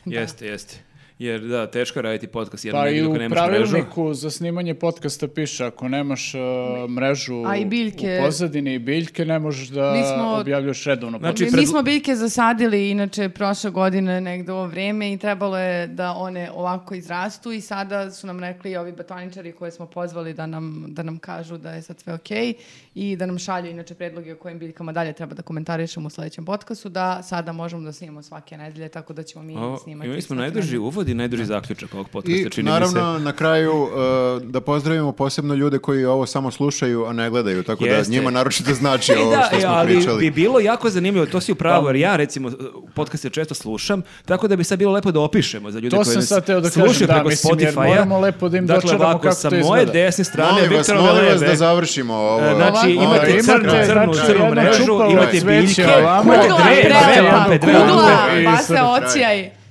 Jeste, jeste. Jer da, teško je raditi podcast jednu
Pa i
nedelju
u
ako nemaš mrežu.
pravilniku za snimanje podcasta piše ako nemaš e, mrežu
A i biljke.
u pozadini i biljke ne možeš da
Mi smo-
objavljaš redovno.
Znači,
Mi, mi
predl-
smo biljke zasadili, inače, prošle godine negde u ovo vrijeme i trebalo je da one ovako izrastu i sada su nam rekli ovi botaničari koje smo pozvali da nam, da nam kažu da je sad sve okej i da nam šalju inače predloge o kojim biljkama dalje treba da komentarišemo u sljedećem podcastu, da sada možemo da snimamo svake nedelje, tako da ćemo mi
O,
snimati.
Pa, imali smo
svake
najduži
nedelje.
uvod i najduži zaključak ovog podcasta,
I
čini mi
naravno na kraju e, da pozdravimo posebno ljude koji ovo samo slušaju, a ne gledaju, tako
Jeste.
da njima naročito znači
*laughs* se. E,
ovo
da,
što
e,
smo
ali
pričali.
bi bilo jako zanimljivo, to si u pravu, jer ja recimo podcaste često slušam, tako da bi sad bilo lepo da opišemo za ljude
To
koji
sam
nas
sad teo da kažem,
slušaju
da,
preko
mislim, jer
Spotify-a.
moramo lepo da im
dakle,
dočaramo
ovako,
kako
sa
to
moje
izgleda.
desne strane,
molim vas,
Viktorove
molim vas
leve,
da završimo ovo.
E, Znači,
Ovako,
imate
Molim vas,
crnu,
kraj.
crnu,
Kraj.
crnu
jedno
mrežu,
čupavo
imate
cveće
biljke,
ovako,
imate
Kudla,
dve, dve
prelepa,
lampe, dve
kudla,
lampe.
lampe.
pa
I
se
sad
ocijaj.